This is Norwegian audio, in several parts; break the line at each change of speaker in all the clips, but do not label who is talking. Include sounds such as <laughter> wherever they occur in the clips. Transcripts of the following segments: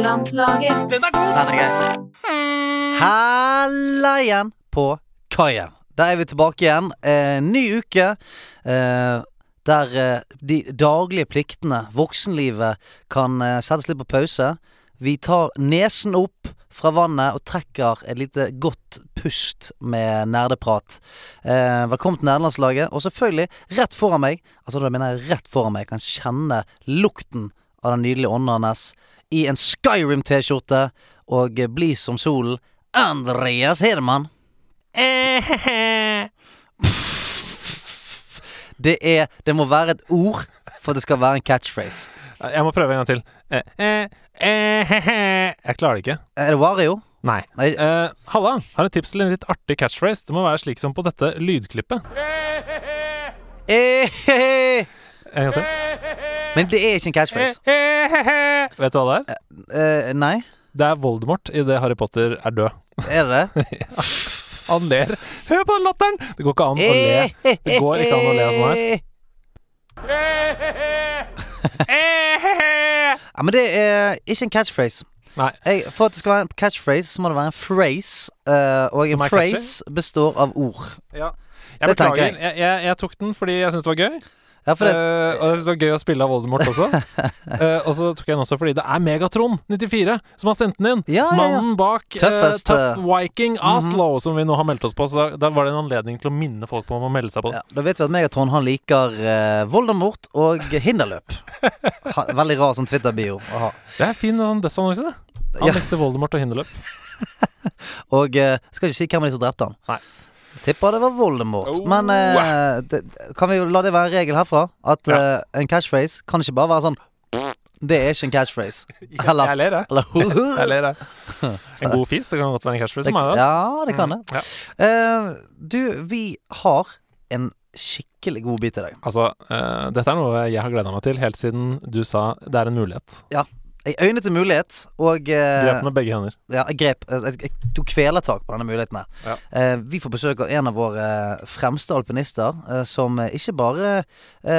Landslaget.
Den er god!
Den er gøy. Halla igjen på kaien. Der er vi tilbake igjen. Eh, ny uke. Eh, der eh, de daglige pliktene, voksenlivet, kan eh, settes litt på pause. Vi tar nesen opp fra vannet og trekker et lite godt pust med nerdeprat. Eh, velkommen til Nerdelandslaget. Og selvfølgelig, rett foran meg, altså da mener jeg rett foran meg, jeg kan kjenne lukten av den nydelige ånden hans i en Skyrim-T-skjorte og bli som solen. Andreas Hedemann.
Eh,
Det er Det må være et ord for at det skal være en catchphrase.
<laughs> Jeg må prøve en gang til. Eh, eh, eh, he-he. Jeg klarer det ikke.
Eh, Er det Wario?
Nei.
Nei.
Eh, Halla, har et tips til en litt artig catchphrase. Det må være slik som på dette lydklippet.
Eh, hehe.
En gang til.
Men det er ikke en catchphrase.
Eh, eh, he-he. Vet du hva det er?
Eh, nei,
Det er Voldemort idet Harry Potter er død.
er det det?
Han
<laughs>
ler. Hør på den latteren! Det går ikke an <laughs> å le. Det går ikke an å le sånn
Eh,
her. Eh,
<laughs> Ja, men det er ikke en catchphrase.
Nei.
Jeg, for at det skal være en catchphrase, så må det være en phrase. eh, og
Som
en
er
phrase består av ord.
Jeg
Det tenker
beklager.
jeg.
Jeg, jeg, jeg tok den fordi jeg syntes det var gøy.
Ja, for det,
Eh, og jeg synes det var gøy å spille av Voldemort
<laughs>
også. Eh, og så tok jeg den også fordi det er Megatron94 som har sendt den inn.
ja, ja, ja.
Mannen bak uh,
Tøffest,
Tough Viking
mhm.
Oslo, som vi nå har meldt oss på. Så da, da var det en anledning til å minne folk på om å melde seg på.
Ja, da vet vi at Megatron han liker eh, Voldemort og hinderløp. Ha, veldig rar sånn Twitter-bio å ha.
Det er fin sånn dødsannonse, det. Han
Ja.
likte Voldemort
<laughs>
og hinderløp.
Og eh, skal ikke si hvem av de som drepte han.
Nei.
Tipper det var Voldemort.
Oh.
Men eh, det, kan vi jo la det være en regel herfra? At
Ja.
eh, en catchphrase kan ikke bare være sånn Det er ikke en catchphrase. Eller-
Jeg ler, jeg. <laughs>
Eller
Jeg ler, jeg.
<laughs>
En god fis, det kan godt være en cashfreeze.
Det- Ja, det kan det.
Ja.
Eh, du, vi har en skikkelig god bit i dag.
Altså, eh, dette er noe jeg har gleda meg til helt siden du sa det er en mulighet.
Jeg øynet en mulighet, og eh,
Grep med begge hender.
Ja, jeg grep eh, Jeg, jeg, jeg tok kvelertak på denne muligheten her.
Ja.
Eh, vi får besøk av en av våre eh, fremste alpinister, eh, som eh, ikke bare eh,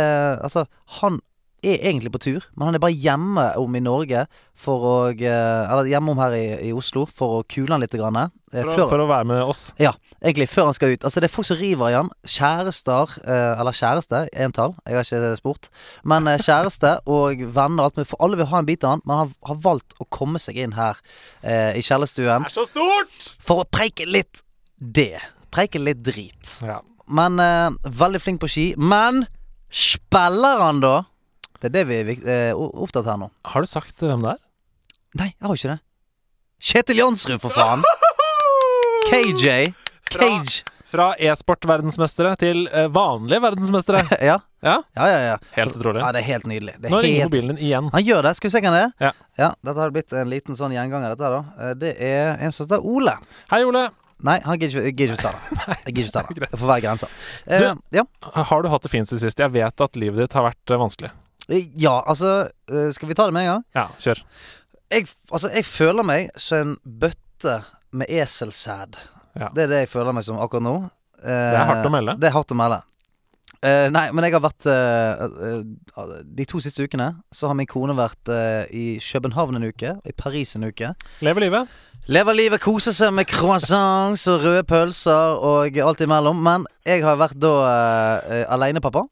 Altså, han er egentlig på tur, men han er bare hjemme om i Norge for å eh, Eller hjemme om her i, i Oslo for å kule han litt. Grann, eh,
For, å-
før,
for å være med oss.
egentlig før han skal ut. Altså, det er folk som river i han. Kjærester, eh, eller kjæreste, entall, jeg har ikke spurt. Men eh, kjæreste <laughs> og venner og alt mulig. For alle vil ha en bit av han, men han har valgt å komme seg inn her eh, i kjellerstuen.
er så stort!
For å preike litt det. Preike litt drit.
Ja.
Men eh, veldig flink på ski. Men spiller han, da? Det er det vi er vik- eh, o- opptatt her nå.
Har du sagt hvem det er?
Nei, jeg har ikke det. Kjetil Jansrud, for <laughs> faen! KJ. Cage.
Fra e-sport-verdensmestere til eh, vanlige verdensmestere.
Ja.
Ja.
ja, ja, ja.
Helt utrolig.
Ja, det er helt nydelig. Det
Nå
er
ringer
helt...
mobilen din igjen.
Han gjør det. Skal vi se hvem det er?
Ja.
Dette har blitt en liten sånn gjenganger, dette her, da. Eh, Det er en som heter Ole.
Hei, Ole.
Nei, han gidder ikke gidder ikke å
<laughs>
ta det. Jeg gidder ikke ta det.
greit.
Det får være grenser. Eh, ja.
Har du hatt det fint siden sist? Jeg vet at livet ditt har vært eh, vanskelig.
ja, altså eh, Skal vi ta det med en gang?
Ja, kjør.
jeg, altså, jeg føler meg som en bøtte med eselsæd.
Ja.
Det er det jeg føler meg som akkurat nå. det
er hardt å melde.
Det er hardt å melde. Eh, nei, men jeg har vært eh, eh, De to siste ukene så har min kone vært eh, i København en uke, og i Paris en uke.
Lever livet.
Lever livet, koser seg med croissants og røde pølser og alt imellom. Men jeg har vært da eh, eh, alenepappa,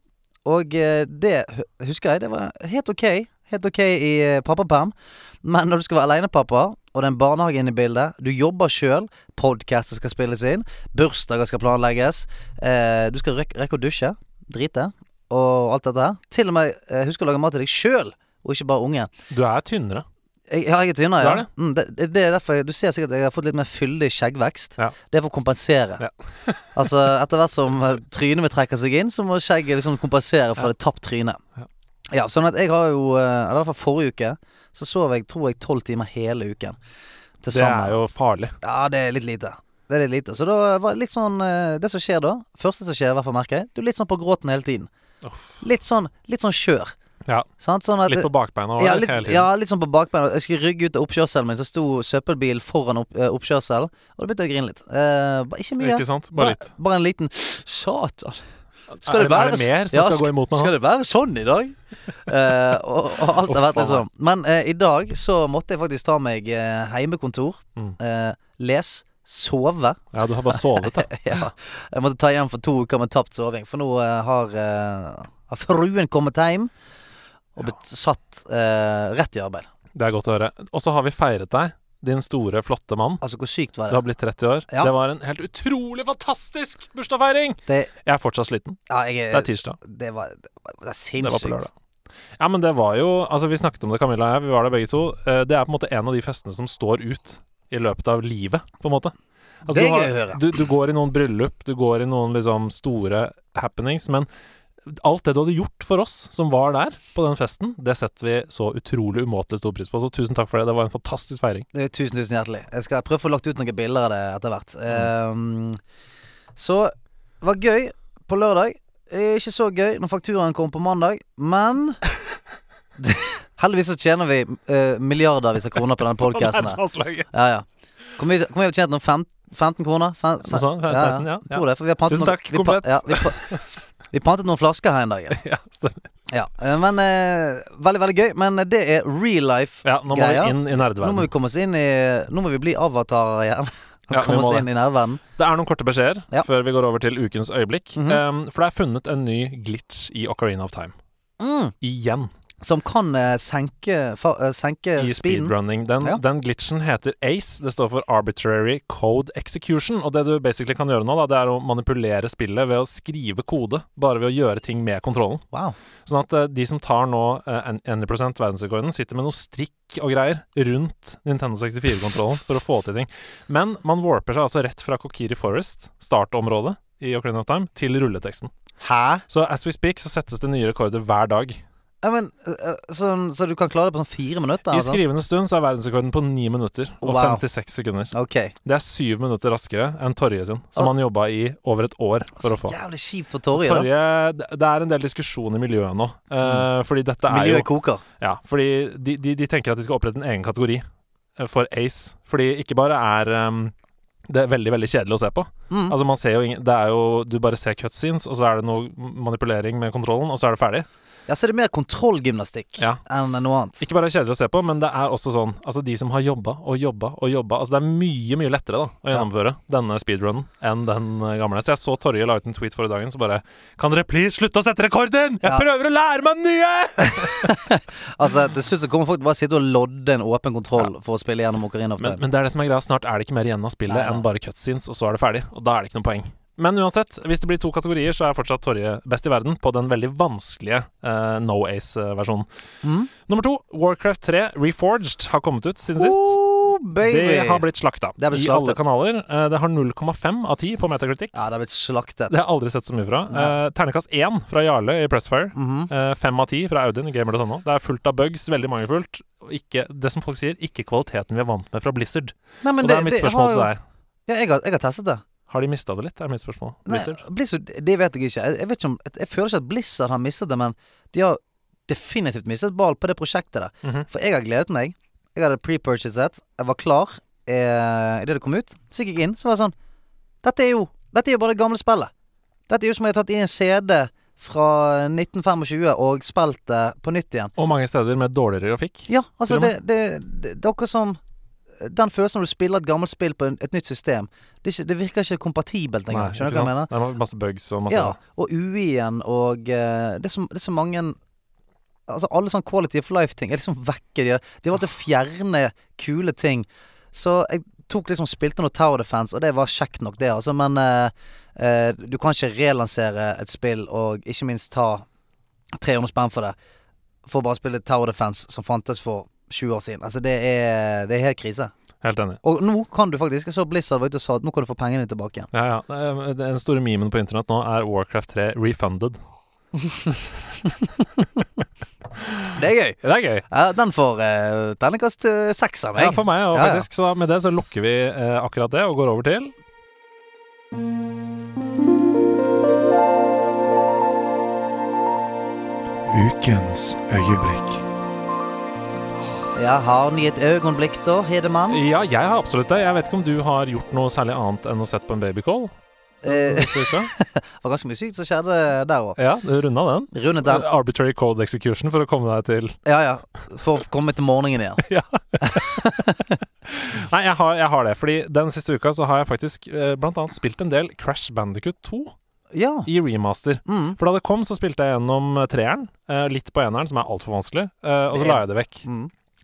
og eh, det hu- husker jeg. Det var helt ok. Helt ok i eh, pappaperm. Men når du skal være alenepappa, og det er en barnehage inne i bildet, du jobber sjøl, podkaster skal spilles inn, bursdager skal planlegges, eh, du skal rek rekke å dusje, drite og alt dette her. Til og med eh, husk å lage mat til deg sjøl, og ikke bare unge.
Du er tynnere.
Jeg, ja, jeg er tynnere,
Du
ja.
er det?
Mm, det, det, det er derfor jeg, Du ser sikkert at jeg har fått litt mer fyldig skjeggvekst.
Ja.
Det er for å kompensere.
Ja.
<laughs> altså, etter hvert som eh, trynet mitt trekker seg inn, så må skjegget liksom kompensere for det tapt trynet.
Ja.
Ja, sånn at jeg har jo eh, Eller i hvert fall forrige uke, så sov jeg tror jeg tolv timer hele uken. Til
Det er
sammen.
jo farlig.
Ja, det er litt lite. Det er litt lite. Så da var det litt sånn eh, Det som skjer da, første som skjer, i hvert fall merker jeg, du er litt sånn på gråten hele tiden.
Uff.
Litt sånn, litt sånn skjør.
Ja,
Sant? Sånn at
litt på bakbeina
ja,
over
litt,
hele tiden.
ja, litt sånn på bakbeina. Jeg skulle rygge ut av oppkjørselen min, så sto søppelbil foran opp, eh, oppkjørselen. Og da begynte jeg å grine litt. Eh, bare ikke mye.
Ikke sant? Bare litt.
Bare en liten Satan. Skal
er,
det være
er det mer som
Ja,
skal gå imot meg
Skal
nå?
det være sånn i
<laughs>
dag? Eh, og, og alt har vært litt sånn. Men eh, i dag så måtte jeg faktisk ta meg eh, heimekontor.
Mm.
eh, les. Sove. <laughs>
Ja, du har bare sovet, da.
ja. Jeg måtte ta igjen for to uker med tapt soving, for nå eh, har, eh, har fruen kommet hjem og blitt satt eh, rett i arbeid.
Det er godt å høre. Og så har vi feiret deg, din store, flotte mann.
Altså, hvor sykt var
Du
det?
har blitt 30 år.
Ja.
Det var en helt utrolig fantastisk bursdagsfeiring!
Det,
Jeg er fortsatt sliten.
ja,
Det er
jeg,
tirsdag.
det, var, det var- det er
Det var på
sinnssykt.
lørdag. Ja, men det var jo Altså, vi snakket om det, Camilla og jeg. Vi var der begge to. Eh, Det er på en måte en av de festene som står ut i løpet av livet, på en måte. Altså,
Det er
du
gøy å høre.
Du, du går i noen bryllup, du går i noen liksom store happenings, men alt det du hadde gjort for oss som var der på den festen, det setter vi så utrolig umåtelig stor pris på. Så tusen takk for det. Det var en fantastisk feiring.
Eh, Tusen, tusen hjertelig. Jeg skal prøve å få lagt ut noen bilder av det etter hvert.
Mm.
Ehm, så det var gøy på lørdag. Eh, Ikke så gøy når fakturaen kom på mandag, men <laughs> Heldigvis så tjener vi eh, milliardervis av kroner
<laughs>
på den podkasten her. Ja, ja. Kommer vi, kommer vi til å tjene noen fem, 15 kroner? Fem,
Noe sånt, fem, 16, ja, ja.
Tror det, for vi har pantet
Tusen
noen-
takk,
vi pa-
komplett.
Ja, vi, pa- <laughs> vi pantet noen flasker her en dag. Ja.
<laughs> Ja, stemmer.
Ja, eh, men eh, Veldig, veldig gøy. Men eh, det er real life.
ja, nå må
Greier.
vi inn i
Nå må
nerdeverdenen.
vi komme oss inn i Nå må vi bli avatarer igjen. Og
<laughs> Ja,
<laughs>
vi
komme
må
oss
det.
inn i nærverden.
Det er noen korte beskjeder
Ja.
før vi går over til ukens øyeblikk.
Mhm.
Ehm, for det er funnet en ny glitch i Ocarina of Time.
Mm,
Igjen.
som kan eh, senke, fa, eh, senke
i
speeden.
speedrunning. Den,
Ja.
den glitchen heter ACE. Det står for Arbitrary Code Execution. Og det du basically kan gjøre nå, da, det er å manipulere spillet ved å skrive kode. Bare ved å gjøre ting med kontrollen.
Wow.
Sånn at eh, de som tar nå uh, Any Percent verdensrekorden, sitter med noe strikk og greier rundt Nintendo 64-kontrollen for å få til ting. Men man warper seg altså rett fra Kokiri Forest, startområdet i Ocarina of Time, til rulleteksten.
Hæ?
Så as we speak så settes det nye rekorder hver dag.
Ja, men, eh, eh, sånn, så du kan klare det på sånn fire minutter?
I
altså?
skrivende stund så er verdensrekorden på 9 minutter og
Wow.
56 sekunder.
Ok.
Det er syv minutter raskere enn Torje sin, som han jobba i over et år for
Så
å få.
jævlig kjipt for
Så
Torje. da.
Torje, det det er en del diskusjon i miljøet nå,
Mm.
eh, fordi dette er jo
Miljøet koker.
Ja, fordi de, de, de tenker at de skal opprette en egen kategori eh, for Ace. Fordi ikke bare er ehm, det er veldig veldig kjedelig å se på.
Mm.
Altså man ser jo ingen, det er jo, Du bare ser cutscenes, og så er det noe manipulering med kontrollen, og så er det ferdig.
Ja, så er det mer kontrollgymnastikk
Ja.
enn noe
<laughs>
annet.
Ikke bare er det kjedelig å se på, men det er også sånn Altså de som har jobba og jobba og jobba Altså det er mye, mye lettere da å gjennomføre denne speedrunnen enn den eh, gamle. Så jeg så Torje la ut en tweet forrige dagen så bare Kan dere please slutte å sette rekorden?! Jeg
Ja.
prøver å lære meg den nye!
Altså, Til slutt så kommer folk til å bare sitte og lodde en åpen kontroll for å spille gjennom Ocarina of
Men,
Time.
men det er det som er greia. Snart er det ikke mer igjen av spillet
Nei, nei.
enn bare cutscenes, og så er det ferdig. Og da er det ikke noe poeng. Men uansett, hvis det blir to kategorier, så er fortsatt Torje best i verden på den veldig vanskelige eh, no ace-versjonen.
Mm.
Nummer to, Warcraft 3 Reforged har kommet ut siden sist.
Oh, baby.
Det har blitt slakta
Det har blitt
i alle
slaktet.
kanaler. Eh, Det har 0,5 av 10 på Metacritic.
Ja, det har blitt slaktet.
Det har jeg aldri sett så mye fra. Eh, Ternekast 1 fra Jarle i Pressfire.
Mhm.
Eh, 5 av 10 fra Audun i gamer.no. Det er fullt av bugs, veldig mangelfullt. Og ikke, det som folk sier, ikke kvaliteten vi er vant med fra Blizzard.
Nei, men
og det, er mitt spørsmål
har
til
jo-
deg.
Ja, jeg har, jeg har testet det.
Har de mista det litt? er mitt spørsmål.
Nei,
Blizzard.
Blizzard, det vet jeg ikke. Jeg, jeg, vet ikke om, jeg, jeg føler ikke at Blizzard har mistet det, men de har definitivt mistet ball på det prosjektet der.
Mhm.
For jeg har gledet meg. Jeg hadde pre-purchaset. Jeg var klar eh, idet det kom ut. Så gikk jeg inn, så var jeg sånn Dette er jo Dette er jo bare det gamle spillet. Dette er jo som om jeg har tatt i en CD fra 1925 og spilt det på nytt igjen.
Og mange steder med dårligere grafikk.
Ja, altså
Til og
det, det, det, det er akkurat som den følelsen når du spiller et gammelt spill på en, et nytt system. Det, er ikke, det virker ikke kompatibelt
Nei,
engang. Skjønner du
ikke
hva jeg
sant?
mener?
Det er masse bugs og masse
Ja, og UI-en og eh, det, er så, det er så mange Altså alle sånne quality of life-ting er liksom vekke. De der. De har valgt å fjerne kule ting. Så jeg tok liksom spilte noe Tower Defense, og det var kjekt nok, det, altså. Men eh, eh, du kan ikke relansere et spill og ikke minst ta 300 spenn for det. For å bare spille Tower Defense som fantes for 20 år siden. Altså det er, det er helt krise.
Helt enig.
Og nå kan du faktisk Jeg så Blizzard var ute og sa at nå kan du få pengene tilbake igjen.
Ja, ja. Det er- Den store memen på internett nå er Warcraft 3 refunded.
Det er gøy.
Det er gøy.
Ja, den får uh, terningkast eh, seks av meg.
Ja, for meg òg,
Ja, ja.
faktisk. Så da- med det så lukker vi eh, akkurat det og går over til
Ukens øyeblikk.
Ja, har ni et øyeblikk da, Hedemann?
Ja, jeg har absolutt det. Jeg vet ikke om du har gjort noe særlig annet enn å sett på en babycall.
Eh,
den siste uka. <laughs>
Det var ganske mye sykt som skjedde der òg.
Ja, du runda den. Eh,
Rundet den.
Arbitrary code execution for å komme deg til
Ja ja. For å komme til morgenen igjen.
Nei, jeg har, jeg har det. Fordi den siste uka så har jeg faktisk eh, blant annet spilt en del Crash Bandicut 2
Ja.
i remaster.
Mm.
For da det kom, så spilte jeg gjennom eh, treeren. eh, Litt på eneren, som er altfor vanskelig. eh, Og
Det
så
er-
la jeg det vekk.
Mm.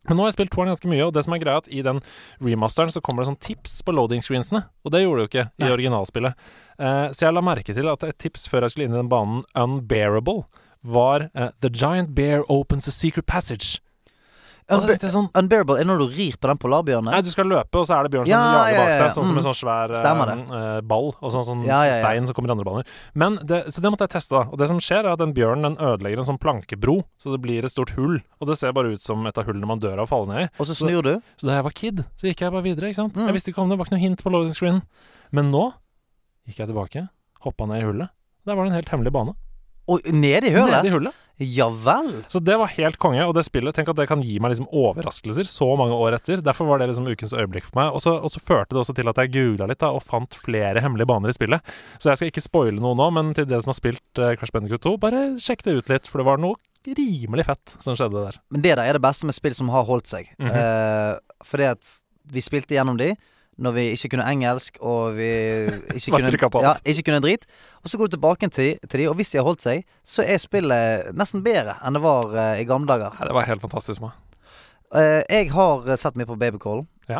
Men nå har jeg spilt toeren ganske mye, og det som er greia er at i den remasteren så kommer det sånn tips på loading screensene, og det gjorde det jo ikke i
Nei.
originalspillet. Eh, så jeg la merke til at et tips før jeg skulle inn i den banen, Unbearable, var eh, The giant bear opens a secret passage. Og da
Unbe
tenkte jeg sånn
unbearable er når du rir på den
Nei,
polarbjørnen.
du skal løpe, og så er det bjørn som
Ja,
jager
ja,
bak
ja, ja.
deg, sånn som en
Mm.
sånn svær eh,
Stemmer det.
eh, ball, og sånn, sånn
Ja, ja, ja.
stein som kommer i andre baner. Men det, så det måtte jeg teste, da. Og det som skjer, er at den bjørnen den ødelegger en sånn plankebro, så det blir et stort hull. Og det ser bare ut som et av hullene man dør av å falle ned i.
Og så snur du.
Så da jeg var kid, så gikk jeg bare videre. ikke sant?
Mm.
Jeg visste ikke om det, det var ikke noe hint på loading screenen. Men nå gikk jeg tilbake, hoppa ned i hullet. Der var det en helt hemmelig bane.
Og ned i
Nede
hølet.
i hullet.
Ja vel.
Så det var helt konge. Og det spillet, tenk at det kan gi meg liksom overraskelser så mange år etter. Derfor var det liksom ukens øyeblikk for meg. Og så, og så førte det også til at jeg googla litt da, og fant flere hemmelige baner i spillet. Så jeg skal ikke spoile noe nå, men til dere som har spilt eh, Crash Bandicoot 2, bare sjekk det ut litt, for det var noe rimelig fett som skjedde der.
Men det der er det beste med spill som har holdt seg.
Mhm.
Eh, fordi at vi spilte gjennom de når vi ikke kunne engelsk, og vi
<laughs>
ikke
Bare
kunne,
trykket på
ja,
alt.
ikke kunne drit. Og så går du tilbake til de, til de, og hvis de har holdt seg, så er spillet nesten bedre enn det var eh, i gamle dager.
Nei, det var helt fantastisk for meg.
Eh, jeg har sett mye på Babycall.
Ja.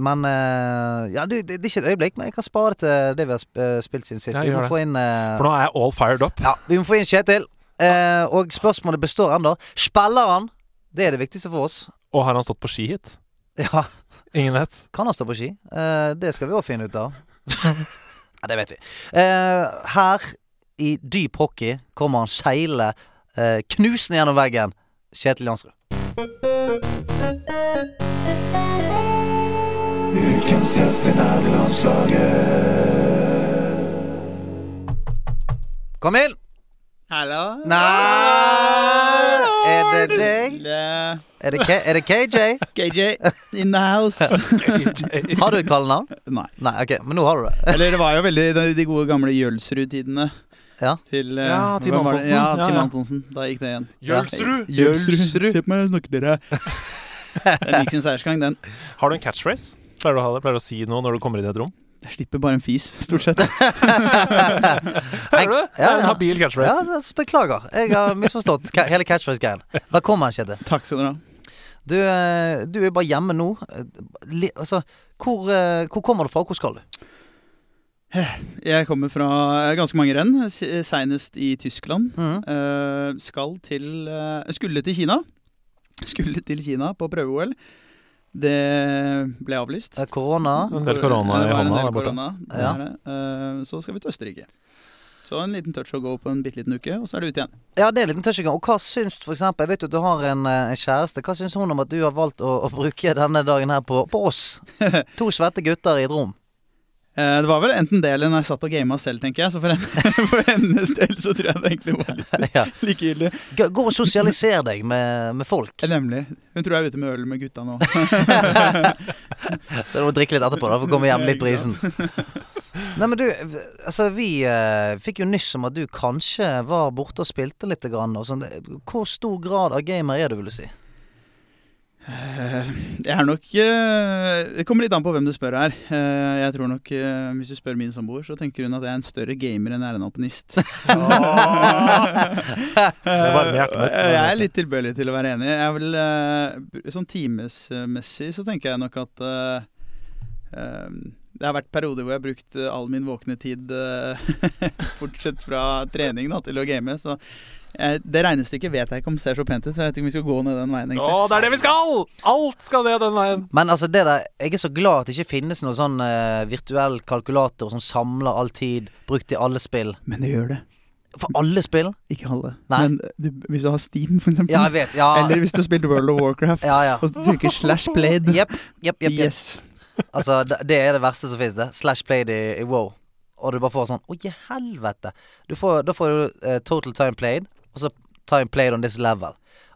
Men eh, Ja, det, det, det er ikke et øyeblikk, men jeg kan spare det til det vi har sp eh, spilt siden sist.
Ja,
vi
gjør
må
det.
få inn eh,
For nå er jeg all fired up.
Ja, vi må få inn Kjetil. Eh, og spørsmålet består ennå. Spiller han? Det er det viktigste for oss. <laughs>
Og har han stått på ski hit?
Ja
Ingen vet.
Kan han stå på ski? Eh, det skal vi òg finne ut av. <laughs> ja, det vet vi. Eh, her i dyp hockey kommer han seile eh, knusende gjennom veggen. Kjetil Jansrud.
Ukens gjester er landslaget.
Kom inn!
Hallo?
Nei! Er det deg?
Det-
Er det, K er det KJ?
KJ eh, in the house.
Har du et kallenavn?
<laughs> Nei.
Nei, ok, men nå har du det.
Eller det var jo veldig de, de gode gamle Jølsrud-tidene.
Ja.
Til, eh,
Ja, Tim
hvem var det?
Antonsen.
Ja,
Ja,
Tim
ja.
Antonsen. Da gikk det igjen.
Jølsrud!
Jølsrud. Se på meg, jeg snakker dere. <laughs> Den gikk sin seiersgang, den.
Har du en catchphrase? Pleier du å ha det? Pleier du å si noe når du kommer inn i et rom?
Jeg slipper bare en fis, stort <laughs> sett.
Hører du det? Det
ja,
er
ja.
en
Ja,
habil catchphrase.
så- så beklager. Jeg har misforstått ka- hele catchphrase-greien. Velkommen, Kjetil.
Takk skal dere ha.
Du, eh, du er bare hjemme nå. Eh, li- Altså, hvor, eh, hvor kommer du fra? Hvor skal du?
Jeg kommer fra eh, ganske mange renn, s- eh, senest i Tyskland.
Mhm.
Eh, skal til eh, Skulle til Kina. Skulle til Kina på prøve-OL. Det ble avlyst.
Eh, Korona?
En del korona i
Det var en
hånda
del
der borte.
korona, det
Ja.
er det. Eh, Så skal vi til Østerrike. Så en liten touch og go på en bitte liten uke, og så er det ut igjen.
Ja, det er en liten touchingang. Og hva syns for eksempel, Jeg vet jo at du har en, eh, en kjæreste. Hva syns hun om at du har valgt å, å bruke denne dagen her på, på oss? To svette gutter i et rom.
Eh, Det var vel enten det eller når jeg satt og gama selv, tenker jeg. Så for, <laughs> henne, for hennes del så tror jeg det egentlig var litt
<laughs> Ja.
likegyldig.
Gå gå og sosialiser deg med, med folk.
Eh, Nemlig. Hun tror jeg er ute med øl med gutta nå.
<laughs> Så du må drikke litt etterpå, da, for å komme hjem litt på isen. Nei, men du, v- altså vi eh, fikk jo nyss om at du kanskje var borte og spilte litt. Grann, og sånn. Hvor stor grad av gamer er du, vil du si?
Eh, Jeg er nok eh, Det kommer litt an på hvem du spør her. Eh, Jeg tror nok eh, Hvis du spør min samboer, så tenker hun at jeg er en større gamer enn jeg er en alpinist.
varmer hjertet mitt.
Eh, Jeg er litt tilbøyelig til å være enig. Jeg vil, eh, br- sånn timesmessig så tenker jeg nok at eh, eh, det har vært perioder hvor jeg har brukt eh, all min våkne tid eh, <laughs> bortsett fra trening da, til å game. Så eh, det regnestykket vet jeg ikke om ser så pent ut, så jeg vet ikke om vi skal gå ned den
Å,
veien. egentlig
det er det vi skal! Alt skal ned den veien.
Men altså det der, jeg er så glad at det ikke finnes noen sånn eh, virtuell kalkulator som samler all tid brukt i alle spill.
Men det gjør det.
For alle spill?
Ikke alle.
Nei.
Men eh, du, hvis du har Steam, for eksempel.
Ja, jeg vet. Ja,
Eller hvis du har spilt World of Warcraft,
ja.
<laughs>
ja.
og så trykker slash played.
Jepp, jepp, jepp. jepp.
Yes.
Altså, det, det er det verste som finnes, det. Slash played i, i Wow. Og du bare får sånn Å, i helvete! Du får, da får du eh, total time played, og så time played on this level.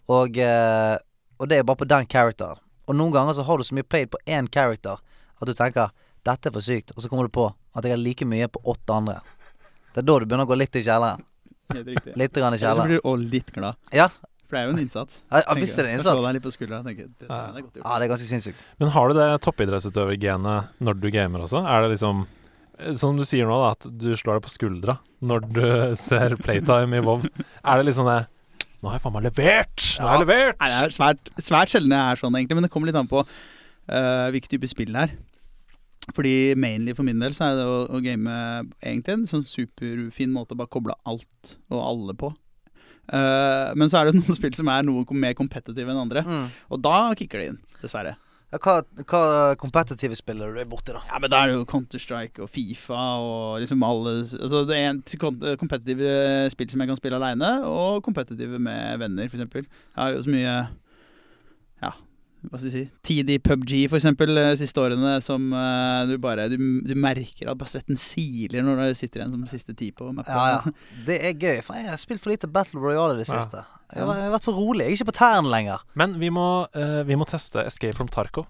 Og, eh, og det er bare på den characteren. Og noen ganger så har du så mye played på én character at du tenker Dette er for sykt. Og så kommer du på at jeg har like mye på åtte andre. Det er da du begynner å gå litt i kjelleren.
Helt riktig.
Litt grann i
Eller så
kjelleren.
blir du også litt glad.
Ja,
For det er jo en innsats.
ja, ja,
tenker
visst er det
jeg.
innsats.
Slå deg litt på skuldra og tenke det, det er godt
Ja,
gjort.
det er ganske sinnssykt.
Men har du det toppidrettsutøvergenet når du gamer også? Er det liksom eh, Sånn som du sier nå, da, at du slår deg på skuldra når du <laughs> ser playtime i WoW. Er det liksom det Nå har jeg faen meg levert! Nå har jeg levert!
Nei, det er svært, svært sjelden jeg er sånn, egentlig, men det kommer litt an på eh, hvilken type spill det er. Fordi mainly for min del så er det å, å game egentlig en sånn superfin måte å bare koble alt og alle på. Eh, men så er det <laughs> noen spill som er noe mer competitive enn andre,
Mm.
og da kicker det inn, dessverre.
Ja, hva hva kompetitive spiller du er borti, da?
Ja, men da er det jo Counter-Strike og Fifa og liksom alle Altså det er en kon- kompetitive eh, spill som jeg kan spille aleine, og kompetitive med venner, for eksempel. Jeg har jo så mye Ja, hva skal jeg si Tid i PubG, for eksempel, de siste årene som eh, du bare Du, du merker at bare svetten siler når du sitter igjen som siste ti på mappet.
Ja, ja. <laughs> Det er gøy. Faen, jeg har spilt for lite Battle Royale i det
Ja.
siste. Jeg har jeg har vært for rolig. Jeg er ikke på tærne lenger.
Men vi må, eh, vi må teste Escape from Tarco.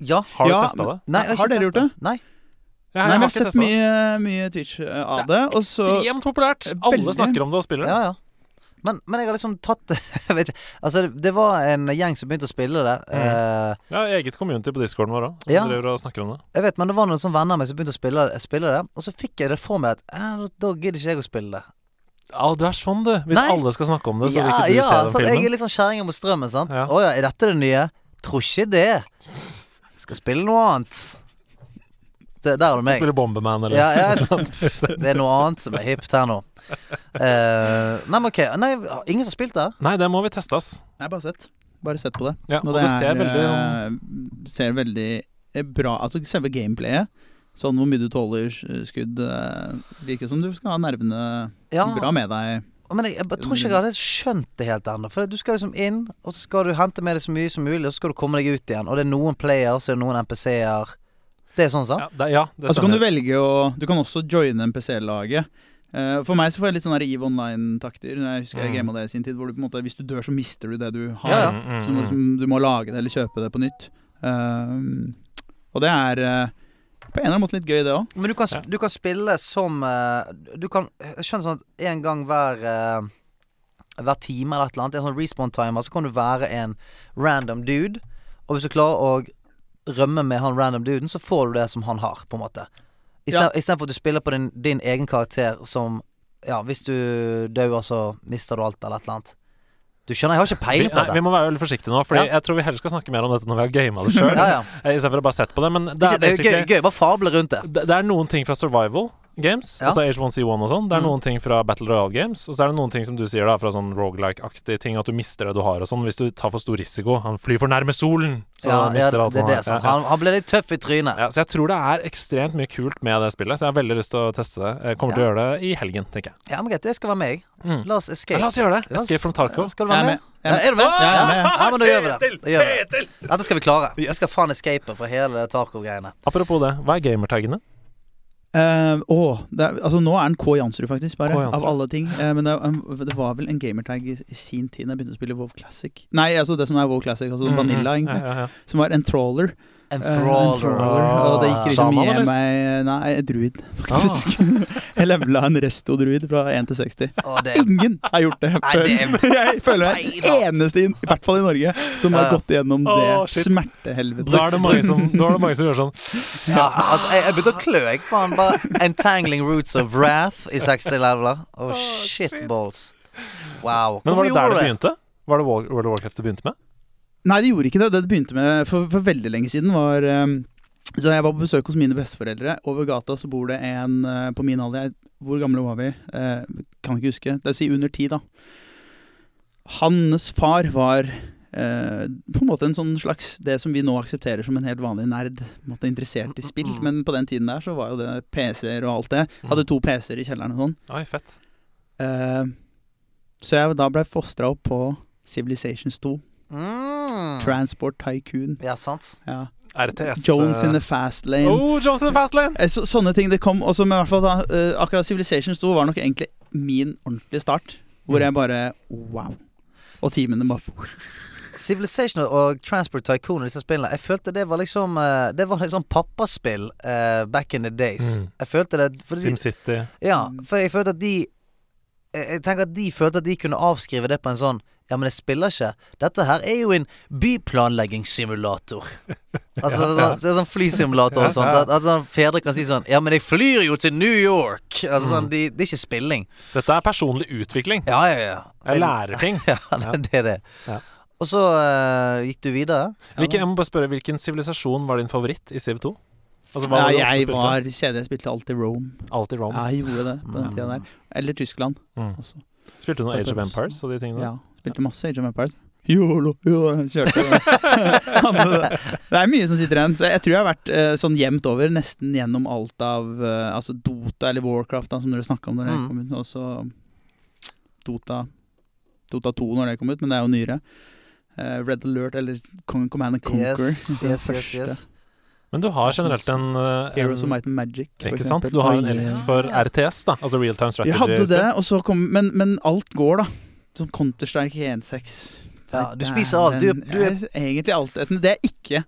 Ja.
Har du
Ja,
testa det?
Nei, jeg
Har
ikke
dere gjort
testet. Nei.
Jeg,
Nei, men jeg har
ikke
sett
testet det.
mye, mye Twitch eh, av det, og så
Ekstremt populært! Alle
Veldig.
snakker om det og spiller det.
Ja, ja. Men, men jeg har liksom tatt <laughs> jeg vet ikke, Altså, det, det var en gjeng som begynte å spille det. Eh,
Ja, eget community på discorden vår òg, som
Ja.
driver og snakker om det.
jeg vet, men det var noen sånne venner av meg som begynte å spille, spille det, og så fikk jeg det for meg at eh, da gidder ikke jeg å spille det.
Ja, du er sånn, du. Hvis
Nei.
alle skal snakke om det, så vil
ja,
ikke du
ja,
se den
sånn, jeg
filmen.
er litt sånn kjerringa mot strømmen, sant. Å
Ja.
ja. er dette det nye? Tror ikke det. Skal spille noe annet. Det, der har du meg.
Spiller Bomberman eller
Ja, ja, sant. Det er noe annet som er hipt her nå. Eh, nei, men ok. Nei, ingen som har spilt det?
Nei, det må vi teste, ass.
Nei, bare sett. Bare sett på det.
Ja,
Og det, ser, er,
eh,
veldig,
sånn-
ser veldig eh, bra Altså selve gameplayet, sånn hvor mye du tåler eh, skudd, eh, virker som du skal ha nervene
Ja.
bra med deg.
Men jeg, jeg, bare tror ikke jeg hadde skjønt det helt ennå. For du skal liksom inn, og så skal du hente med deg så mye som mulig, og så skal du komme deg ut igjen. Og det er noen players, og det er noen NPC-er. Det er sånn, sant?
Ja, det, ja, det
Og så kan du
stemmer.
velge å Du kan også joine NPC-laget. Eh, For meg så får jeg litt sånn her EVE Online-takter. Når Jeg husker jeg
Mm.
gama det i sin tid, hvor du på en måte, hvis du dør, så mister du det du har.
Ja, ja.
Mm, mm,
Så du må,
mm.
liksom, du må lage det eller kjøpe det på nytt. Eh, og det er eh, på en eller annen måte litt gøy, det òg.
Men du kan, sp- du kan spille som eh, Du kan jeg skjønner sånn at en gang hver eh, Hver time eller et eller annet, en sånn respawn-timer, så kan du være en random dude. Og hvis du klarer å rømme med han random duden, så får du det som han har, på en måte.
Ja.
Istedenfor for at du spiller på din, din egen karakter som Ja, hvis du dauer, så mister du alt, eller et eller annet. Du skjønner, jeg har ikke
Vi,
peiling på
nei, vi
det.
må være veldig forsiktige nå, Fordi
Ja.
jeg tror vi heller skal snakke mer om dette når vi har gama det Eh, sjøl.
Ja, ja.
Istedenfor å bare sett på det. Men det
Det
er,
er, det er jo gøy,
basically-
gøy, bare fable rundt det.
det, det er noen ting fra survival games,
Ja.
altså H1C1 og sånn. Det er
Mm.
noen ting fra Battle Royale games, og så er det noen ting som du sier da fra sånn rogelike-aktige ting, at du mister det du har og sånn, hvis du tar for stor risiko. Han flyr for nærme solen, så
Ja, ja,
mister
det,
alt
det,
han
er
har.
sant.
Ja, ja.
Han, han ble litt tøff i trynet.
Ja, så jeg tror det er ekstremt mye kult med det spillet, så jeg har veldig lyst til å teste det. Jeg kommer til å gjøre det i helgen, tenker jeg.
Ja, men greit, det skal være meg.
Mm.
La oss escape.
Ja, la oss gjøre det.
La oss-
Escape from Tarkov.
Skal du være med?
Jeg er med. Jeg er
Ja, er du med?
med. Ja, jeg er med.
Ja, men da gjør vi det. Da gjør vi det.
Kjetil!
Dette skal vi klare. Vi
Yes.
skal faen escape for hele Tarkov-greiene.
Apropos det, hva er gamertaggene?
Eh, åh, det er, altså Nå er den K. Jansrud, faktisk. bare,
K. Jansrud.
Av alle ting. Eh, men det, er- det var vel en gamertag i, i sin tid da jeg begynte å spille WoW Classic. Nei, altså det som er WoW Classic, altså
Mm,
Vanilla,
mm.
egentlig.
Ja, ja, ja.
Som var en trawler.
En
Eh, en
trawler.
trawler, Og det gikk liksom
Shaman,
i
eller?
meg Nei, en druid, faktisk. <laughs> jeg levela en resto-druid fra 1 til 60.
Og det
Ingen har gjort det
Nei, det er
før. <laughs> Jeg føler jeg er den eneste, i hvert fall i Norge, som har
Ja.
gått gjennom
Åh,
det
shit.
smertehelvetet.
Da er det mange
<laughs>
som, da er det mange som gjør sånn.
ja, altså, jeg, jeg begynte å klø, jeg. Faen, bare Entangling roots of wrath i 60 leveler. Å, shit balls. Wow.
Men
Hvorfor
var det der
gjorde
det
du
begynte? Var det World World of Warcraft det begynte med?
Nei, det gjorde ikke det. Det det begynte med for, for veldig lenge siden var ehm, Så jeg var på besøk hos mine besteforeldre. Over gata så bor det en eh, på min alder jeg- Hvor gamle var vi? Eh, kan ikke huske. Det vil si under ti, da. Hans far var eh, på en måte en sånn slags Det som vi nå aksepterer som en helt vanlig nerd. På en måte Interessert i spill. Men på den tiden der så var jo det PC-er og alt det.
Mm.
Hadde to PC-er i kjelleren og sånn.
Oi, fett.
Eh, så jeg da blei fostra opp på Civilizations 2.
Mm.
Transport Tycoon.
Ja, sant.
Ja.
RTS.
Jones in
eh,
the fast lane.
Oh, Jones in the fast lane!
Eh, Så, sånne ting det kom også, men i hvert fall da, eh, akkurat Civilization 2 var nok egentlig min ordentlige start. Hvor
Mm.
jeg bare wow. Og timene bare
Civilization og Transport Tycoon og disse spillene Jeg følte det var liksom eh, Det var liksom pappaspill eh, back in the days.
Mm.
Jeg følte det fordi,
SimCity.
Ja,
Mm.
for jeg følte at de jeg, jeg tenker at de følte at de kunne avskrive det på en sånn Ja, men jeg spiller ikke. Dette her er jo en
<laughs>
byplanleggingssimulator. Altså
ja.
sånn, så, sånn flysimulator og
Ja,
sånt.
ja.
At, at sånn, fedre kan si sånn Ja, men jeg flyr jo til New York! Altså
Mm.
sånn, de, Det er ikke spilling.
Dette er personlig utvikling.
Ja, ja, ja. Så-
Jeg lærer
<laughs>
ting.
<laughs> Ja, det er det.
Ja.
Og så eh, gikk du videre.
Hvilken, jeg må bare spørre, hvilken sivilisasjon var din favoritt i Civ 2? Altså, hva
Nei,
det du ofte
jeg
spilte?
var kjedelig. Jeg spilte alltid Rome.
Alltid Rome.
Jeg gjorde det på den
Mm.
tida der. Eller Tyskland
Mm.
også.
Spilte du noe Age of
Purpose.
Empires og de tingene?
Ja. Spilte masse Age of Empires. Yolo, yolo, kjørte <laughs> det. det er mye som sitter igjen. Så jeg tror jeg har vært eh, sånn jevnt over nesten gjennom alt av eh, altså Dota eller Warcraft, da, som dere snakka om da det
Mm.
kom ut. Og så Dota, Dota 2 når det kom ut, men det er jo nyere. Eh, Red Alert eller Con- Command and Conquer. <laughs>
Yes, yes,
altså
yes,
første.
yes.
Men du har generelt en, eh,
Heroes of
en
Might and Magic. for
Ikke sant?
eksempel.
Du har en
Oi.
elsk for RTS, da. Altså real time strategy.
Jeg hadde det, og så kom Men, men alt går, da. Som Counter-Strike 1.6.
Ja, du spiser alt. Du er- du er-
Jeg er egentlig altetende. Det er jeg ikke.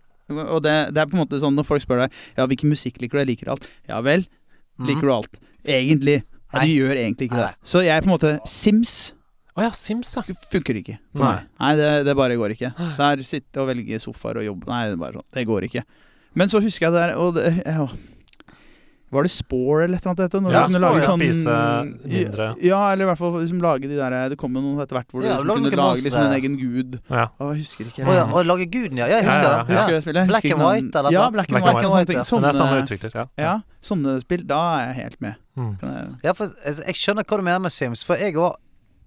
Og det, det er på en måte sånn når folk spør deg Ja, hvilken musikk liker du? Jeg liker alt. Ja vel,
Mm.
liker du alt? Egentlig. Nei, du
Mhm. Nei.
gjør egentlig ikke
Nei.
det. Så jeg er på en måte Sims
Å ja, Sims, ja.
funker ikke. For
Nei.
meg. Nei, det, det bare går ikke. Der sitte og velge sofaer og jobbe Nei, det er bare sånn. Det går ikke. Men så husker jeg det der og det, ja. Var det Spore eller et eller annet? det het, Når
Ja,
du kunne
Spore,
lage
ja.
sånn,
Spise mindre.
Ja, eller i hvert fall liksom, lage de der Det kom jo noen etter hvert hvor
Ja,
du
lag
liksom kunne
noen
lage liksom, en
monstre.
egen gud.
ja.
Å, jeg husker ikke.
Å ja, å lage guden, ja. Ja, Jeg husker
Ja, ja,
det.
ja.
Husker du det spillet? Jeg
Black
husker
and
ikke
white,
navnet.
eller
Ja,
noe?
Black
Black
and
and
White. og
white,
sånne ting.
ja.
Men det er samme
Sånne,
utvikler, ja.
eh, ja, sånne spill. Da er jeg helt med.
Mm.
Kan jeg-
Ja, for, altså, jeg skjønner hva du mener med Sims, for jeg òg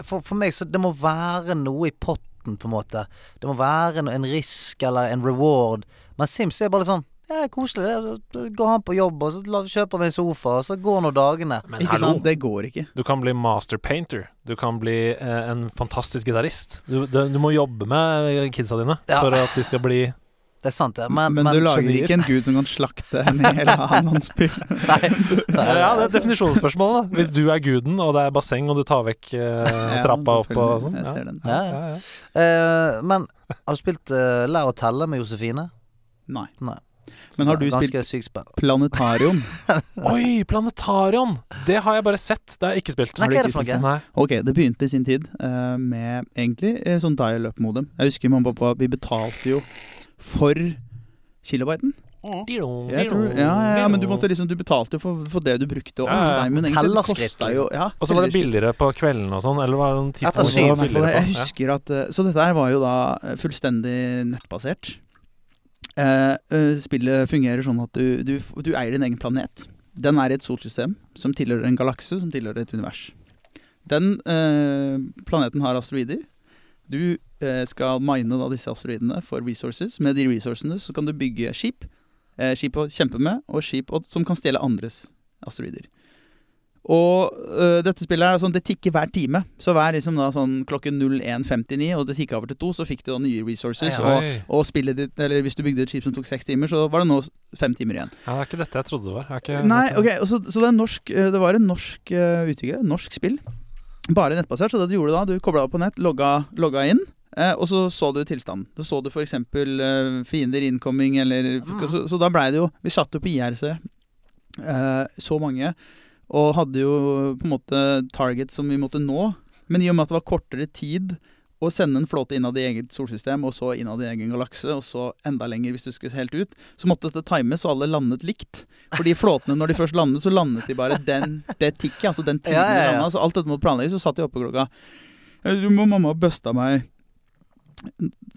for, for meg så det må være noe i potten, på en måte. Det må være no- en risk eller en reward. Men Sims er bare sånn ja, koselig. det er- Så går han på jobb, og så la- kjøper vi en sofa, og så går nå dagene.
Men
Ikke
hallo,
sant? Det går ikke.
du kan bli master painter. Du kan bli eh, en fantastisk gitarist. Du, du, du må jobbe med kidsa dine
Ja.
for at de skal bli
<laughs>
Det er sant, det.
Men,
Men, men
du lager
genier.
ikke en gud som kan slakte en hel annonsby.
<laughs> Nei. nei,
Ja, det er et definisjonsspørsmål, da. Hvis du er guden, og det er basseng, og du tar vekk
<laughs>
eh, trappa opp og sånn.
Jeg
Ja.
ser den.
Ja, ja.
Ja, ja.
Eh, men har du spilt eh, Lær å telle med Josefine?
Nei.
Nei.
Men har du
Ganske
spilt
sykt spill.
Planetarium? <laughs>
Oi, Planetarion! Det har jeg bare sett. Det har jeg ikke spilt.
Nei,
Har
hva
du
er
ikke
det for
spilt
noe?
Nei.
Ok, det begynte i sin tid eh, med egentlig eh, sånn dial-up-modem. Jeg husker mamma og pappa, vi betalte jo for kilobyten. Jeg tror, ja, ja, ja, men du måtte liksom, du betalte jo for, for det du brukte. Og
Ja, ja, ja.
timen egentlig, så
Tellerskritt,
kostet jo, ja,
Og så var det
tellerskritt.
billigere på kvelden og sånn, eller var det noen
Etter
tidspunkt
syv,
det var
Ja, i hvert fall,
billigere
Jeg
på?
husker at eh, Så dette her var jo da eh, fullstendig nettbasert. Eh, eh, spillet fungerer sånn at du, du, f- du eier din egen planet. Den er i et solsystem som tilhører en galakse som tilhører et univers. Den eh, planeten har asteroider. Du eh, skal mine da disse asteroidene for resources. Med de resourcene så kan du bygge skip. Eh, skip å kjempe med, og skip å, som kan stjele andres asteroider. Og øh, dette spillet er sånn, det tikker hver time. Så hver liksom da sånn klokken 01.59, og det tikka over til to, så fikk du da nye resources.
Ja.
Og,
Oi.
og spillet ditt, eller hvis du bygde et skip som tok seks timer, så var det nå fem timer igjen.
Ja, det er ikke dette jeg trodde det var. Jeg har ikke-
Nei, ok, og så, så det, er norsk, eh, det var en norsk eh, utvikler, et norsk spill. Bare nettbasert. Så det du gjorde da, du kobla opp på nett, logga, logga inn. eh, og så så du tilstanden. Så så du f.eks. Uh, fiender incoming, eller
Mm.
så, så da blei det jo Vi satt jo på IRC, eh, så mange, og hadde jo på en måte target som vi måtte nå. Men i og med at det var kortere tid å sende en flåte innad i eget solsystem, og så innad i egen galakse, og så enda lenger hvis du skulle helt ut, så måtte dette times, og alle landet likt. Fordi flåtene, når de først landet, så landet de bare den, det tikket. Altså den tiden
Ja, ja, ja.
de landet. Så alt dette måtte planlegges, så satt de oppe klokka Jeg tror mamma- Mamma busta meg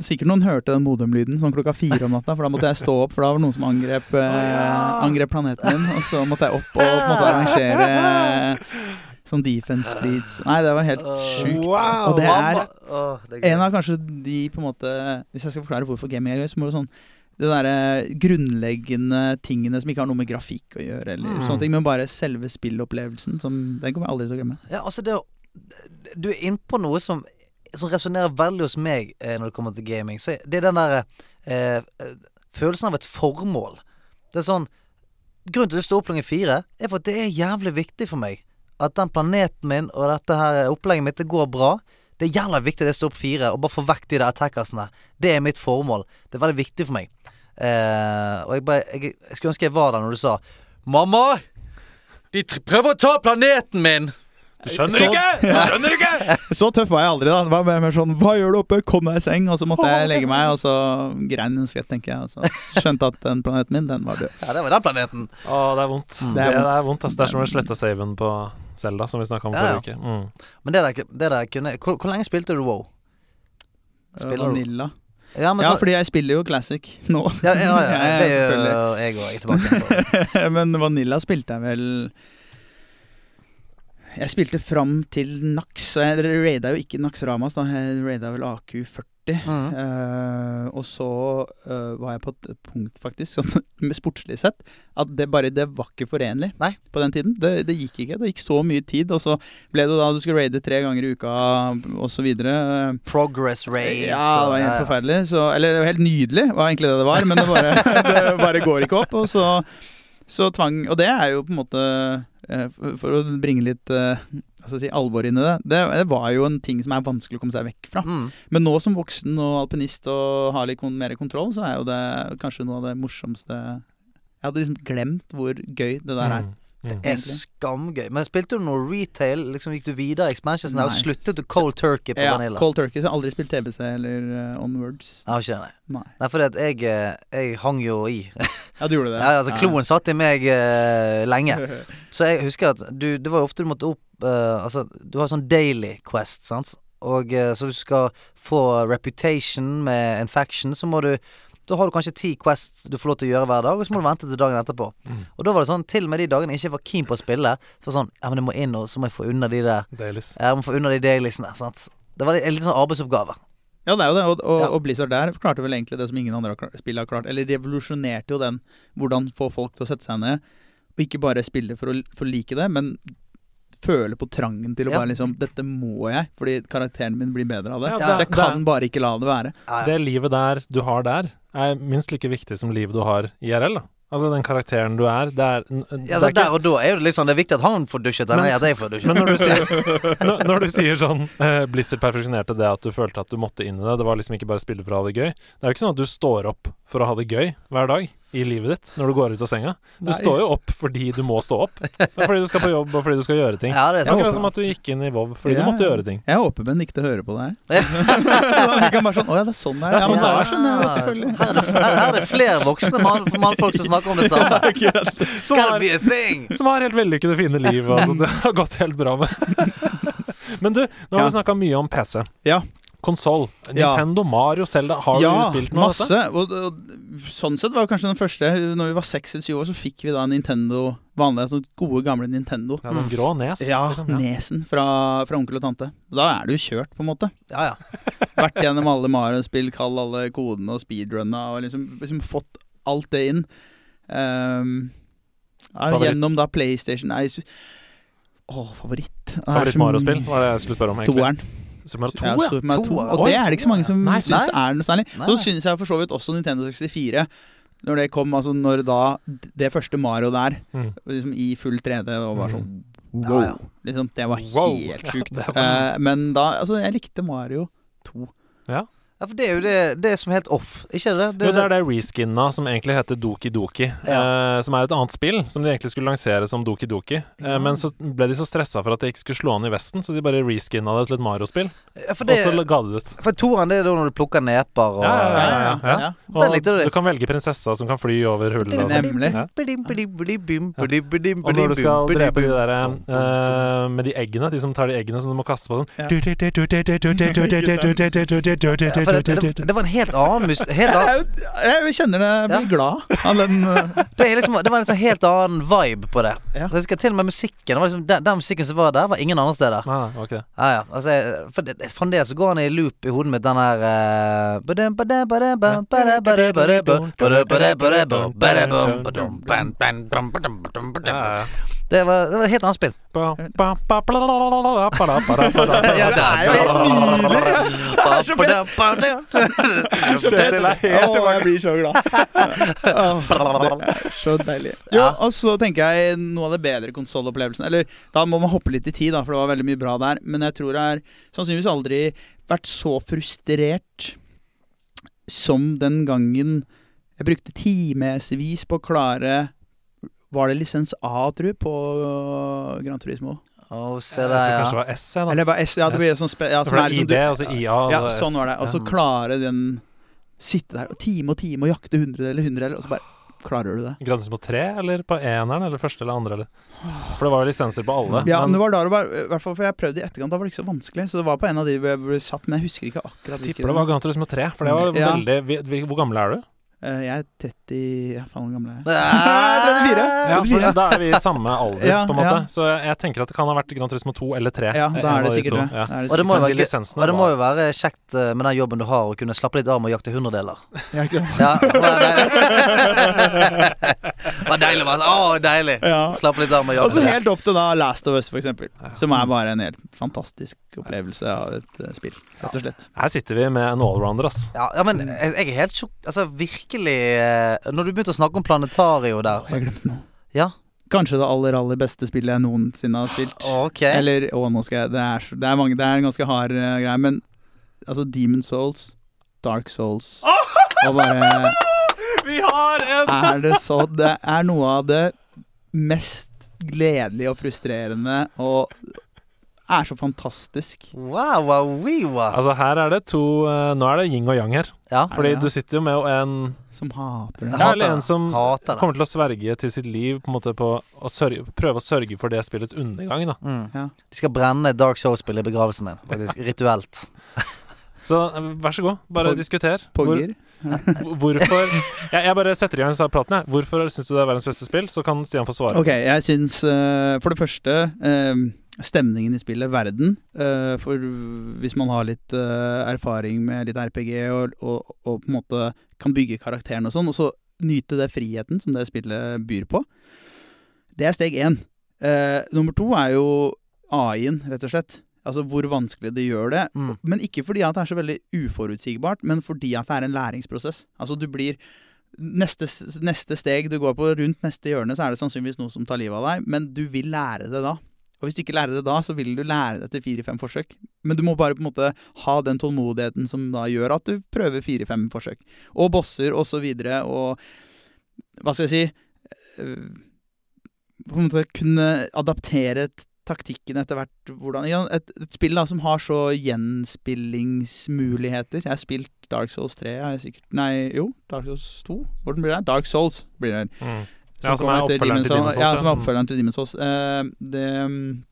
Sikkert noen hørte den modemlyden sånn klokka fire om natta, for da måtte jeg stå opp, for da var det noen som angrep, eh, angrep planeten min. Og så måtte jeg opp og på en måte arrangere eh,
<laughs>
sånn defense fleets. Nei, det var helt sjukt.
Wow.
Og det er
Mamma- Åh, det er gøy.
en av kanskje de på en måte Hvis jeg skal forklare hvorfor gaming er gøy, så må det sånn det derre grunnleggende tingene som ikke har noe med grafikk å gjøre, eller
Mm.
sånne ting, men bare selve spillopplevelsen. Som, den kommer jeg aldri til å glemme.
Ja, altså det å Du er innpå noe som Som resonnerer veldig hos meg eh, når det kommer til gaming. Så det er den der eh, eh, følelsen av et formål. Det er sånn Grunnen til at du står opp klokken fire, er for at det er jævlig viktig for meg at den planeten min og dette her opplegget mitt, det går bra. Det er jævla viktig at jeg står opp fire og bare får vekk de der attackersene. Det er mitt formål. Det er veldig viktig for meg. Eh, og jeg, bare, jeg, jeg skulle ønske jeg var der når du sa Mamma! De tr- prøver å ta planeten min!
Du
Så-
skjønner ikke!
<laughs>
Du skjønner ikke!
Så tøff var jeg aldri, da. Det var bare mer sånn 'hva gjør du oppe, kom deg i seng', og så måtte jeg legge meg, og så grein en skvett, tenker jeg. Og så skjønte at den planeten min, den var død.
Ja, det var den planeten.
Å, det er vondt.
Mm.
Det er, det er vondt, ass. Det er som å slette saven på Selda, som vi snakka om
Ja,
forrige uke. Mm.
Men det der, det der kunne hvor, hvor lenge spilte du WoW? Spiller du
Vanilla.
Ja, men
Ja,
så,
fordi jeg spiller jo classic nå.
ja, ja, <laughs> ja,
<laughs> Ja, ja,
det gjør
selvfølgelig.
jeg òg. Jeg er tilbake. på.
<laughs> Men Vanilla spilte jeg vel Jeg spilte fram til Nax. og Jeg raida jo ikke Nax Ramas, da. Jeg raida vel AQ40. <laughs>
Mm.
Eh, og så eh, var jeg på et punkt, faktisk, sånn <laughs> med sportslig sett, at det bare det var ikke forenlig
Nei.
på den tiden. Det, det gikk ikke. Det gikk så mye tid, og så ble det da du skulle raide tre ganger i uka osv.
Progress raids.
Ja, det var
og-
helt forferdelig. Så, eller det var helt nydelig, var egentlig det det var, men det bare, <laughs> det bare går ikke opp. Og så, så tvang Og det er jo på en måte eh, for- For å bringe litt eh, hva skal jeg si, alvor inn i det, det, det var jo en ting som er vanskelig å komme seg vekk fra.
Mm.
Men nå som voksen og alpinist og har litt kon- mer kontroll, så er jo det kanskje noe av det morsomste Jeg hadde liksom glemt hvor gøy det der
Mm.
er.
Mm.
Det er skamgøy. Men spilte du noe retail? Liksom Gikk du videre i expansions og
Nei.
sluttet du cold turkey på
Ja,
Vanilla?
Cold Turkey, så jeg har aldri spilt TBC eller eh, Onwards.
Jeg har ikke det, nei.
Nei.
Nei, fordi at jeg, eh, jeg hang jo i.
Ja, du gjorde det?
Ja, altså Kloen satt i meg eh, <laughs> lenge. Så jeg husker at du, det var jo ofte du måtte opp eh, Altså, du har sånn daily quest, sant? Og eh, så du skal få reputation med en faction, så må du da har du kanskje ti quests du får lov til å gjøre hver dag, og så må du vente til dagen etterpå.
Mm.
Og da var det sånn, til og med de dagene jeg ikke var keen på å spille, så var det sånn Ja, men jeg må inn, og så må jeg få unna de der
Dailies.
Jeg må få unna de dailiesene, sant. Det var en liten sånn arbeidsoppgave.
Ja, det er jo det. Og, og,
Ja.
og Blizzard der klarte vel egentlig det som ingen andre har klar- spill har klart. Eller revolusjonerte jo den hvordan få folk til å sette seg ned. Og ikke bare spille for å, for å like det, men føle på trangen til å
Ja.
bare liksom Dette må jeg, fordi karakteren min blir bedre av det.
Ja,
så
det-
jeg kan bare ikke la det være.
Ja, ja.
Det livet der du har der, er minst like viktig som livet du har IRL, da. Altså den karakteren du er, det er, n- det
Ja,
er
så
ikke
der og da er jo det litt sånn Det er viktig at han får dusjet,
Men-
eller at jeg får dusjet.
Men når du sier, <laughs> når, når du sier sånn eh, Blizzard perfeksjonerte det at du følte at du måtte inn i det, det var liksom ikke bare spille for å ha det gøy. Det er jo ikke sånn at du står opp for å ha det gøy hver dag i livet ditt når du går ut av senga. Du står jo opp fordi du må stå opp. Det er Fordi du skal på jobb, og fordi du skal gjøre ting.
Ja, det er
Det er
sant.
akkurat som at du gikk inn i WoW fordi
altså. Ja,
du måtte
ja.
gjøre ting.
Jeg håper Ben ikke hører på det her. <laughs> Han kan bare sånn Å ja, det er sånn det er.
Det er
Ja,
<laughs>
men
sånn
da
det
er sånn, ja,
<laughs>
selvfølgelig.
Her er det, her, her er det flere voksne mann, mannfolk som snakker om det
<laughs>
samme.
Som
Gotta
har,
be a thing!
som har helt vellykkede, fine liv. Altså, det har gått helt bra med. <laughs> Men du, nå har
Ja.
vi snakka mye om PC.
Ja.
Konsoll.
Ja.
Nintendo, Mario, Zelda. Har
ja,
du spilt noe av
masse.
dette?
Og, og sånn sett var jo kanskje den første Når vi var seks eller syv år, så fikk vi da Nintendo vanlige, sånne gode, gamle Nintendo.
Ja, den grå nes.
Ja,
liksom. Ja.
Nesen fra, fra onkel og tante. Da er du kjørt, på en måte.
Ja, ja.
Vært gjennom alle Mario-spill, kall alle kodene og speedrunna, og liksom, liksom fått alt det inn. Ehm, ja,
Favoritt?
gjennom da PlayStation Nei, su- Å, favoritt. Det er så
Favoritt-Mario-spill var det jeg skulle spørre om. egentlig.
Toeren.
Super Mario 2,
Ja,
ja.
Super Mario
To,
2.
ja.
Og
Oi.
det er det ikke så mange som
Nei,
syns
nei.
er noe særlig.
Nei,
Så
nei.
syns jeg for så vidt også Nintendo 64 når det kom, altså når da det første Mario der,
Mm.
liksom i full 3D og var sånn
Mm. Ja, ja.
Liksom, det var
Wow. <laughs>
helt sjukt.
det
Eh, men da Altså, jeg likte Mario 2.
ja, for det er jo det, det er som er helt off, ikke det?
Jo, det er det reskinna som egentlig heter Doki Doki, eh, som er et annet spill som de egentlig skulle lansere som Doki Doki. Eh,
Ja.
men så ble de så stressa for at det ikke skulle slå an i Vesten, så de bare reskinna det til et Mario-spill,
Ja, for
og
det
så la- ga de det ut.
For toeren det er da når du plukker neper og
Ja, ja, ja.
Der
Og
likte du det.
du kan velge prinsessa som kan fly over hullet. og sånn.
Nemlig.
Ja.
Blim, blim, blim, blim, blim, blim,
Og når du skal
blim,
drepe de
blim.
der eh, med de eggene, de som tar de eggene som du må kaste på den
Ja.
ja, for det, det, det var en helt annen mus... Helt
Jeg,
annen,
er jo- jeg kjenner det, jeg blir glad av den
<laughs>
eh,
det, er liksom, det var en sånn helt annen vibe på det.
Ja.
Så jeg husker til og med musikken. Det var liksom, den, den musikken som var der, var ingen andre steder.
Nei, det var ikke det.
Ja, ja. Altså, jeg- for det, det- fremdeles så går han i loop i hodet mitt, den her eh, badum, badum, badum, badum, badum, badum, badum, badum, badum, badum, badum, badum, badum, badum, badum, badum, badum.
Ja, ja.
Det var, det var et helt annet spill.
Ba, ba, ba, blalalala, bada, bada, bada,
<laughs>
bada.
Ja, det er jo helt
Kjetil er helt
Å, jeg blir så glad.
<laughs>
Åh, det er så deilig. Jo,
Ja.
og så tenker jeg noe av det bedre konsollopplevelsen Eller da må man hoppe litt i tid, da, for det var veldig mye bra der. Men jeg tror jeg har sannsynligvis aldri vært så frustrert som den gangen jeg brukte timevis på å klare Var det lisens A, tror jeg, på Gran Turismo?
Å, se
Jeg tror
der, ja.
kanskje det var S, jeg, da.
Eller bare S? Ja, det blir sånn spe... Ja,
Det
som
var
er liksom
ID,
du-
altså IA.
ja,
og S.
sånn var det. Og så
Ja.
klare den Sitte der og time og time og jakte hundre eller hundre, eller, og så bare klarer du det.
Granskes på tre, eller på eneren, eller første eller andre, eller For det var jo lisenser på alle.
Ja, men
men
det var da det var, i hvert fall for jeg prøvde i etterkant, da var det ikke så vanskelig. Så det var på en av de hvor jeg ble satt, men jeg husker ikke akkurat
jeg
hvilken.
tipper det var Gran Turismo 3, for det var
Ja.
veldig vi- vi- Hvor gammel er du?
Eh, jeg er 30 ja, Faen, hvor gammel er jeg?
Ja,
Ah,
for da er vi i samme alder,
Ja,
på en måte.
ja.
Så jeg tenker at det kan ha vært Gran Turismo 2 eller 3.
Ja, da
En
er det
av de
sikkert
to,
det.
ja.
Da er det
Og det må
sikkert
jo
Men
være
de
gøy-
lisensene
Og det må
var
jo være kjekt eh, med den jobben du har, å kunne slappe litt av med å jakte hundedeler.
det. Jeg er ikke-
Ja, det <laughs> var deilig. Det var deilig, man. Å, deilig.
<laughs>
<laughs>
Ja.
Slappe litt av med å
Og så
Altså,
jakte det.
helt opp til da Last of Us, for eksempel.
Ja. sånn.
Som er bare en helt fantastisk opplevelse av et eh, spill, rett og slett.
Her sitter vi med en allrounder, ass.
Ja, ja, men jeg, jeg er helt sjokk... Altså, virkelig eh, Når du begynte å snakke om planetario der
Så
så,
jeg glemte noe.
Ja,
Kanskje det aller, aller beste spillet jeg noensinne har spilt.
ok.
Eller å, nå skal jeg Det er, så- det er, mange, det er en ganske hard eh, greie, men altså Demon Souls, Dark
<laughs>
Souls Og bare
Vi har en
<laughs> er det så Det er noe av det mest gledelige og frustrerende og er så fantastisk.
Wow, wow, wee, wow.
Altså, her er det to eh, Nå er det yin og yang her.
Ja.
Fordi
Ja.
du sitter jo med en
Som hater det.
Ja,
Hater
eller en
det.
som
Hater det.
kommer til å sverge til sitt liv på en måte på å sørge, prøve å sørge for det spillets undergang. da
Mm.
Ja.
De skal brenne Dark Souls-spillet i begravelsen min, faktisk. Rituelt.
Så eh, vær så god, bare
Pog-
diskuter. Hvor,
Pogger.
hvor- <laughs> hvorfor jeg, jeg bare setter i gang denne praten. Jeg. Hvorfor syns du det er verdens beste spill? Så kan Stian få svare.
Ok, jeg syns eh, for det første eh, stemningen i spillet, verden. eh, for hvis man har litt eh, erfaring med litt RPG og, og, og på en måte kan bygge karakteren og sånn, og så nyte det friheten som det spillet byr på. Det er steg én. Eh, nummer to er jo AI-en, rett og slett. Altså hvor vanskelig det gjør det.
Mm.
Men ikke fordi at det er så veldig uforutsigbart, men fordi at det er en læringsprosess. Altså du blir neste, neste steg du går på, rundt neste hjørne, så er det sannsynligvis noe som tar livet av deg, men du vil lære det da. Og hvis du ikke lærer det da, så vil du lære det etter fire-fem forsøk. Men du må bare på en måte ha den tålmodigheten som da gjør at du prøver fire-fem forsøk. Og bosser og så videre, og hva skal jeg si øh, På en måte kunne adaptere t- taktikken etter hvert hvordan ja, et, et spill da som har så gjenspillingsmuligheter. Jeg har spilt Dark Souls 3, har jeg sikkert Nei, jo, Dark Souls 2? Hvordan blir det? Dark Souls blir det.
Mm. Ja, som
kommer
er oppfølgeren til Demon's Souls,
etter Demon's Souls. Ja,
ja.
som er oppfølgeren til Demon's Souls. Eh, det mm,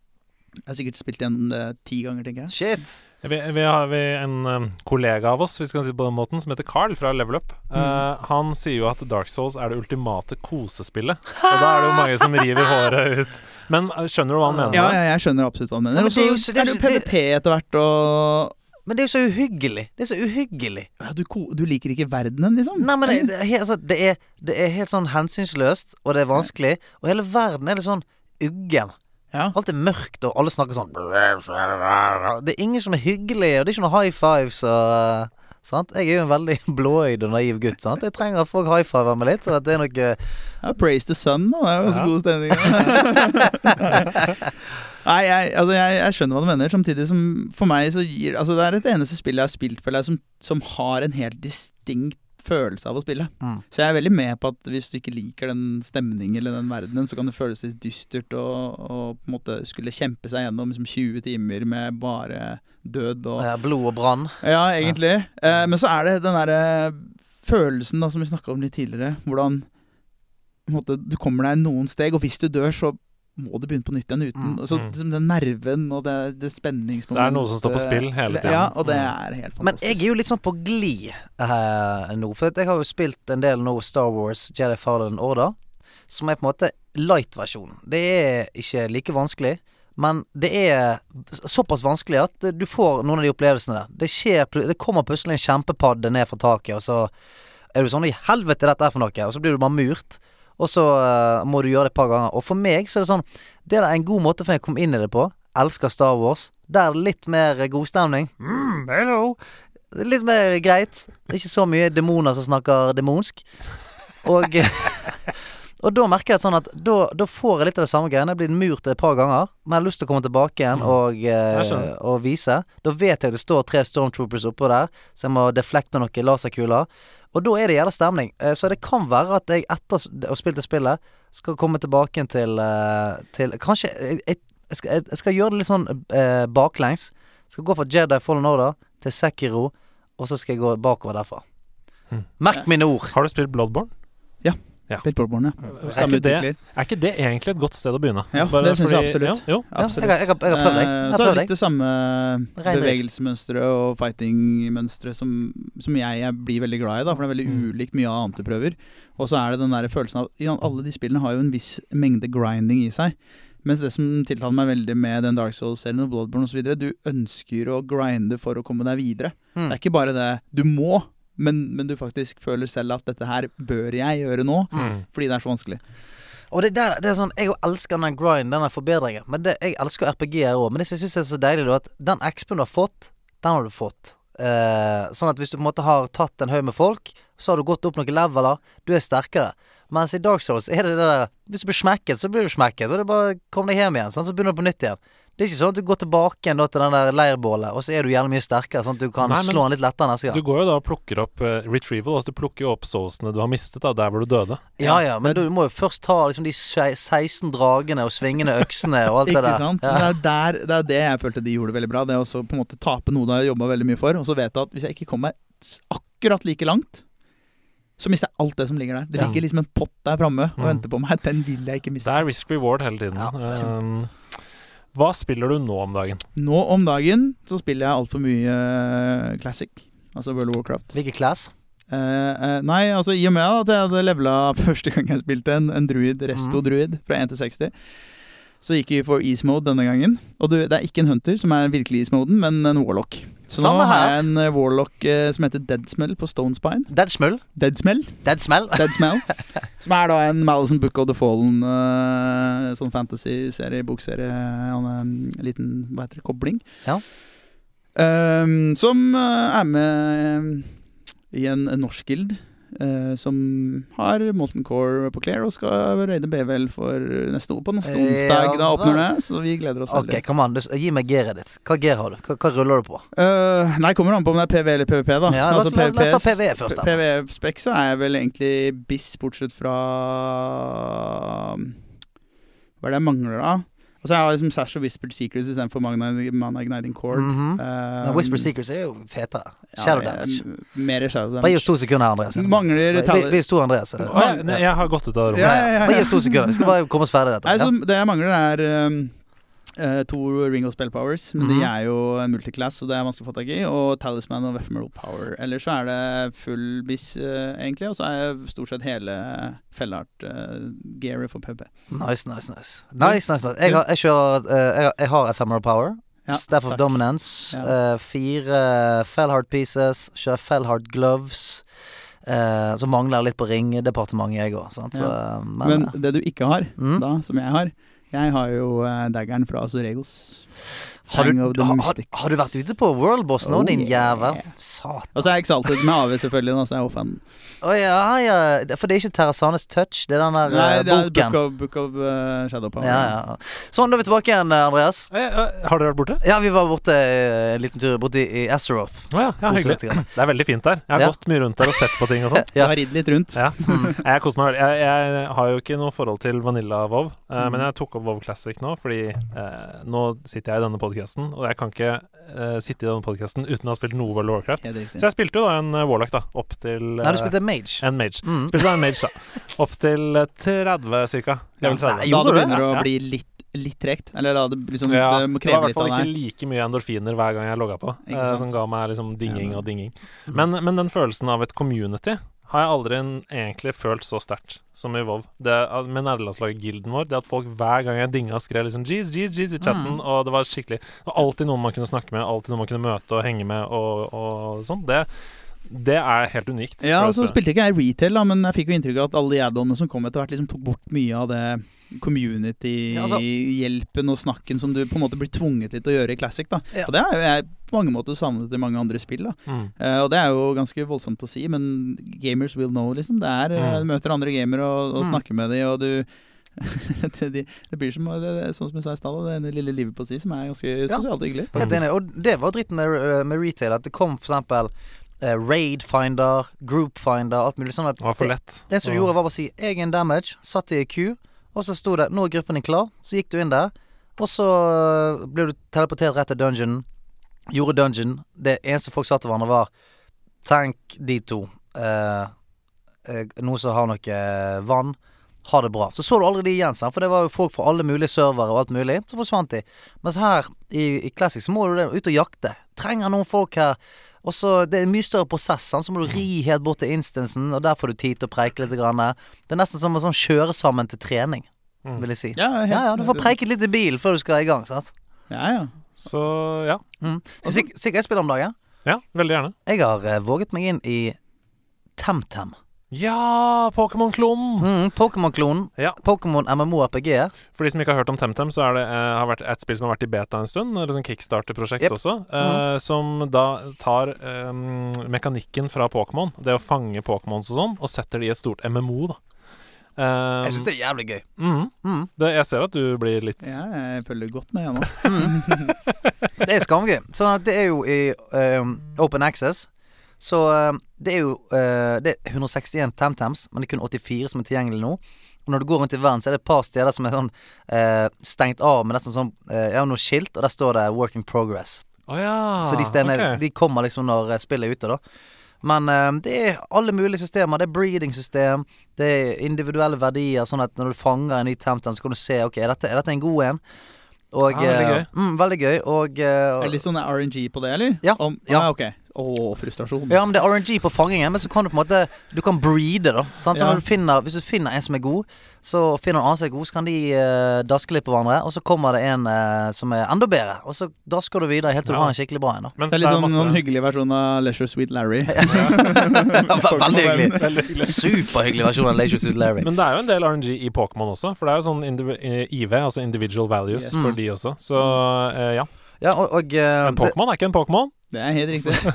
Jeg har sikkert spilt gjennom det ti ganger, tenker jeg.
Shit.
Vi, vi har vi en eh, kollega av oss hvis vi kan si det på den måten, som heter Carl fra Level Up. Eh, han sier jo at Dark Souls er det ultimate kosespillet. Og da er det jo mange som river håret ut. Men eh, skjønner du hva han mener?
Ja,
med det?
ja, jeg skjønner absolutt hva han
Ja,
mener.
men
Og så
det er jo- det er
er det jo
jo- det-
PVP etter hvert, og
Men det er jo så uhyggelig. Det er så uhyggelig.
ja, du, ko- du liker ikke verdenen, liksom?
Nei, men det, det, er helt- altså, det, er, det er helt sånn hensynsløst, og det er vanskelig. Og hele verden er litt sånn uggen.
Ja.
Alt er mørkt, og alle snakker sånn Det er ingen som er hyggelige, og det er ikke noe high fives og Sant? Jeg er jo en veldig <laughs> blåøyd og naiv gutt. Sant? Jeg trenger at folk high fiver meg litt. Og at det er noe eh,
Ja, praise the sun, da. Det er jo så
Ja.
god stemning. <laughs> Nei, jeg, altså jeg, jeg skjønner hva du mener. Samtidig som for meg så gir Altså Det er et eneste spill jeg har spilt føler jeg, som, som har en helt distinkt følelse av å spille.
Mm.
Så jeg er veldig med på at hvis du ikke liker den stemningen eller den verdenen, så kan det føles litt dystert og, og på en måte skulle kjempe seg gjennom liksom 20 timer med bare død og
eh, blod og brann.
ja, egentlig. Eh, men så er det den derre følelsen da, som vi snakka om litt tidligere. Hvordan på en måte, du kommer deg noen steg, og hvis du dør, så må du begynne på nytt igjen uten.
Mm.
Og Så,
Mm.
liksom, den nerven og det, det
Det
spenningsmomentet
er noe som står på spill hele tiden.
Ja, og det
Mm.
er helt
Men
fantastisk.
jeg er jo litt sånn på glid eh, nå. For at jeg har jo spilt en del nå Star Wars Jedi Fallen Order, som er på en måte light-versjonen. Det er ikke like vanskelig, men det er såpass vanskelig at du får noen av de opplevelsene der. Det, skjer, pl- det kommer plutselig en kjempepadde ned fra taket, og så er du sånn I helvete, dette er for noe! Og så blir du bare murt. Og så eh, må du gjøre det et par ganger. Og for meg så er det sånn Det er en god måte for meg å komme inn i det på. Elsker Star Wars. Der er det litt mer eh, godstemning.
Mm, hello.
Litt mer greit. Ikke så mye demoner som snakker demonsk. Og <laughs> Og da merker jeg sånn at da, da får jeg litt av det samme greiene. Jeg blir murt et par ganger, men jeg har lyst til å komme tilbake igjen
Mm.
og,
Jeg
eh,
skjønner.
og vise. Da vet jeg at det står tre stormtroopers oppå der, så jeg må deflekte noen laserkuler. Og da er det gjerne stemning. Eh, Så det kan være at jeg etter s- å ha spilt det spillet, skal komme tilbake igjen til, eh, til Kanskje jeg, jeg, jeg, skal, jeg skal gjøre det litt sånn eh, baklengs. Skal gå fra Jedi Fallen Order til Sekiro, og så skal jeg gå bakover derfra.
Mm.
Merk mine ord.
Har du spilt Bloodborne?
Spilt Bloodborne, ja.
Er
Samme
ikke, det,
utvikler.
er ikke det egentlig et godt sted å begynne?
Ja, det synes jeg absolutt.
Ja,
Ja,
jo.
jeg, har-
Absolutt.
jeg, har- jeg har prøvd deg.
Eh,
Jeg har
Så er
prøvd
det
deg.
litt det samme
dritt.
bevegelsesmønsteret og fightingmønsteret som, som jeg, jeg blir veldig glad i, da, for det er veldig
Mm.
ulikt mye annet du prøver. Og så er det den der følelsen av ja, Alle de spillene har jo en viss mengde grinding i seg. Mens det som tiltaler meg veldig med den Dark Souls-serien og Bloodborne osv., du ønsker å grinde for å komme deg videre.
Mm.
Det er ikke bare det du må, men, men du faktisk føler selv at dette her bør jeg gjøre nå,
Mm.
fordi det er så vanskelig.
Og det der, det er sånn, Jeg jo elsker den grind, denne forbedringen. Men det, Jeg elsker RPG-er òg. Men det som jeg syns er så deilig, da, at den XP-en du har fått, den har du fått. Eh, sånn at hvis du på en måte har tatt en haug med folk, så har du gått opp noen leveler, du er sterkere. Mens i Dark Souls er det det der Hvis du blir smekket, så blir du smekket. Og det er bare kom deg hjem igjen, sant? så begynner du på nytt igjen. Det er ikke sånn at du går tilbake igjen da til den der leirbålet, og så er du gjerne mye sterkere, sånn at du kan
Nei, men-
slå han litt lettere neste
Du
gang.
går jo da og plukker opp eh, retrieval, altså du plukker jo opp soulsene du har mistet da, der hvor du døde.
Ja ja, men du må jo først ta liksom de sei- 16 dragene og svingende øksene og alt det
<laughs> Ikke
der.
sant?
Ja.
Det, er der, det er det jeg følte de gjorde veldig bra. Det er også på en måte tape noe du har jobba veldig mye for, og så vet du at hvis jeg ikke kommer meg s- akkurat like langt, så mister jeg alt det som ligger der. Det
Ja.
ligger liksom en pott der framme og
Mm.
venter på meg. <laughs> Den vil jeg ikke
Det
miste.
er risk reward hele tiden.
Ja,
Ehm, hva spiller du nå om dagen?
Nå om dagen så spiller jeg altfor mye eh, classic, altså World of Warcraft.
Hvilke class?
Eh, eh, nei, altså i og med at jeg hadde levela <laughs> første gang jeg spilte en, en druid,
Mhm.
resto-druid, fra 1 til 60, så gikk vi for ease mode denne gangen. Og du, det er ikke en hunter som er virkelig ease moden, men en warlock. Så
Samme
nå har
her.
jeg en eh, warlock eh, som heter Deadsmell på Stonespine.
Dead Smull.
Deadsmell.
Dead Smell. <laughs>
Deadsmell. som er da en Malison Book of the Fallen, eh, sånn fantasy-serie, bokserie, han er en eh, liten, hva heter det, kobling.
Ja.
Ehm, som eh, er med eh, i en, en norsk guild. eh, som har Molten Core på Clear og skal raide BVL for neste, på neste onsdag.
Ja.
Da åpner det, så vi gleder oss
Ok,
veldig.
kom an. du s- Gi meg gearet ditt. Hva gear har du? Hva, hva ruller du på?
Eh, nei, kommer an på om det er PV eller PVP, da. Altså
Ja, la oss- la oss- la oss ta
PVPs.
PVE først, da.
PVE-spek så er jeg vel egentlig biss, bortsett fra um, Hva er det jeg mangler, da? Altså, jeg har liksom Sash og Whispered Secrets istedenfor Magna, Magna Igniting Cord.
Mhm.
Eh,
Men Whisper Secrets er jo fetere.
ja,
Shadow
jeg-
Damage.
Mer Shadow
Bare gi oss
Damage.
to sekunder her, Andreas.
Mangler
Bare-
talent
Gi oss to, Andreas. Ja,
Å, jeg, nei, jeg har gått ut av rommet.
Ja, ja, ja.
Bare gi oss to sekunder. Vi skal bare komme oss ferdig i dette.
Nei,
Ja.
så Det jeg mangler, er um, eh, to Ring of Spell Powers. Men de
Mhm.
er jo en multiclass, så det er vanskelig å få tak i. Og Talisman og Ephemeral Power. Ellers så er det full biss, eh, egentlig. Og så er jeg stort sett hele felleart-gearet for PB.
Nice, nice, nice. Nice, nice, nice. Jeg har, jeg kjører, eh, jeg har, jeg har Ephemeral Power.
Ja,
Staff of
takk.
Dominance.
Ja.
eh, fire uh, Fellhard Pieces. Kjører Fellhard Gloves. eh, så mangler jeg litt på ringdepartementet, jeg òg.
Ja.
Men, eh,
Men det du ikke har,
Mm.
da, som jeg har Jeg har jo eh, daggeren fra Azuregos.
Har du,
Fang of the
har, har,
Mystics.
har du vært ute på Worldboss nå,
Oh,
din
yeah.
jævel? Satan.
Og så er jeg Exalted med AV, selvfølgelig. Da, så er
<laughs>
jeg offenden.
Å ja, ja. Det- For det er ikke Terrasanes Touch, det er den der eh,
Nei, det er Book
boken.
of, book of eh, Shadow Power.
Ja, ja. Sånn, da er vi tilbake igjen, eh, Andreas.
Eh, eh, Har dere vært borte?
Ja, vi var borte eh, en liten tur borte i i Azeroth.
Å ja, ja,
Kose
hyggelig.
litt grann. <laughs>
Det er veldig fint der. Jeg har
Ja.
gått mye rundt der og sett på
<laughs>
ting og sånn.
Du
Ja.
har ridd litt rundt.
Ja.
Mm.
Jeg koser meg veldig. Jeg, jeg har jo ikke noe forhold til Vanilla Vov, eh,
Mm.
men jeg tok opp Vov Classic nå, fordi eh, nå sitter jeg i denne podkasten, og jeg kan ikke eh, sitte i denne podkasten uten å ha spilt noe World of Warcraft.
Helt riktig.
Så jeg spilte jo da en eh, Warlock, da, opp
<laughs>
til
Nei, du
eh,
spilte Mage.
en Mage.
Mm.
Spilte da en
<laughs>
Mage, da. Opp til eh, 30, cirka. Level 30.
Nei, gjorde du
da det
det?
begynner å
Ja.
bli litt, litt tregt. Eller da det liksom
Ja,
det må
det var i
kreve
hvert
litt
fall
av
ikke
deg.
like mye endorfiner hver gang jeg logga på,
Ikke
eh,
sant?
som ga meg liksom dinging
Ja.
og dinging. Men, men den følelsen av et community har jeg aldri en, egentlig følt så sterkt som i WoW. Det, at- med nederlandslaget Gilden vår, det at folk hver gang jeg dinga, skrev liksom jeez, jeez, jeez i chatten,
Mm.
og det var skikkelig Det var alltid noen man kunne snakke med, alltid noen man kunne møte og henge med og, og sånn. Det Det er helt unikt.
Ja,
for
og så
dette.
spilte ikke jeg retail, da, men jeg fikk jo inntrykk av at alle de add-onene som kom etter hvert, liksom tok bort mye av det
altså- Ja, altså-
community-hjelpen og snakken som du på en måte blir tvunget litt til å gjøre i Classic. da.
Ja.
Og det har jo jeg på mange måter savnet i mange andre spill. da.
mm.
Eh, og det er jo ganske voldsomt å si, men gamers will know, liksom. Det er, eh,
Mm.
Du møter andre gamere og, og
Mm.
snakker med dem, og du <laughs> det, de, det blir som, det, det, sånn som jeg sa i stad, da, det lille livet på si som er ganske
Ja.
sosialt hyggelig.
Helt enig. Og det var dritten med, eh, med retail, at det kom for eksempel eh, raid finder, group finder, alt mulig sånn at
Det var for lett.
Det som du gjorde, var bare å si 'jeg er en damage', satt i Q, og så sto det 'nå er gruppen din klar', så gikk du inn der, og så øh, ble du teleportert rett til dungeon. Gjorde dungeon. Det eneste folk sa til hverandre, var 'tenk de to'. Eh, eh, noen som har noe eh, vann. Ha det bra. Så så du aldri de igjen, sant? for det var jo folk fra alle mulige servere og alt mulig. Så forsvant de. Mens her i, i Classic så må du det, ut og jakte. Trenger noen folk her. Og så, Det er en mye større prosess. Sant? Så må du ri helt bort til instansen, og der får du tid til å preike litt. Grann. Det er nesten som å sånn, kjøre sammen til trening,
Mm.
vil jeg si.
Ja, helt-
Ja, ja, Du får preiket litt i bilen før du skal i gang. sant?
Ja, ja.
Så ja.
Mm. Så sikk- Sikkert jeg spiller om dagen.
Ja, veldig gjerne.
Jeg har eh, våget meg inn i TemTem.
Ja, Pokémon-klonen!
Mm, Pokémon-klonen.
Ja.
Pokémon MMO-RPG.
For de som ikke har hørt om TemTem, så er det, eh, har vært et spill som har vært i beta en stund. Eller sånn kickstarter-prosjekt
Jep. Mhm.
også. eh, Som da tar eh, mekanikken fra Pokémon, det å fange Pokémons og sånn, og setter det i et stort MMO, da. Eh,
Jeg syns det er jævlig gøy.
mhm.
Mm.
det, jeg ser at du blir litt
ja, jeg følger godt med, jeg nå.
Mm. <laughs> Det er skamgøy. Sånn at det er jo i ehm, Open Access. Så ehm, det er jo eh, Det er 161 TamTams, men det er kun 84 som er tilgjengelig nå. Og når du går rundt i verden, så er det et par steder som er sånn eh, stengt av med nesten sånn eh, Ja, noe skilt, og der står det 'Work in Progress'.
Å ja.
Så de stedene
Ah, ok.
de kommer liksom når eh, spillet er ute, da. Men eh, det er alle mulige systemer. Det er breeding-system, det er individuelle verdier, sånn at når du fanger en ny Temtem, så kan du se Ok, er dette, er dette en god en. Og,
Ah, veldig
eh, Mm, veldig gøy. Og eh,
Er det litt sånn RNG på det, eller?
Ja,
Om,
ja.
Ah, ok. Å, frustrasjon.
Ja, men det er RNG på fangingen, men så kan du på en måte Du kan breede, da. Sant? Så
Ja.
når du finner, hvis du finner en som er god, så finner en annen som er god, så kan de eh, daske litt på hverandre, og så kommer det en eh, som er enda bedre, og så dasker du videre helt til du
Ja.
har en skikkelig bra en, da.
Men
Det er litt sånn, sånn
masse-
hyggelig versjon av Leisure
<laughs>
Sweet Larry.
Ve- Veldig hyggelig.
Veldig hyggelig.
Superhyggelig versjon av Leisure Suit Larry.
Men det er jo en del RNG i Pokémon også, for det er jo sånn indiv- eh, IV, altså individual values,
Yes.
for de også. Så eh, ja.
Mm. Ja, og, og eh,
En Pokémon er ikke en Pokémon.
Det er helt riktig.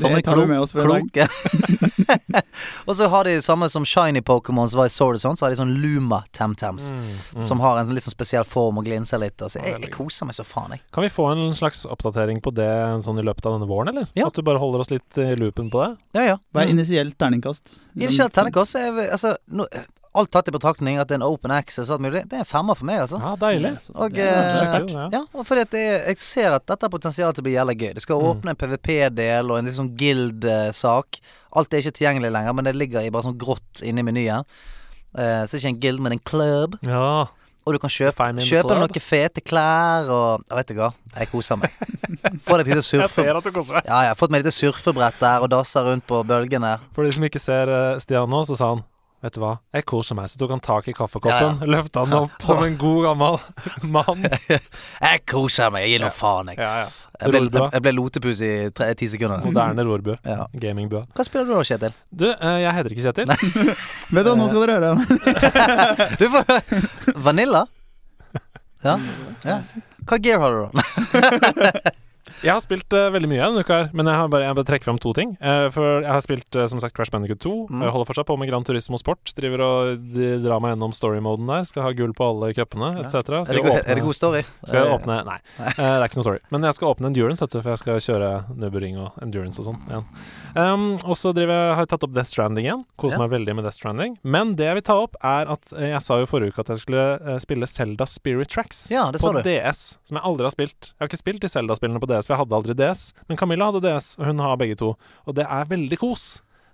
Som
Det
en
tar vi med oss for i dag.
kloke. <laughs> og så har de samme som Shiny Pokémon som var i Sword og sånn, så har de sånn Luma Temtems. Mm.
Mm.
Som har en sånn litt sånn spesiell form og glinser litt. Og så jeg, jeg koser meg så faen, jeg.
Kan vi få en slags oppdatering på det sånn i løpet av denne våren, eller?
Ja.
At du bare holder oss litt i loopen på det?
Ja, ja.
Hva er initielt terningkast?
Mm. Initielt terningkast er vi- altså, nå, Alt tatt i betraktning, at det er en open access og alt mulig, det er en femmer for meg, altså.
Ja, Mm. deilig.
Og,
Det er
eh,
sterkt.
Ja.
Ja, og fordi at det, er- jeg ser at dette har potensial til å bli jævla gøy. Det skal
Mm.
åpne en PVP-del og en litt sånn guild-sak. Alt er ikke tilgjengelig lenger, men det ligger i bare sånn grått inni menyen. Eh, så det er ikke en guild, men en club.
ja.
Og du kan kjøpe,
Find me in the
kjøpe
club.
noen fete klær og Jeg vet ikke hva. Jeg koser meg. Få deg et lite
Jeg
surfe...
ser at du koser deg.
Ja, jeg har fått meg et lite surfebrett der og dasser rundt på bølgene.
For de som ikke ser eh, Stian nå, så sa han Vet du hva, jeg koser meg. Så tok han tak i kaffekoppen, løfta den opp som en god gammel <laughs> mann.
Jeg koser meg. Jeg gir nå faen, jeg.
Ja, ja.
Jeg ble,
Rorbua.
jeg, jeg ble lotepus i tre, ti sekunder.
Moderne rorbue.
Ja.
Gamingbue.
Hva spiller du da, Kjetil?
Du, eh, jeg heter ikke Kjetil.
Vet du, hva, nå skal dere høre.
Du får <laughs> Vanilla? Ja. <laughs> ja. Hva gear har du, da?
Jeg har spilt eh, veldig mye denne uka, her, men jeg har bare, jeg bare trekker fram to ting. Eh, for jeg har spilt eh, som sagt Crash Bandicoot 2.
Mm.
Jeg holder fortsatt på med Grand Turismo Sport. Driver og d- drar meg gjennom story-moden der. Skal ha gull på alle cupene etc.
Er det, god, er det god story?
Skal jeg åpne
<laughs>
Nei, eh, det er ikke noe story. Men jeg skal åpne endurance, vet du, for jeg skal kjøre Nubbering og endurance og sånn igjen. Um, og så driver jeg- har jeg tatt opp Death Stranding igjen. Koser
Ja.
meg veldig med Death Stranding. Men det jeg vil ta opp, er at eh, jeg sa jo forrige uke at jeg skulle eh, spille Selda Spirit Tracks
Ja, det
på
sa du.
DS, som jeg aldri har spilt. Jeg har ikke spilt de Selda-spillene på DS, for jeg hadde aldri DS. Men Camilla hadde DS, og hun har begge to. Og det er veldig kos.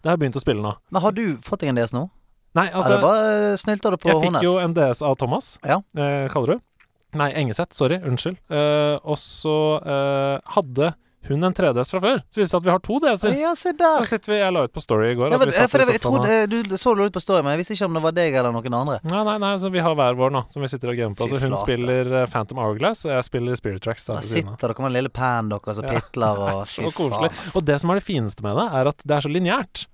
Det har jeg begynt å spille nå.
Men har du fått deg en DS nå?
Nei, altså
Eller bare eh, snylter du på
jeg fikk
Hånes?
jo en DS av Thomas,
Ja.
eh, kaller du. Nei, Engeseth. Sorry. Unnskyld. Eh, og så eh, hadde hun en 3DS fra før. Så viste det seg at vi har to DS-er.
Ja, se
Så
der.
sitter vi Jeg la ut på Story i går.
Ja,
at
for,
vi satt-
for
vi
jeg, jeg
satt sammen.
trodde, eh, du så det ut på story, men jeg visste ikke om det var deg eller noen andre.
Nei, nei, nei, så vi har hver vår nå, som vi sitter og gamer på.
Fy
Så hun
flate.
spiller eh, Phantom Hourglass, og jeg spiller Spirit Tracks. da
Der
ved siden av.
sitter dere med en lille pan dere som
<laughs> Ja.
pitler og fy
Så
faen.
koselig.
ass.
Og det som er det fineste med det, er at det er så lineært.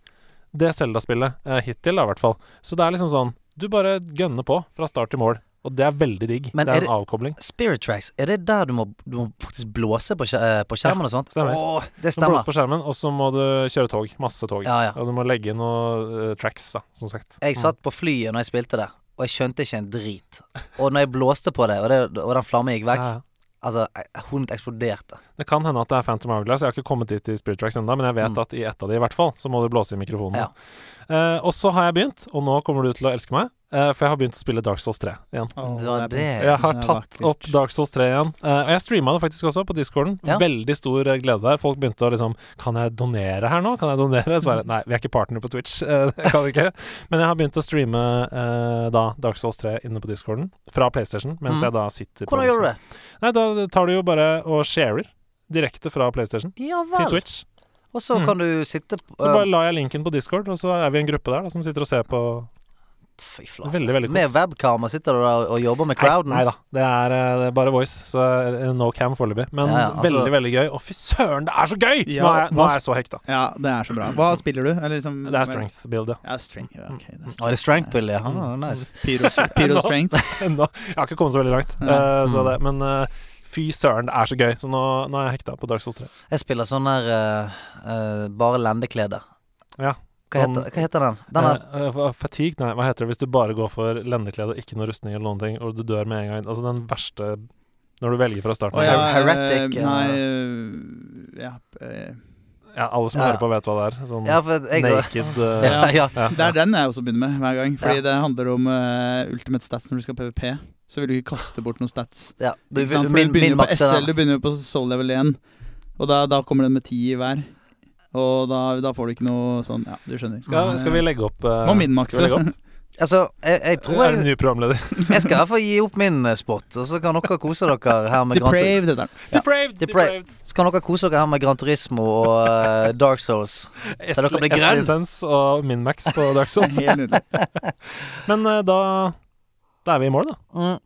Det Zelda-spillet. eh, hittil, da, i hvert fall. Så det er liksom sånn Du bare gønner på fra start til mål. Og det er veldig digg.
Men
det
er
er en avkobling.
Spirit Tracks, er det der du må, du må faktisk blåse på, skje- eh, på skjermen og sånt?
stemmer.
Åh, det
Du blåser
stemmer.
på skjermen, og så må du kjøre tog. Masse tog.
Ja, ja.
Og du må legge inn noe eh, tracks, da, som sagt. Mm.
Jeg satt på flyet når jeg spilte det, og jeg skjønte ikke en drit. Og når jeg blåste på det, og, det, og den flammen gikk vekk,
Ja, ja.
altså, jeg- hodet mitt eksploderte.
Det kan hende at det er Phantom Hourglass. Jeg har ikke kommet dit i Spirit Tracks ennå, men jeg vet
Mm.
at i ett av de i hvert fall, så må du blåse i mikrofonen.
Ja.
Eh, og så har jeg begynt, og nå kommer du til å elske meg, eh, for jeg har begynt å spille Dark Souls 3 igjen.
Å,
Det var
det er
det.
Jeg har
Det er
tatt
vakkert.
opp Dark Souls 3 igjen. Eh, og jeg streama det faktisk også på discorden.
Ja.
Veldig stor eh, glede der. Folk begynte å liksom Kan jeg donere her nå? Kan jeg donere? Så bare Nei, vi er ikke partner på Twitch. <laughs> Eh, det kan vi ikke. Men jeg har begynt å streame eh, da Dark Souls 3 inne på discorden fra PlayStation, mens
Mhm.
jeg da sitter
Hvordan
på
gjør du det?
Nei, da tar du jo bare og sharer direkte fra PlayStation
Ja
til
vel.
Twitch.
Og så
Mm.
kan du sitte eh, på
Så bare la jeg linken på Discord, og så er vi en gruppe der da, som sitter og ser på
Fy
Det er
flate.
Veldig, veldig
Med
kos.
webkamera sitter du der og jobber med crowden?
Nei, nei da, det er, eh, det er bare voice, så eh, no cam foreløpig. Men
Ja, ja, altså-
veldig, veldig gøy. Å, fy søren, det er så gøy!
Ja,
nå, er, jeg- nå er
hva-
jeg så hekta.
Ja, det er så bra. Hva spiller du? Eller liksom,
Det er strength build, ja. <laughs>
Ja, strength. Ja, ok, det er
Å, er det strength build,
Mm.
ja? Ah, nice.
Pyro, <laughs> pyro
Nå-
<laughs>
strength.
Enda. Jeg har ikke kommet så veldig langt.
Ja.
eh, så
Mm.
det, men eh, fy søren, det er så gøy. Så nå, nå er jeg hekta på Dark Souls 3.
Jeg spiller sånn der eh, eh, bare lendeklede.
Ja,
Hva
sånn-
heter, hva heter den? Den er
Eh, eh, fa- fatigue, nei, hva heter det hvis du bare går for lendeklede og ikke noe rustning eller noen ting, og du dør med en gang? Altså den verste når du velger fra starten.
Å ja,
Her- heretic,
eh,
ja.
Nei eh, ja, eh,
Ja, alle som
Ja, ja.
hører på, vet hva det er. Sånn
Ja, for jeg
naked eh,
<laughs> ja, ja.
ja.
Det er den jeg også begynner med hver gang. Fordi
Ja.
det handler om eh, ultimate stats når du skal PVP. Så vil du ikke kaste bort noen stats.
ja. Du,
Ikke sant? For
min, min
du begynner jo på
maks er
SL,
den.
du begynner jo på soul level 1. Og da, da kommer den med ti i hver. Og da, da får du ikke noe sånn Ja, du skjønner.
Skal, skal vi legge opp eh,
Må minmakse.
skal vi legge opp?
Altså, jeg, jeg tror
Er du
jeg,
ny programleder?
jeg skal iallfall gi opp min eh, spot, og så kan dere kose dere her med Gran, Tur-
<laughs> Depraved heter den.
Depraved!
Depraved. så kan dere kose dere her med Gran Turismo og eh, Dark Souls. <laughs>
S-
Så dere blir grønn.
S-lisens og Minmax på Dark
<laughs>
Souls.
Helt nydelig.
Men eh, da Da er vi i mål, da.
Mm.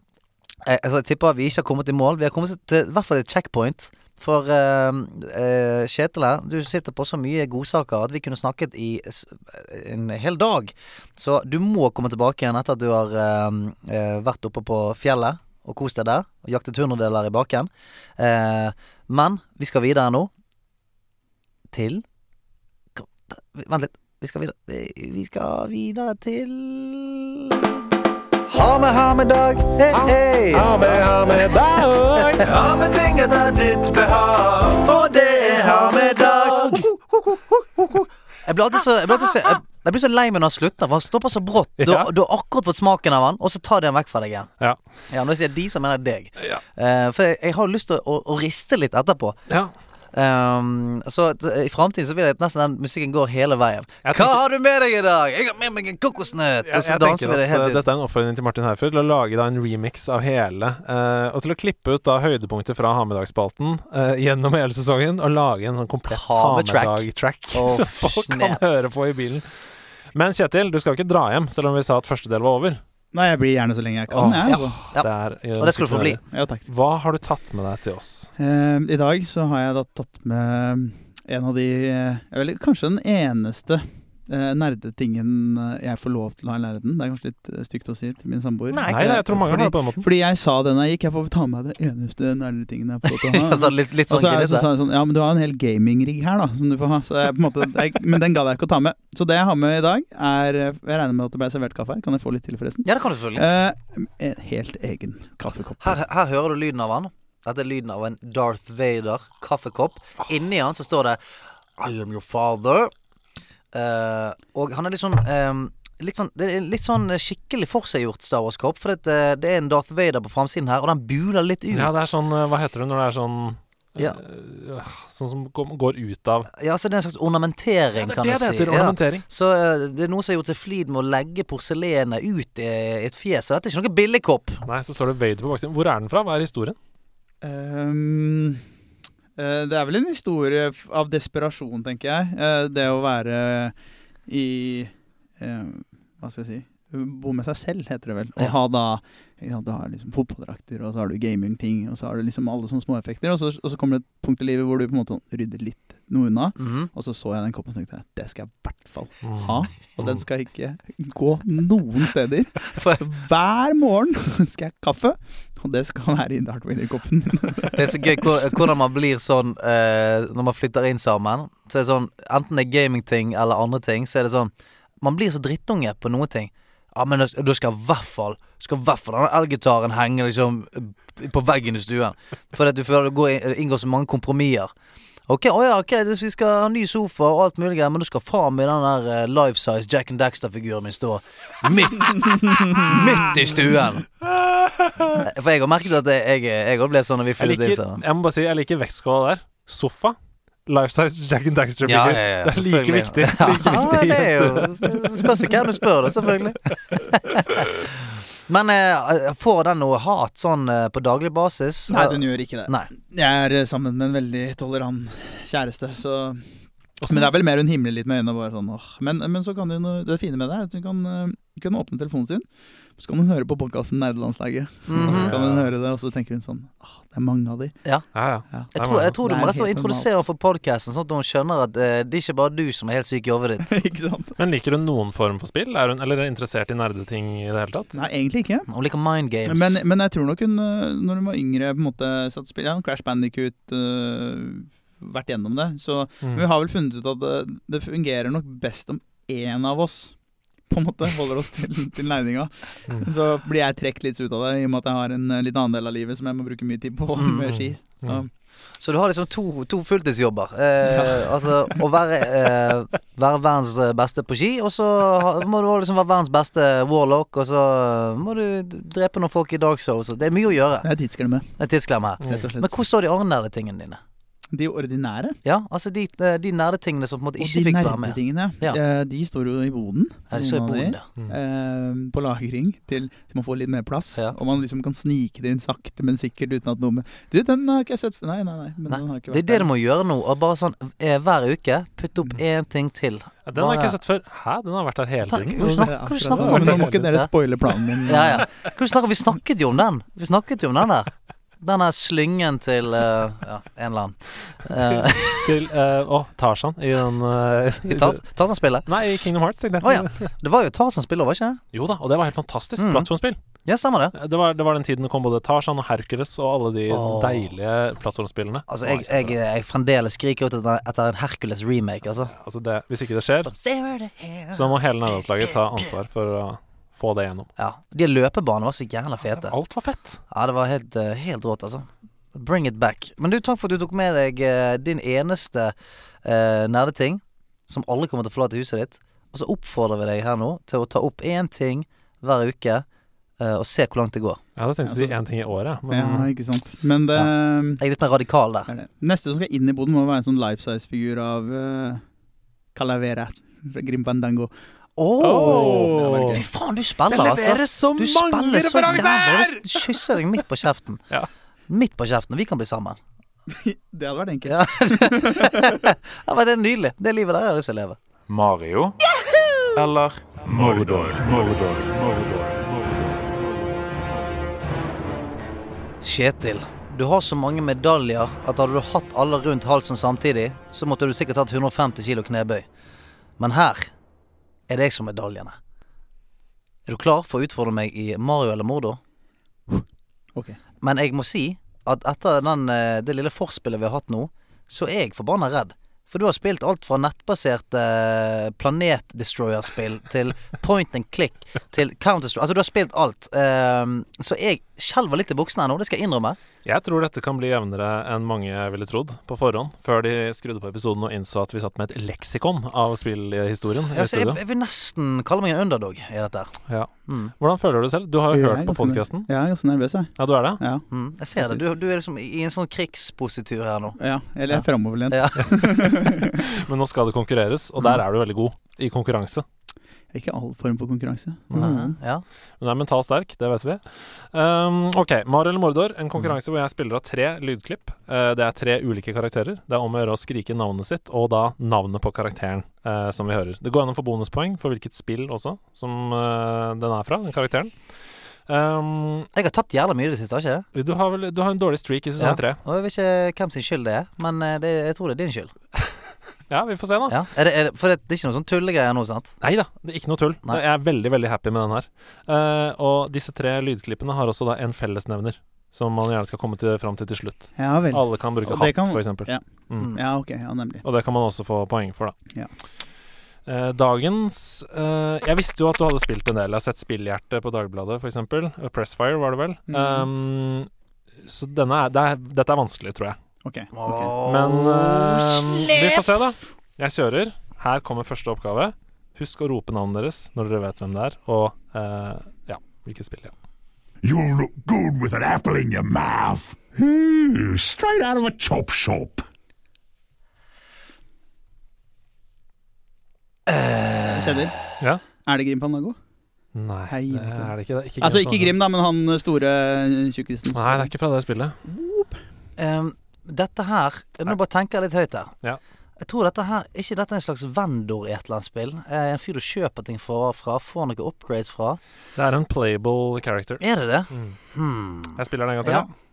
Jeg, altså, jeg tipper vi ikke har kommet i mål. Vi har kommet til i hvert fall et checkpoint. For eh, eh, Kjetil her, du sitter på så mye godsaker at vi kunne snakket i s- eh, en hel dag. Så du må komme tilbake igjen etter at du har eh, eh, vært oppe på fjellet og kost deg der. Og jaktet hundredeler i baken. Eh, men vi skal videre nå. Til Kom, da, Vent litt. Vi skal videre Vi vi skal videre til Ha med, ha med dag. Hei, hei.
Ha med, ha med dag!
Ha med ting etter ditt behag.
For det er her med dag. Jeg blir alltid så, jeg blir alltid så, jeg, jeg blir så lei meg når han slutter, for han stopper så brått. Du,
Ja.
du har akkurat fått smaken av han, og så tar de han vekk fra deg igjen.
Ja.
Ja, Når jeg sier de, så mener jeg deg.
Ja.
Eh, for jeg, jeg har lyst til å, å, å riste litt etterpå.
ja.
Ehm, så at, eh, i framtiden så vil jeg at nesten den musikken går hele veien.
Jeg
Hva
tenker-
har du med deg i dag? Jeg har med meg en kokosnøtt!
Jeg,
Og så
jeg
danser
tenker
vi det
at eh,
helt ut. <laughs>
Dette er en oppfordring til Martin Herfjord til å lage da en remix av hele. eh, og til å klippe ut da høydepunkter fra Hamedagsspalten eh, gjennom hele sesongen og lage en sånn komplett
Hametrack.
<laughs> Hamedag-track
Å,
som folk kan
snaps.
høre på i bilen. Men Kjetil, du skal ikke dra hjem, selv om vi sa at første del var over.
Nei, jeg blir gjerne så lenge jeg
Åh.
kan, jeg. Altså.
Ja.
Det er, eh,
Og det skal du få bli.
Ja, takk.
Hva har du tatt med deg til oss?
Eh, I dag så har jeg da tatt med en av de eh, Eller kanskje den eneste eh, nerdetingen eh, jeg får lov til å ha i leiligheten. Det er kanskje litt eh, stygt å si til min samboer.
Nei.
Nei, nei, jeg tror mange har det på den måten.
Fordi jeg sa det når jeg gikk. Jeg får ta med meg det eneste nerdetingen jeg får lov til å ha.
<laughs> altså, litt, litt
Og
sånn
så er det så
gnidete.
sa jeg sånn Ja, men du har en hel gaming-rigg her, da, som du får ha. Så jeg, på en måte, jeg, men den gadd jeg ikke å ta med. Så det jeg har med i dag, er eh, Jeg regner med at det ble servert kaffe her. Kan jeg få litt til, forresten?
Ja, det kan du selvfølgelig.
Eh, en helt egen kaffekopp.
Mm. Her, her hører du lyden av han. Dette er lyden av en Darth Vader kaffekopp. Inni han så står det I am your father. Eh, og han er litt sånn eh, Litt sånn, det er litt sånn skikkelig forseggjort Star Wars-kopp. For det, det er en Darth Vader på framsiden her, og den buler litt ut.
Ja, det er sånn eh, Hva heter det når det er sånn eh,
Ja.
øh, Sånn som kom- går ut av
Ja, så det er en slags ornamentering, kan du si. Ja.
Ornamentering.
Så eh, det er noen som har gjort seg flid med å legge porselenet ut i et fjes. Så dette er ikke noen billigkopp.
Nei, så står det Vader på baksiden. Hvor er den fra? Hva er historien?
Ehm, Eh, Det er vel en historie f- av desperasjon, tenker jeg. Eh, Det å være i eh, Hva skal jeg si Bo med seg selv, heter det vel. Og
Ja.
ha da ja, Du har liksom fotballdrakter, og så har du gamingting, og så har du liksom alle sånne småeffekter. Og så, og så kommer det et punkt i livet hvor du på en måte rydder litt noe unna.
Mhm.
Og så så jeg den koppen og tenkte jeg, det skal jeg i hvert fall
Mm.
ha. Og den skal ikke gå noen steder.
For
Så hver morgen <laughs> skal jeg ha kaffe, og det skal være i Dartwinder-koppen.
Det er så gøy hvor- hvordan man blir sånn eh, når man flytter inn sammen. Så er det sånn, Enten det er gamingting eller andre ting, så er det sånn Man blir så drittunge på noen ting. Ja, men da s- da skal i hvert fall Skal i hvert fall denne elgitaren henge liksom på veggen i stuen. Fordi at du føler det går, inn- inngår så mange kompromisser. Ok, å ja, ok, det- vi skal ha ny sofa og alt mulig, greier, men da skal faen meg den der eh, life size Jack and Daxter-figuren min stå midt Midt i stuen! Eh, For jeg har merket at jeg jeg òg ble sånn når vi
Jeg
flyttet inn
liker,
sammen.
jeg må bare si, jeg liker vektskåla der. Sofa. Life size Jack and Daxter-figure.
Ja, ja, ja,
det er like
selvfølgelig.
viktig. Like viktig
<laughs> ja, det er
i en
jo
stue.
det Spørs jo hvem du spør, da, selvfølgelig. Men eh, får den noe hat sånn eh, på daglig basis?
<laughs> Nei, den gjør ikke det.
Nei.
Jeg er eh, sammen med en veldig tolerant kjæreste, så Men det er vel mer hun himler litt med øynene og bare sånn åh. Men, men så kan hun jo- Det fine med det er at hun kan, eh, kan åpne telefonen sin, så kan hun høre på podkasten Nerdelandslaget. Og så
Mhm.
kan hun høre det, og så tenker hun sånn åh, det er mange av de.
Ja, ja.
Ja.
Jeg tror, jeg tror du
Det er
må rett og slett
helt
introdusere henne for podkasten, sånn at hun skjønner at eh, det er ikke bare du som er helt syk i hodet ditt.
<laughs> ikke sant?
Men liker hun noen form for spill? Er hun, eller er hun interessert i nerdeting i det hele tatt?
Nei, egentlig ikke.
Hun liker mind games.
Men, men jeg tror nok hun, eh, når hun var yngre, på en måte satt og spilte ja, Crash Bandicoot eh, vært gjennom det. Så Men vi
Mm.
har vel funnet ut at det, det fungerer nok best om én av oss på en måte holder oss til,
<laughs>
til leininga.
Mm.
Så blir jeg trukket litt ut av det, i og med at jeg har en eh, litt annen del av livet som jeg må bruke mye tid på
Mm.
med ski. Så
Mm.
Så du har liksom to, to fulltidsjobber. Eh, Altså å være, eh, være verdens beste på ski, og så ha- må du også liksom være verdens beste warlock, og så eh, må du d- drepe noen folk i Dark Souls. og Det er mye å gjøre.
det er tidsklemme,
Det er tidsklemme her.
rett og
Mm. Men
slett.
hvor står de andre nerdetingene dine?
De ordinære
Ja, altså de, de nerdetingene som på en måte
og
ikke
de
fikk være med.
nerdetingene,
Ja.
eh, de står jo i boden.
Ja, de står i
noen av de.
boden, ja. Mm.
eh, på lagring til, til man får litt mer plass.
Ja.
Og man liksom kan snike det inn sakte, men sikkert uten at noe med Du, den har ikke jeg sett før. Nei, nei, nei. Men
Nei,
den har ikke
Det er
vært
det
der.
du må gjøre nå. Og bare sånn eh, hver uke, putte
Mm.
opp én ting til.
Ja, Den har jeg ikke sett før. Hæ, den har vært der hele
Takk.
tiden.
Hva snakker- hva snakker du om?
Men Nå må ikke dere
Ja.
spoile
<laughs>
planen min.
Ja, ja. Hva er det du snakker om? Vi snakket jo om den. Vi snakket jo om den der. Den der slyngen til eh, ja, en eller annen.
<laughs>
Eh,
Til eh, Å, Tarzan i den eh,
i Tas- Tarzan-spillet.
Nei, i Kingdom Hearts, tenkte jeg.
Å ja. Det var jo Tarzan-spillet, var ikke det?
Jo da, og det var helt fantastisk.
Mm.
Plattformspill.
Ja, stemmer det.
Det var, det var den tiden det kom både Tarzan og Hercules og alle de
Åh.
deilige plattformspillene.
Altså,
Å,
jeg, jeg, jeg fremdeles skriker ut etter, etter en Hercules-remake, altså.
Altså det, hvis ikke det skjer,
From zero to hero.
så må hele nederlandslaget ta ansvar for å få det gjennom.
Ja. De løpebanene var så jævla fete.
Alt var fett.
Ja, det var helt, eh, helt rått, altså. Bring it back. Men du, takk for at du tok med deg eh, din eneste eh, nerdeting, som alle kommer til å forlate huset ditt. Og så oppfordrer vi deg her nå til å ta opp én ting hver uke, eh, og se hvor langt det går.
Jeg hadde tenkt å si én ting i året, men
Ja, ikke sant. Men det eh,
Jeg er litt mer radikal der.
er det. Neste som skal inn i boden, må være en sånn life size-figur av eh, Calavera fra Grim Fandango.
Åh
Åh.
Fy faen, du spiller, altså.
så
Du spiller så jævlig. Du kysser deg midt på kjeften.
Ja.
Midt på kjeften. Vi kan bli sammen.
Det hadde vært enkelt.
Ja. ja, men det er nydelig. Det livet der jeg har lyst til å leve.
Mario eller Mordor. Mordor. Mordor.
Kjetil, du har så mange medaljer at hadde du hatt alle rundt halsen samtidig, så måtte du sikkert hatt 150 kilo knebøy. Men her er det jeg som er medaljene. Er du klar for å utfordre meg i Mario eller Mordo?
Ok.
Men jeg må si at etter den, eh, det lille forspillet vi har hatt nå, så er jeg forbanna redd. For du har spilt alt fra nettbaserte eh, Planet Destroyer-spill til point and click til Counter-Strike. Altså, du har spilt alt. Eh, Så jeg skjelver litt i buksene her nå, det skal jeg innrømme.
Jeg tror dette kan bli jevnere enn mange ville trodd på forhånd, før de skrudde på episoden og innså at vi satt med et leksikon av spillhistorien i
Altså, jeg,
studio.
jeg vil nesten kalle meg en underdog i dette. her.
Ja.
Mm,
Hvordan føler du det selv? Du har jo
Jeg er
hørt på
ganske nerv-
podkasten.
Ja, jeg er ganske nervøs, jeg.
Ja, du er det?
Ja.
mm. Jeg ser det. Du, du er liksom i i en sånn krigspositur her nå.
ja. Eller jeg er framoverlent.
Ja. Mm.
Men nå skal det konkurreres, og der er du veldig god i konkurranse.
<laughs> Ikke all form for konkurranse.
Nei, Ja.
Hun er mentalt sterk, det vet vi. Um, ok, Mario eller Mordor, en
Mhm.
konkurranse hvor jeg spiller av tre lydklipp. Eh, det er tre ulike karakterer. Det er om å gjøre å skrike navnet sitt, og da navnet på karakteren eh, som vi hører. Det går an å få bonuspoeng for hvilket spill også, som eh, den er fra, den karakteren. Um,
Jeg har tapt jævla mye i det siste, har ikke jeg?
du har vel du har en dårlig streak i
Ja.
sesong tre.
Og jeg vet ikke hvem sin skyld det er, men eh, det, jeg tror det er din skyld.
Ja. vi får se, da.
Ja. Er det, er det, for det, det er ikke noe sånn tullegreier nå, sant?
Nei da, det er ikke noe tull.
Nei.
Jeg er veldig, veldig happy med den her. Eh, og disse tre lydklippene har også da en fellesnevner, som man gjerne skal komme til, fram til til slutt.
Ja vel.
Alle kan bruke
Og det
hatt,
kan-
for eksempel.
ja.
Mm.
Ja, ok. Ja, nemlig.
Og det kan man også få poeng for, da.
Ja.
Eh, Dagens eh, Jeg visste jo at du hadde spilt en del. Jeg har sett Spillhjerte på Dagbladet, f.eks. Pressfire, var det vel.
Mm.
Um, så denne er, det er, dette er vanskelig, tror jeg.
Ok. ok.
Åh,
Men eh, vi
slep!
får se, da. Jeg kjører. Her kommer første oppgave. Husk å rope navnet deres når dere vet hvem det er, og eh, ja, hvilket spill. Ja.
You'll look good with an apple in your mouth. Hmm, straight out of a chop shop.
Kjetil,
ja.
er det Grim Panago?
Nei,
Hei,
det
det er
er det ikke. Det er ikke
Altså
Grim
ikke Grim, da, men han store eh, tjukkisen.
Nei, det er ikke fra det spillet.
Ehm, dette her Nå bare tenker jeg litt høyt her.
Ja.
Jeg tror dette her Er ikke dette en slags vendor i et eller annet spill? Eh, En fyr du kjøper ting fra, fra får noen upgrades fra.
Det er en playable character.
Er det det?
Mm.
Hmm.
Jeg spiller den en gang til.
Ja.
Ja.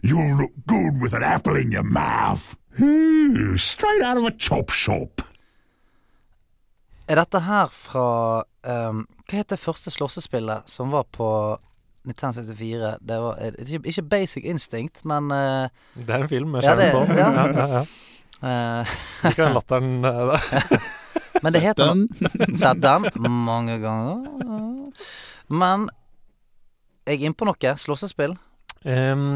You'll look good with an apple in your mouth. Hmm, straight out of a chop shop.
Er dette her fra ehm, Hva het det første slåssespillet som var på Nintendo 64? Det var eh, ikke, ikke Basic Instinct, men eh,
Det er en film med
Ja,
Sharon
det-
Stone.
ja.
sånn. Ja, ja, ja.
eh,
Liker den latteren eh, der.
Men det heter
Den,
Sett den mange ganger. Men jeg er inne på noe. Slåssespill.
Ehm,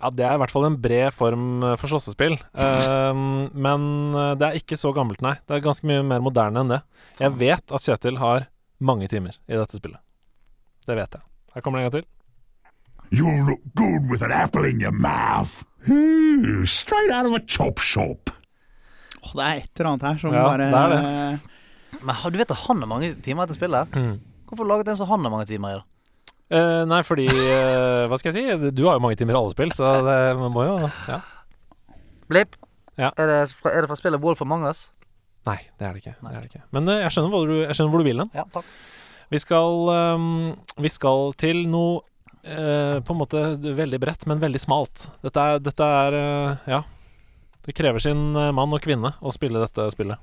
ja, det er i hvert fall en bred form eh, for slåssespill. Ehm, men eh, det er ikke så gammelt, nei. Det er ganske mye mer moderne enn det. Jeg vet at Kjetil har mange timer i dette spillet. Det vet jeg. Her kommer det en gang til.
You'll look good with an apple in your mouth. Hmm, straight out of a chop shop.
Åh, det er et eller annet her som
Ja,
bare
det er
Men har- du vet at han har mange timer etter spillet? Hvorfor laget en som han har mange timer i? da?
Eh, nei, fordi eh, Hva skal jeg si? Du har jo mange timer i alle spill, så det man må jo ja.
Blipp.
Ja.
Er, det fra, er det fra spillet Wolf Among Us?
Nei, det er det ikke. Det er det ikke. Men eh, jeg, skjønner hvor du, jeg skjønner hvor du vil hen.
Ja, takk.
Vi skal, ehm, vi skal til noe eh, på en måte veldig bredt, men veldig smalt. Dette er, dette er eh, Ja. Det krever sin eh, mann og kvinne å spille dette spillet.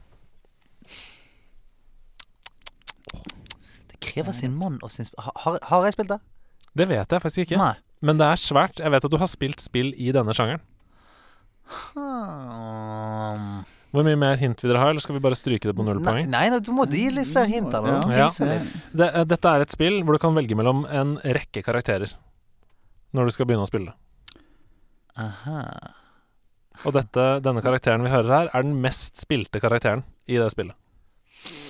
Det krever sin mann og sin sp- Ha- har, har jeg spilt det?
Det vet jeg faktisk ikke.
Nei.
Men det er svært. Jeg vet at du har spilt spill i denne sjangeren.
Hmm.
Hvor mye mer hint vil dere ha, eller skal vi bare stryke det på null
Nei,
poeng?
nei, nei, du må gi litt flere hint. Eller? noe.
Ja.
Tense litt.
Det, eh, dette er et spill hvor du kan velge mellom en rekke karakterer når du skal begynne å spille.
Aha.
Og dette, denne karakteren vi hører her, er den mest spilte karakteren i det spillet.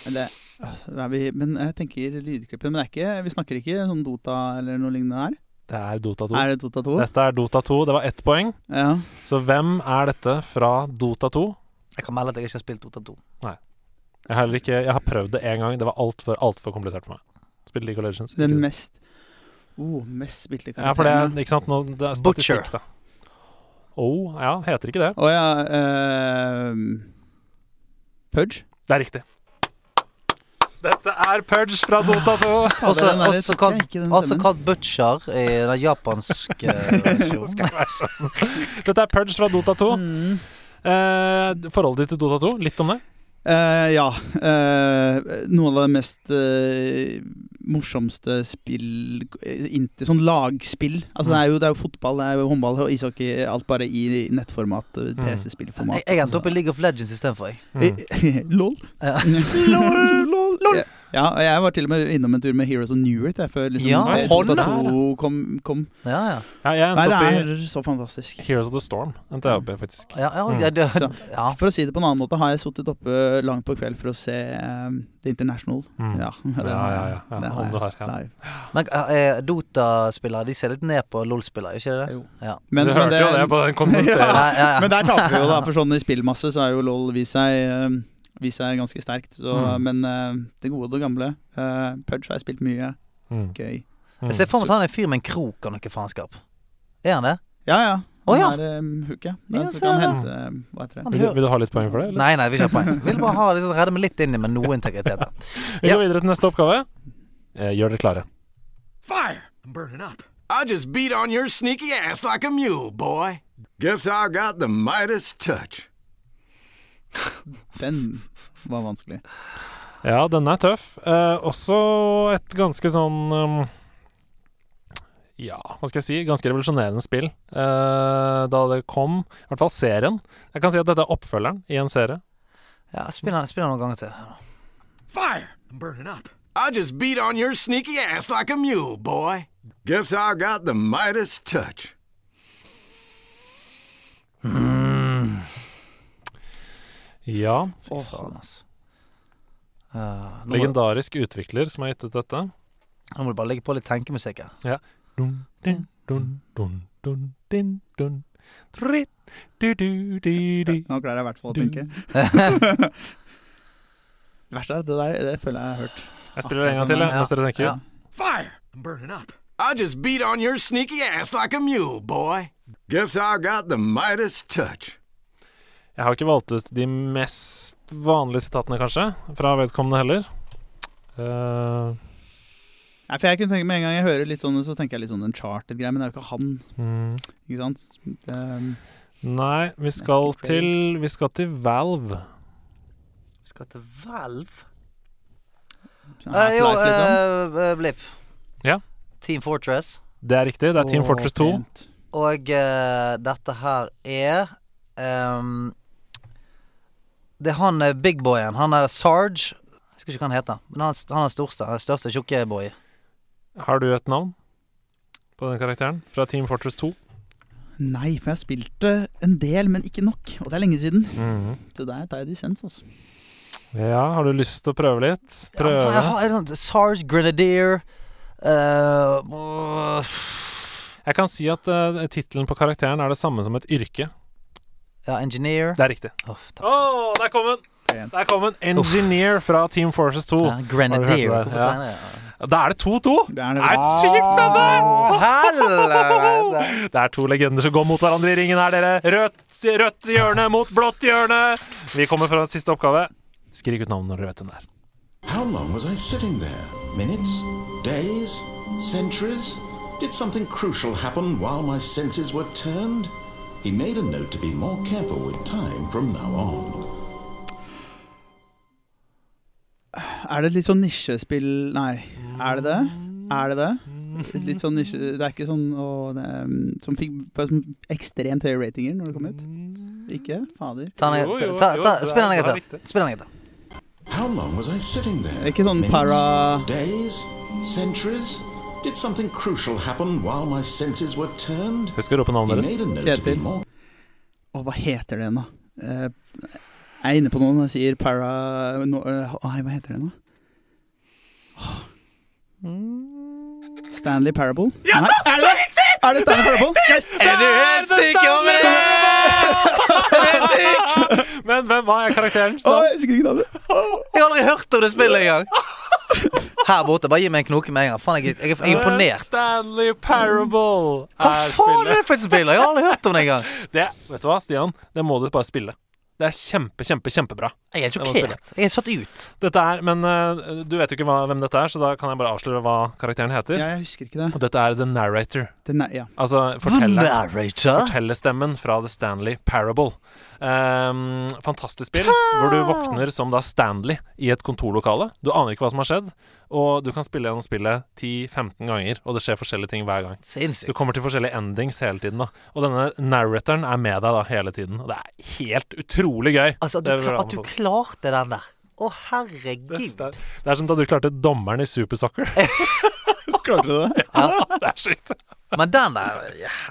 Eller, altså, da er vi, men jeg tenker lydklippet. Men det er ikke, vi snakker ikke sånn Dota eller noe lignende her?
Det er Dota 2.
Er det Dota 2?
Dette er Dota 2. Det var ett poeng.
Ja.
Så hvem er dette fra Dota 2?
Jeg kan melde at jeg ikke har spilt Dota 2.
Jeg har, heller ikke, jeg har prøvd det én gang. Det var altfor alt for komplisert for meg. Spille League of Legends.
Den
ikke-
mest oh, mest spilte
ja, for det
karakteren.
er, ikke sant? Nå, det er
Butcher.
statistikk, da. Oh, ja, heter ikke det.
Å ja ehm, Pudge?
Det er riktig. Dette er Pudge fra Dota
<laughs>
2!
Også,
den der
også
tok jeg
kalt,
ikke, den
også
stemmen.
kalt butcher i den japanske eh, <laughs> versjonen.
Dette er Pudge fra Dota 2.
Mm.
Eh, forholdet ditt til Dota 2, litt om det?
Eh, ja. eh, noen av de mest eh, morsomste spill eh, inter, Sånn lagspill.
Mm.
Altså, det, er jo, det er jo fotball, det er jo håndball og ishockey. Alt bare i nettformat. eh,
Jeg,
PC-spillformat.
jeg endte opp i League of Legends istedenfor, jeg.
Mm. <laughs>
Lol.
Ja.
<laughs> Lol, lol. Ja, og jeg var til og med innom en tur med Heroes of New Earth jeg, før liksom,
Ja,
eh,
hånd,
Dota
ja.
2 kom, kom.
Ja, ja.
Ja, jeg
Nei,
endte
det
opp
er så fantastisk.
i Heroes of the Storm. Endte jeg opp i, faktisk.
Ja, ja,
Mm.
ja, det,
Så-
ja.
For å si det på en annen måte, har jeg sittet oppe langt på kveld for å se eh, The International.
Mm.
Ja, <laughs>
Ja,
det har jeg.
ja, ja, ja,
Det har
om
jeg
du har, ja.
live.
Men eh, Dota-spillere de ser litt ned på LOL-spillere, ikke det?
Jo.
Ja.
du hørte
<laughs>
jo det på den kompenserende
Ja, ja, ja. <laughs>
Men der taper vi jo, da. For sånn i spillmasse så er jo LOL vist seg eh, vist seg ganske sterkt. Så,
Mm.
Men eh, det gode og det gamle. eh, Pudge har jeg spilt mye.
Mm.
Gøy.
Mm.
Jeg ser for meg at han er en fyr med en krok og noe faenskap. Er han det?
Ja, ja.
Å,
Han
ja.
er um, hooket.
Ja,
Den
se
kan
der.
hente eh, Hva heter det?
Han
Vil du,
hører.
vil du ha litt poeng for det? Eller?
Nei, nei, vil ikke ha poeng. Vil bare ha, liksom, redde meg litt inn i med noe integritet. da.
Vi går videre til neste oppgave. Eh, gjør dere klare.
Fire! I'm burning up. I just beat on your sneaky ass like a mule, boy. Guess I got the Midas touch.
Den var vanskelig.
Ja, denne er tøff. Eh, også et ganske sånn um, Ja, hva skal jeg si? Ganske revolusjonerende spill eh, da det kom. I hvert fall serien. Jeg kan si at dette er oppfølgeren i en serie.
Ja, spill han, spill han noen ganger til.
Fire! I'm burning up. I just beat on your sneaky ass like a mule, boy. Guess I got the Midas touch.
Ja.
Fy faen, altså. Ja, nå, må,
Legendarisk utvikler som har gitt ut dette.
nå må du bare legge på litt tenkemusikk her.
Dun, din, dun, dun, dun, din, dun. Tritt, du, du, di, di.
Nå klarer jeg i hvert fall å
Du.
tenke.
<laughs>
Det verste er at det der det føler jeg har hørt.
Jeg spiller en gang til, jeg,
Ja,
mens dere tenker.
ja.
Fire! I'm burning up. I just beat on your sneaky ass like a mule, boy. Guess I got the Midas touch.
Jeg har ikke valgt ut de mest vanlige sitatene, kanskje, fra vedkommende heller. Eh,
Nei, for jeg kunne tenke Med en gang jeg hører litt sånne, så tenker jeg litt sånn Uncharted-greier, men det er jo ikke han.
mm.
Ikke sant? Um,
Nei, vi skal
Craig.
til Vi skal til Valve.
Vi skal til Valve.
sånn
Eh, jo,
Half-Life, liksom.
eh, eh, Blipp.
Ja.
Team Fortress.
Det er riktig. Det er Team
Å,
Fortress 2.
pent.
Og eh, dette her er ehm, Det er han eh, big boyen. Han er Sarge. Jeg husker ikke hva han heter. Men han, han er største, han er største tjukke boy.
Har du et navn på den karakteren? Fra Team Fortress 2?
Nei, for jeg spilte en del, men ikke nok. Og det er lenge siden.
Mhm.
Så der tar jeg dissens, altså.
Ja, har du lyst til å prøve litt? Prøve?
Ja, for jeg har, er det sånn Sarge, Grenadier eh, åh,
Jeg kan si at uh, tittelen på karakteren er det samme som et yrke.
Ja, Engineer.
Det er riktig.
Åh, takk.
Å, der kom den!
Pent.
Der kom den! Engineer fra Team Forces 2.
Ja, Grenadier.
Har du hørt det?
Hvorfor sier
Ja.
jeg det?
Da er det 2-2!
Det er
Det er sykt
Ah!
spennende!
Helvete!
Det er to legender som går mot hverandre i ringen her, dere. Rødt, rødt hjørne mot blått hjørne. Vi kommer fra siste oppgave. Skrik ut navnet når dere vet hvem det er.
How long was I sitting there? Minutes? Days? Centuries? Did something crucial happen while my senses were turned? He made a note to be more careful with time from now on.
Er det et litt sånn nisjespill Nei, er det det? Er det det? Litt sånn nisje Det er ikke sånn å, det, um, Som fikk på sånn ekstremt høye ratinger når det kom ut? Ikke? Fader.
Ta den
Jo, jo,
ta, ta,
jo, det er-
Spill den
det er
en gang til.
riktig.
Spill den en gang til.
How long was I sitting there?
Ikke sånn para-
Days? Centuries? Did something crucial happen while my senses were turned?
Husk å rope
He
navnet
made
deres.
a note to be
Kjetil.
more
Å, hva heter det nå? Eh, jeg er inne på noe når jeg sier para... No, eh, nei, hva heter det nå? Stanley Parable? Ja, nei, er det riktig! Er det Stanley Parable? Yes!
Er du helt sikker på det?
Men hvem var karakteren?
Å, jeg husker ikke navnet.
Jeg har aldri hørt om det spillet engang. Her borte. Bare gi meg en knoke med en gang. Faen, jeg, jeg, jeg er imponert.
Stanley Parable
Hva faen er
er spillet.
det for et spill? Jeg har aldri hørt om det engang.
Det, vet du hva, Stian? Det må du bare spille. Det er kjempe, kjempe, kjempebra.
Jeg er
må
sjokkert. Jeg er satt ut.
Dette er, Men eh, du vet jo ikke hva, hvem dette er, så da kan jeg bare avsløre hva karakteren heter.
Ja, jeg husker ikke det.
Og dette er The Narrator.
Den er, ja.
Altså
The
fortelleren.
narrator.
fortellerstemmen fra The Stanley Parable. Ehm, fantastisk spill hvor du våkner som da Stanley i et kontorlokale. Du aner ikke hva som har skjedd, og du kan spille gjennom spillet 10-15 ganger, og det skjer forskjellige ting hver gang. Så du
Sinnssykt.
kommer til forskjellige endings hele tiden, da. Og denne narratoren er med deg da hele tiden, og det er helt utrolig gøy.
Altså, at
Det
du,
vil jeg
at du
anbefale.
klarte den der. Å, herregud.
det er som da du klarte dommeren i Supersoccer.
Klarte du det?
<laughs> det er sykt.
Men den der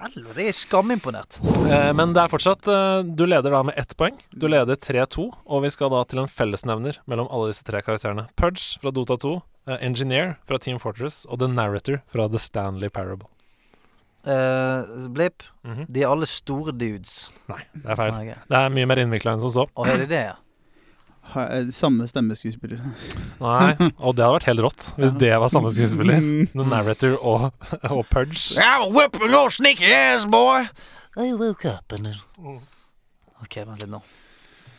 Helvete, jeg er skamimponert.
Eh, Men det er fortsatt eh, Du leder da med ett poeng. Du leder 3-2, og vi skal da til en fellesnevner mellom alle disse tre karakterene. Pudge fra Dota 2, eh, Engineer fra Team Fortress og The Narrator fra The Stanley Parable.
Eh, Blipp,
Mhm.
de er alle store dudes.
Nei, det er feil.
Nei, ok.
Det er mye mer innvikla enn som så.
Og er det det? ja?
ha- eh, samme stemmeskuespiller.
Nei, og det hadde vært helt rått hvis det var samme skuespiller.
<laughs> Mm.
The Narrator og, <laughs> og Pudge.
I'm whipping your sneaky ass, boy. I woke up and then... Ok, vent litt nå.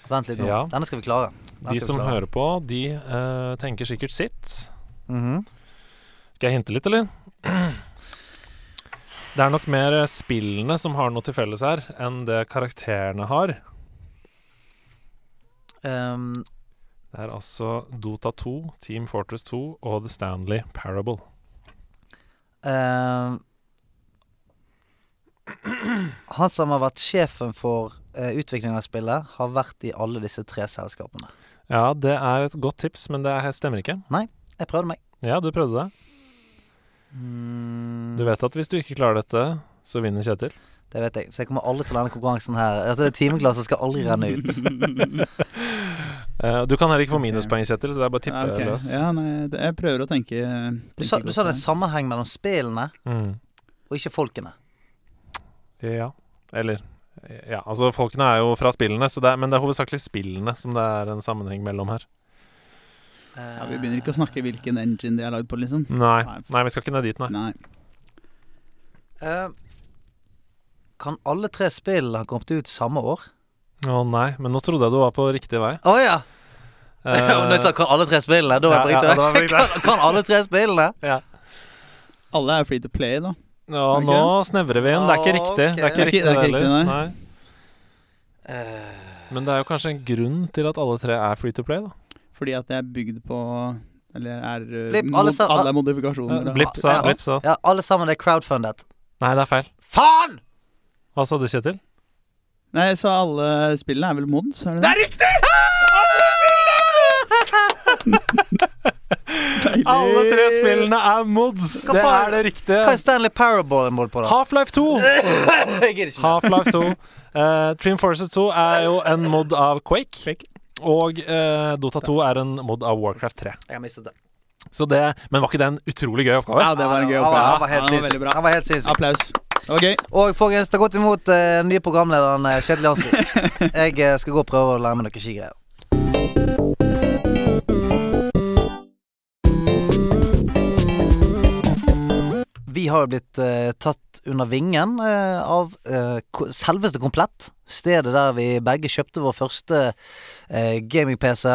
Vent litt nå.
Mm. Ja.
Denne skal vi klare. Den
De
skal vi
som
klare.
hører på, de eh, tenker sikkert sitt.
Mhm.
Skal jeg hinte litt, eller? Det er nok mer eh, spillene som har noe til felles her, enn det karakterene har.
Ehm,
Det er altså Dota 2, Team Fortress 2 og The Stanley Parable.
ehm, han som har vært sjefen for uh, utvikling av spillet, har vært i alle disse tre selskapene.
Ja, det er et godt tips, men det er, stemmer ikke.
Jeg prøvde meg.
Ja, du prøvde det.
Mm,
Du vet at hvis du ikke klarer dette, så vinner Kjetil.
Det vet jeg. Så jeg kommer aldri til denne konkurransen her. Altså, det timeglasset skal aldri renne
<laughs>
ut.
Eh, du kan heller ikke få minuspoeng, Kjetil, så det er bare å tippe
Ja, ok.
løs.
Ja, nei, det, jeg prøver å tenke,
Du
tenke
sa, du
godt
sa
her.
det er en sammenheng mellom spillene
Mm.
og ikke folkene.
Ja. Eller Ja, altså folkene er jo fra spillene, så det er, men det er hovedsakelig spillene som det er en sammenheng mellom her.
Ja, vi begynner ikke å snakke hvilken engine de er lagd på, liksom.
Nei,
Nei.
nei vi skal ikke ned dit, nei.
Nei.
Eh, Kan alle tre spillene ha kommet ut samme år?
Å nei, men nå trodde jeg du var på riktig vei.
Å ja! <laughs> Når jeg sa
Eh,
'kan alle tre spillene', da er jeg på
Ja, ja,
riktig
da var
vei.
jeg på
Kan,
riktig
<laughs> kan alle tre spillene?
Eh, ja.
Alle er free to play, da.
ja, nå snevrer vi inn. Det er ikke riktig. Det er
Ok.
ikke riktig,
Det er ikke- det er ikke
heller.
riktig,
Nei. Eh. Men det er jo kanskje en grunn til at alle tre er free to play, da.
Fordi at det er bygd på Eller er eh,
Blipp,
mod,
alle sa-
alle er
Ja,
modifikasjoner. da.
Blipp sa
Ja.
Blipp sa
Ja, alle sammen er crowdfundet.
Nei, det er feil.
Faen!
Hva sa du, Kjetil?
Nei, jeg sa alle spillene er vel mods, er det det? Deilig.
Alle tre spillene er mods!
Hva
Det
faen?
er det
Hva er
riktige.
Stanley Parable en mål på, da?
Half-Life 2!
<laughs> Jeg gidder ikke mer.
Half-Life 2. Uh, Trim Forces 2 er jo en mod av Quake. Og eh, Dota 2 er en mod av Warcraft 3.
Jeg har mistet det.
Så det, men var ikke det en utrolig gøy oppgave?
Ja, det var en gøy
Han var, han var
oppgave.
helt
Ja,
sinnssyk.
veldig bra.
Han var helt sinnssyk.
Applaus. Det var gøy.
Og folkens, ta godt imot eh, den nye programlederen eh, Kjetil
<laughs>
Jansrud. Jeg eh, skal gå og prøve å lære meg noen skigreier. Vi har jo blitt eh, tatt under vingen eh, av eh, ko- selveste Komplett. Stedet der vi begge kjøpte vår første eh, gaming-PC.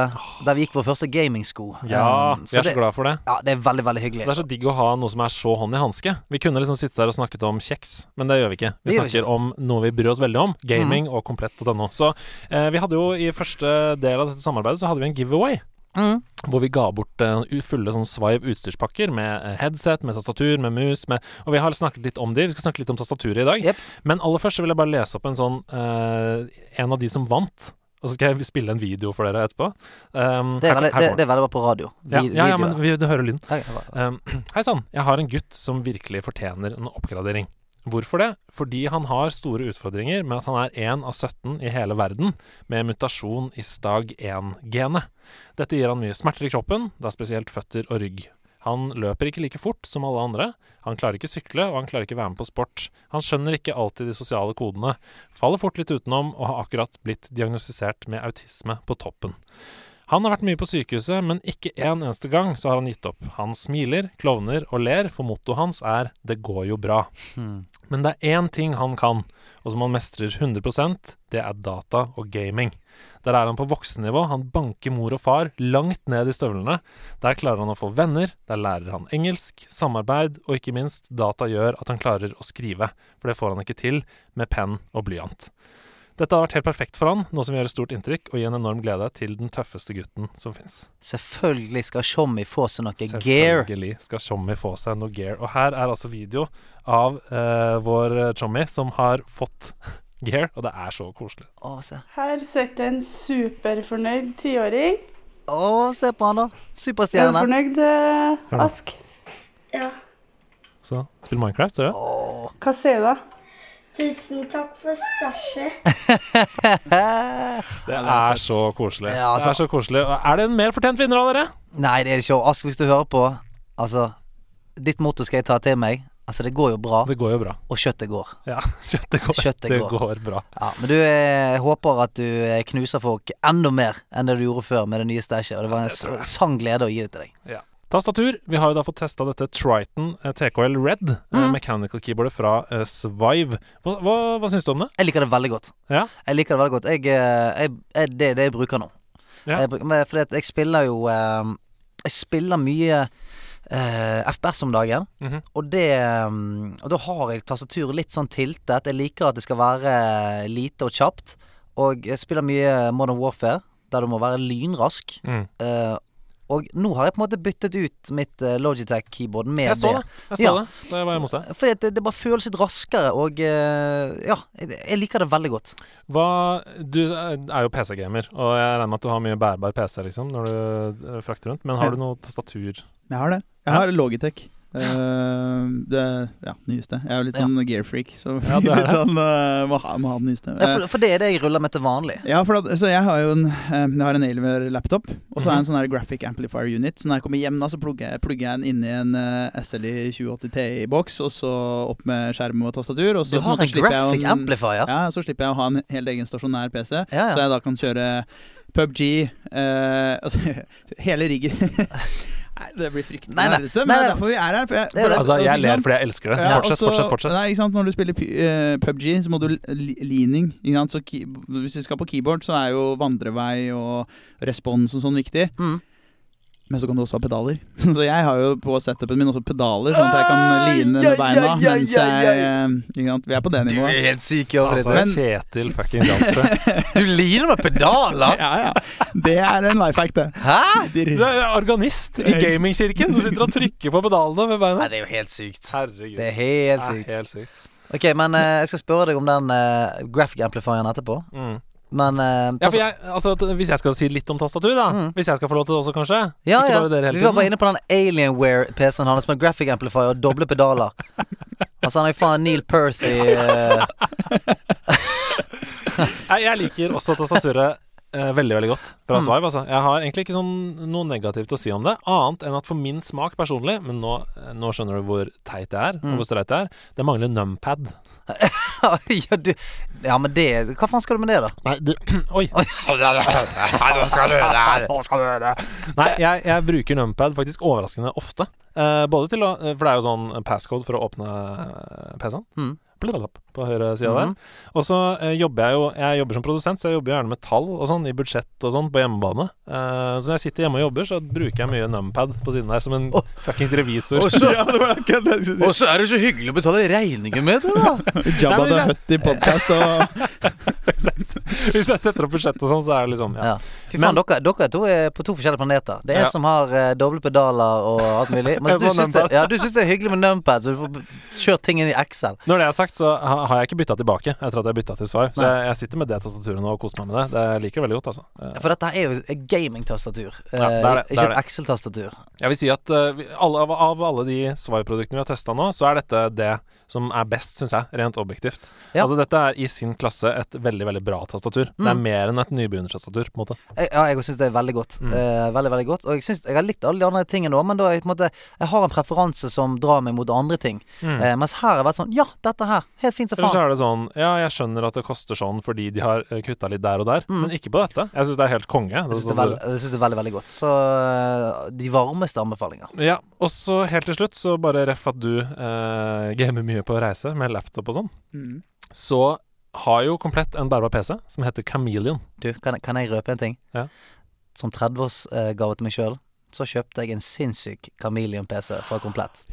Der vi gikk vår første gamingsko.
Ja,
Eh,
vi
så
er så
det,
glad for det.
ja, det er veldig, veldig hyggelig.
Det er så digg å ha noe som er så hånd i hanske. Vi kunne liksom sitte der og snakket om kjeks, men det gjør vi ikke. Vi
Det gjør vi Mm.
snakker om noe vi bryr oss veldig om, gaming og komplett.no. Så eh, vi hadde jo i første del av dette samarbeidet så hadde vi en giveaway.
Mm.
Hvor vi ga bort eh, u- fulle sånn sveiv utstyrspakker med eh, headset, med tastatur, med mus med, Og vi har snakket litt om de. Vi skal snakke litt om tastaturet i dag.
Jep.
Men aller først så vil jeg bare lese opp en sånn eh, En av de som vant. Og så skal jeg spille en video for dere etterpå. Um,
Det er, veldig, det,
kommer den.
det er veldig bra på radio. Vi,
ja, ja, ja, men
videoer.
vi, du hører lyden.
Her- her var det.
Um, <clears throat> Hei sann, jeg har en gutt som virkelig fortjener en oppgradering. Hvorfor det? Fordi han har store utfordringer med at han er 1 av 17 i hele verden med mutasjon i stag 1-genet. Dette gir han mye smerter i kroppen, da spesielt føtter og rygg. Han løper ikke like fort som alle andre, han klarer ikke sykle, og han klarer ikke være med på sport. Han skjønner ikke alltid de sosiale kodene, faller fort litt utenom, og har akkurat blitt diagnostisert med autisme på toppen. Han har vært mye på sykehuset, men ikke en eneste gang så har han gitt opp. Han smiler, klovner og ler, for mottoet hans er 'det går jo bra'. Men det er én ting han kan, og som han mestrer 100 det er data og gaming. Der er han på voksennivå, han banker mor og far langt ned i støvlene. Der klarer han å få venner, der lærer han engelsk, samarbeid, og ikke minst, data gjør at han klarer å skrive, for det får han ikke til med penn og blyant. Dette har vært helt perfekt for han, noe som gjør et stort inntrykk og gir en enorm glede til den tøffeste gutten som fins.
Selvfølgelig skal Tjommi få seg noe gear.
Selvfølgelig skal Tjommi få seg noe gear. Og her er altså video av eh, vår eh, Tjommi som har fått <laughs> gear, og det er så koselig.
Å, se.
Her sitter en superfornøyd tiåring.
Å, se på han, da.
Er du
Superstjerne.
fornøyd, eh,
Hør nå.
Ask?
Så spill Minecraft, ser du.
Hva sier du da?
Tusen takk for stæsjet.
<laughs>
Det er så koselig.
Ja, altså-
Det er så koselig. Og er det en mer fortjent vinner av dere?
Nei, det er det ikke. Og Ask, hvis du hører på, altså Ditt motto skal jeg ta til meg. Altså, det går jo bra.
Det går jo bra.
Og kjøttet går.
Ja, <laughs> kjøttet går.
Kjøttet
det
går.
går bra.
Ja, men du, eh, jeg håper at du eh, knuser folk enda mer enn det du gjorde før med det nye stæsjet. Og det var en s- sann glede å gi det til deg.
Ja. Tastatur. Vi har jo da fått testa dette Triton eh, TKL Red, eh,
Mm.
mechanical-keyboardet fra eh, Svive. Hva, hva, hva syns du om det?
Jeg liker det veldig godt.
Ja.
Jeg liker det veldig godt. Jeg, eh, jeg, jeg, det er det jeg bruker nå.
Ja.
Jeg, bruk- men fordi at jeg spiller jo eh, Jeg spiller mye eh, FPS om dagen.
Mhm.
Og det mm, Og da har jeg tastaturet litt sånn tiltet. Jeg liker at det skal være eh, lite og kjapt. Og jeg spiller mye Modern Warfare, der du må være lynrask.
Mm.
Eh, og nå har jeg på en måte byttet ut mitt uh, Logitech-keyboard med
Jeg så det.
det.
Jeg så
Ja.
det da jeg var hjemme hos deg.
Fordi at det, det bare føles litt raskere, og eh, ja, jeg, jeg liker det veldig godt.
Hva, du er jo PC-gamer, og jeg regner med at du har mye bærbar PC liksom, når du eh, frakter rundt. Men
Ja.
har du noe tastatur?
Jeg har det. Jeg har Logitech. Eh, det ja, nyeste. Jeg er jo litt sånn gearfreak, så
Ja, du er
<laughs> litt
det.
sånn eh, må, ha, må ha den nyeste.
Ja, for, for det er det jeg ruller med til vanlig.
Ja, for at, så jeg har jo en, eh, jeg har en Alienware-laptop, og
Mhm.
så har jeg en sånn her graphic amplifier unit. Så når jeg kommer hjem, da, så plugger jeg, plugger jeg den inn i en eh, SLI 2080 Ti-boks, og så opp med skjerm og tastatur. Og så
Du har
på måte
en
slipper jeg jo
graphic amplifier?
Ja, så slipper jeg å ha en helt egen stasjonær PC,
ja.
så jeg da kan kjøre PubG eh, <laughs> Altså hele riggen.
<laughs>
Nei, det blir fryktelig
Nei, nei.
nerdete, men
Nei,
det er
nei.
derfor vi er her. For jeg,
Det er
for at-
Altså,
og
jeg
så-
ler fordi jeg elsker det.
ja, og
fortsett,
altså-
så-
fortsett, fortsett.
Nei, ikke sant? Når du spiller pu- eh, PubG, så må du l- li- leaning. Ikke sant? Så key, hvis vi skal på keyboard, så er jo vandrevei og respons og sånn viktig. Men så kan du også ha pedaler. <laughs> Så jeg har jo på setupen min også pedaler, sånn at jeg kan line med beina mens jeg eh, ikke sant? Vi er på det nivået.
helt syk i hodet
Altså, Kjetil fucking
<laughs>
Jansrud.
Du lirer med pedaler!
Ja, ja. Det er en life hack, det.
Hæ?!
Du er organist i gamingkirken. Du sitter og trykker på pedalene med
Nei,
beina.
det er jo helt sykt.
Herregud.
Det er helt
Det er
sykt.
helt sykt.
Ok, men eh, jeg skal spørre deg om den eh, graphic amplifieren etterpå.
Mm.
Men eh,
Ja,
tas-
for jeg, altså, t- hvis jeg skal si litt om tastatur, da. Hvis jeg skal få lov til det også, kanskje.
Mm. ja,
Ikke
ja.
bare dere hele
Vi var bare
tiden.
inne på den Alienware-PC-en hans med graphic amplifier og doble
<laughs>
pedaler. altså, han er jo faen Neil Perth i <laughs> eh,
Nei, jeg liker også tastaturet eh, veldig, veldig godt fra
Mm.
Svive. Altså. Jeg har egentlig ikke sånn, noe negativt å si om det, annet enn at for min smak personlig Men nå, nå skjønner du hvor teit det er,
Mm.
og hvor streit det er. Det mangler numpad.
ja, du, ja, men det Hva faen skal du med det, da?
Nei, du Oi. Nå skal du høre Nei, jeg, jeg bruker numpad faktisk overraskende ofte. Eh, både til å For det er jo sånn passcode for å åpne eh, PC-en.
Mm.
Blablabla, På høyre side
Mhm.
der. Og så eh, jobber jeg jo Jeg jobber som produsent, så jeg jobber gjerne med tall og sånn i budsjett og sånn på hjemmebane. Eh, så når jeg sitter hjemme og jobber, så bruker jeg mye numpad på siden der som en fuckings revisor.
Ja, det var akkurat det jeg skulle si.
Og så er det så hyggelig å betale regninger med det, da!
Nei,
Jabba
men
the
hvis jeg-
Hutt i podcast og
hvis, jeg, <laughs> hvis jeg setter opp budsjett og sånn, så er det liksom
Ja. Fy faen, dere, dere to er på to forskjellige planeter. Det er
Ja.
en som har eh, doble pedaler og alt mulig.
<laughs> Jeg
Mens du
får
syns det,
numpad.
ja, du syns det er hyggelig med numpad, så du får b- kjørt ting inn i Excel.
Når det er sagt, så ha- har jeg ikke bytta tilbake etter at jeg bytta til Svar. Så jeg, jeg sitter med det tastaturet nå og koser meg med det. Det jeg liker det veldig godt, altså. Eh,
For dette her er jo et gamingtastatur, eh,
Ja, det er det, det
ikke
er
et Excel-tastatur.
Jeg vil si at eh, vi- alle, av, av alle de Svar-produktene vi har testa nå, så er dette det som er best, syns jeg, rent objektivt.
Ja.
Altså dette er i sin klasse et veldig, veldig bra tastatur. Det er mer enn et nybegynnertastatur, på en måte.
Jeg- Eh, Ja, jeg syns det er veldig godt.
Mm.
Eh, veldig, veldig godt. Og jeg syns jeg har likt alle de andre tingene òg, men da er jeg, på en måte, jeg har en preferanse som drar meg mot andre ting. Eh, mens her har jeg vært sånn Ja, dette her. Helt fint som
Eller så
faen.
Mm. er det sånn Ja, jeg skjønner at det koster sånn fordi de har kutta litt der og der, men ikke på dette. Jeg syns det er sånn- helt konge.
Mm. Jeg syns det, er veld- jeg synes det er veldig, veldig godt. Så eh, de varmeste anbefalinger.
Ja, og så helt til slutt, så bare ref at du eh, gamer mye på reise med laptop og sånn,
Mm.
så har jo komplett en bærbar PC som heter Chameleon.
Du, kan, kan jeg røpe en ting?
Ja.
Som 30-årsgave til meg sjøl, så kjøpte jeg en sinnssyk Chameleon-PC fra Komplett.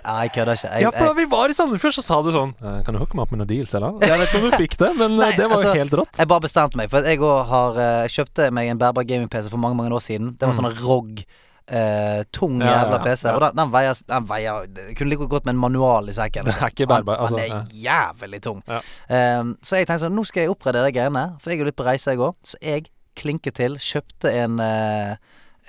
Nei, jeg kødder ikke. Jeg,
Ja, for da
jeg,
vi var i Sandefjord, så sa du sånn eh, Kan du hooke meg opp med noen deals, eller? Jeg vet ikke om du fikk det, men eh,
<laughs> Nei,
det var
altså,
jo helt rått.
jeg bare bestemte meg, for at jeg òg har eh, kjøpte meg en bærbar gaming-PC for mange mange år siden. Det var sånn ROG. eh, tung
Mm. Ja, ja,
jævla
ja,
PC.
ja.
Og den, den veier, den veier Jeg kunne like godt med en manual i
<laughs>
sekken.
Det er ikke bærbar,
Den- den
altså,
er jævlig tung.
Ja.
Ehm, så jeg tenkte sånn Nå skal jeg oppgradere de greiene, for jeg er jo litt på reise, jeg òg. Så jeg klinket til, kjøpte en eh,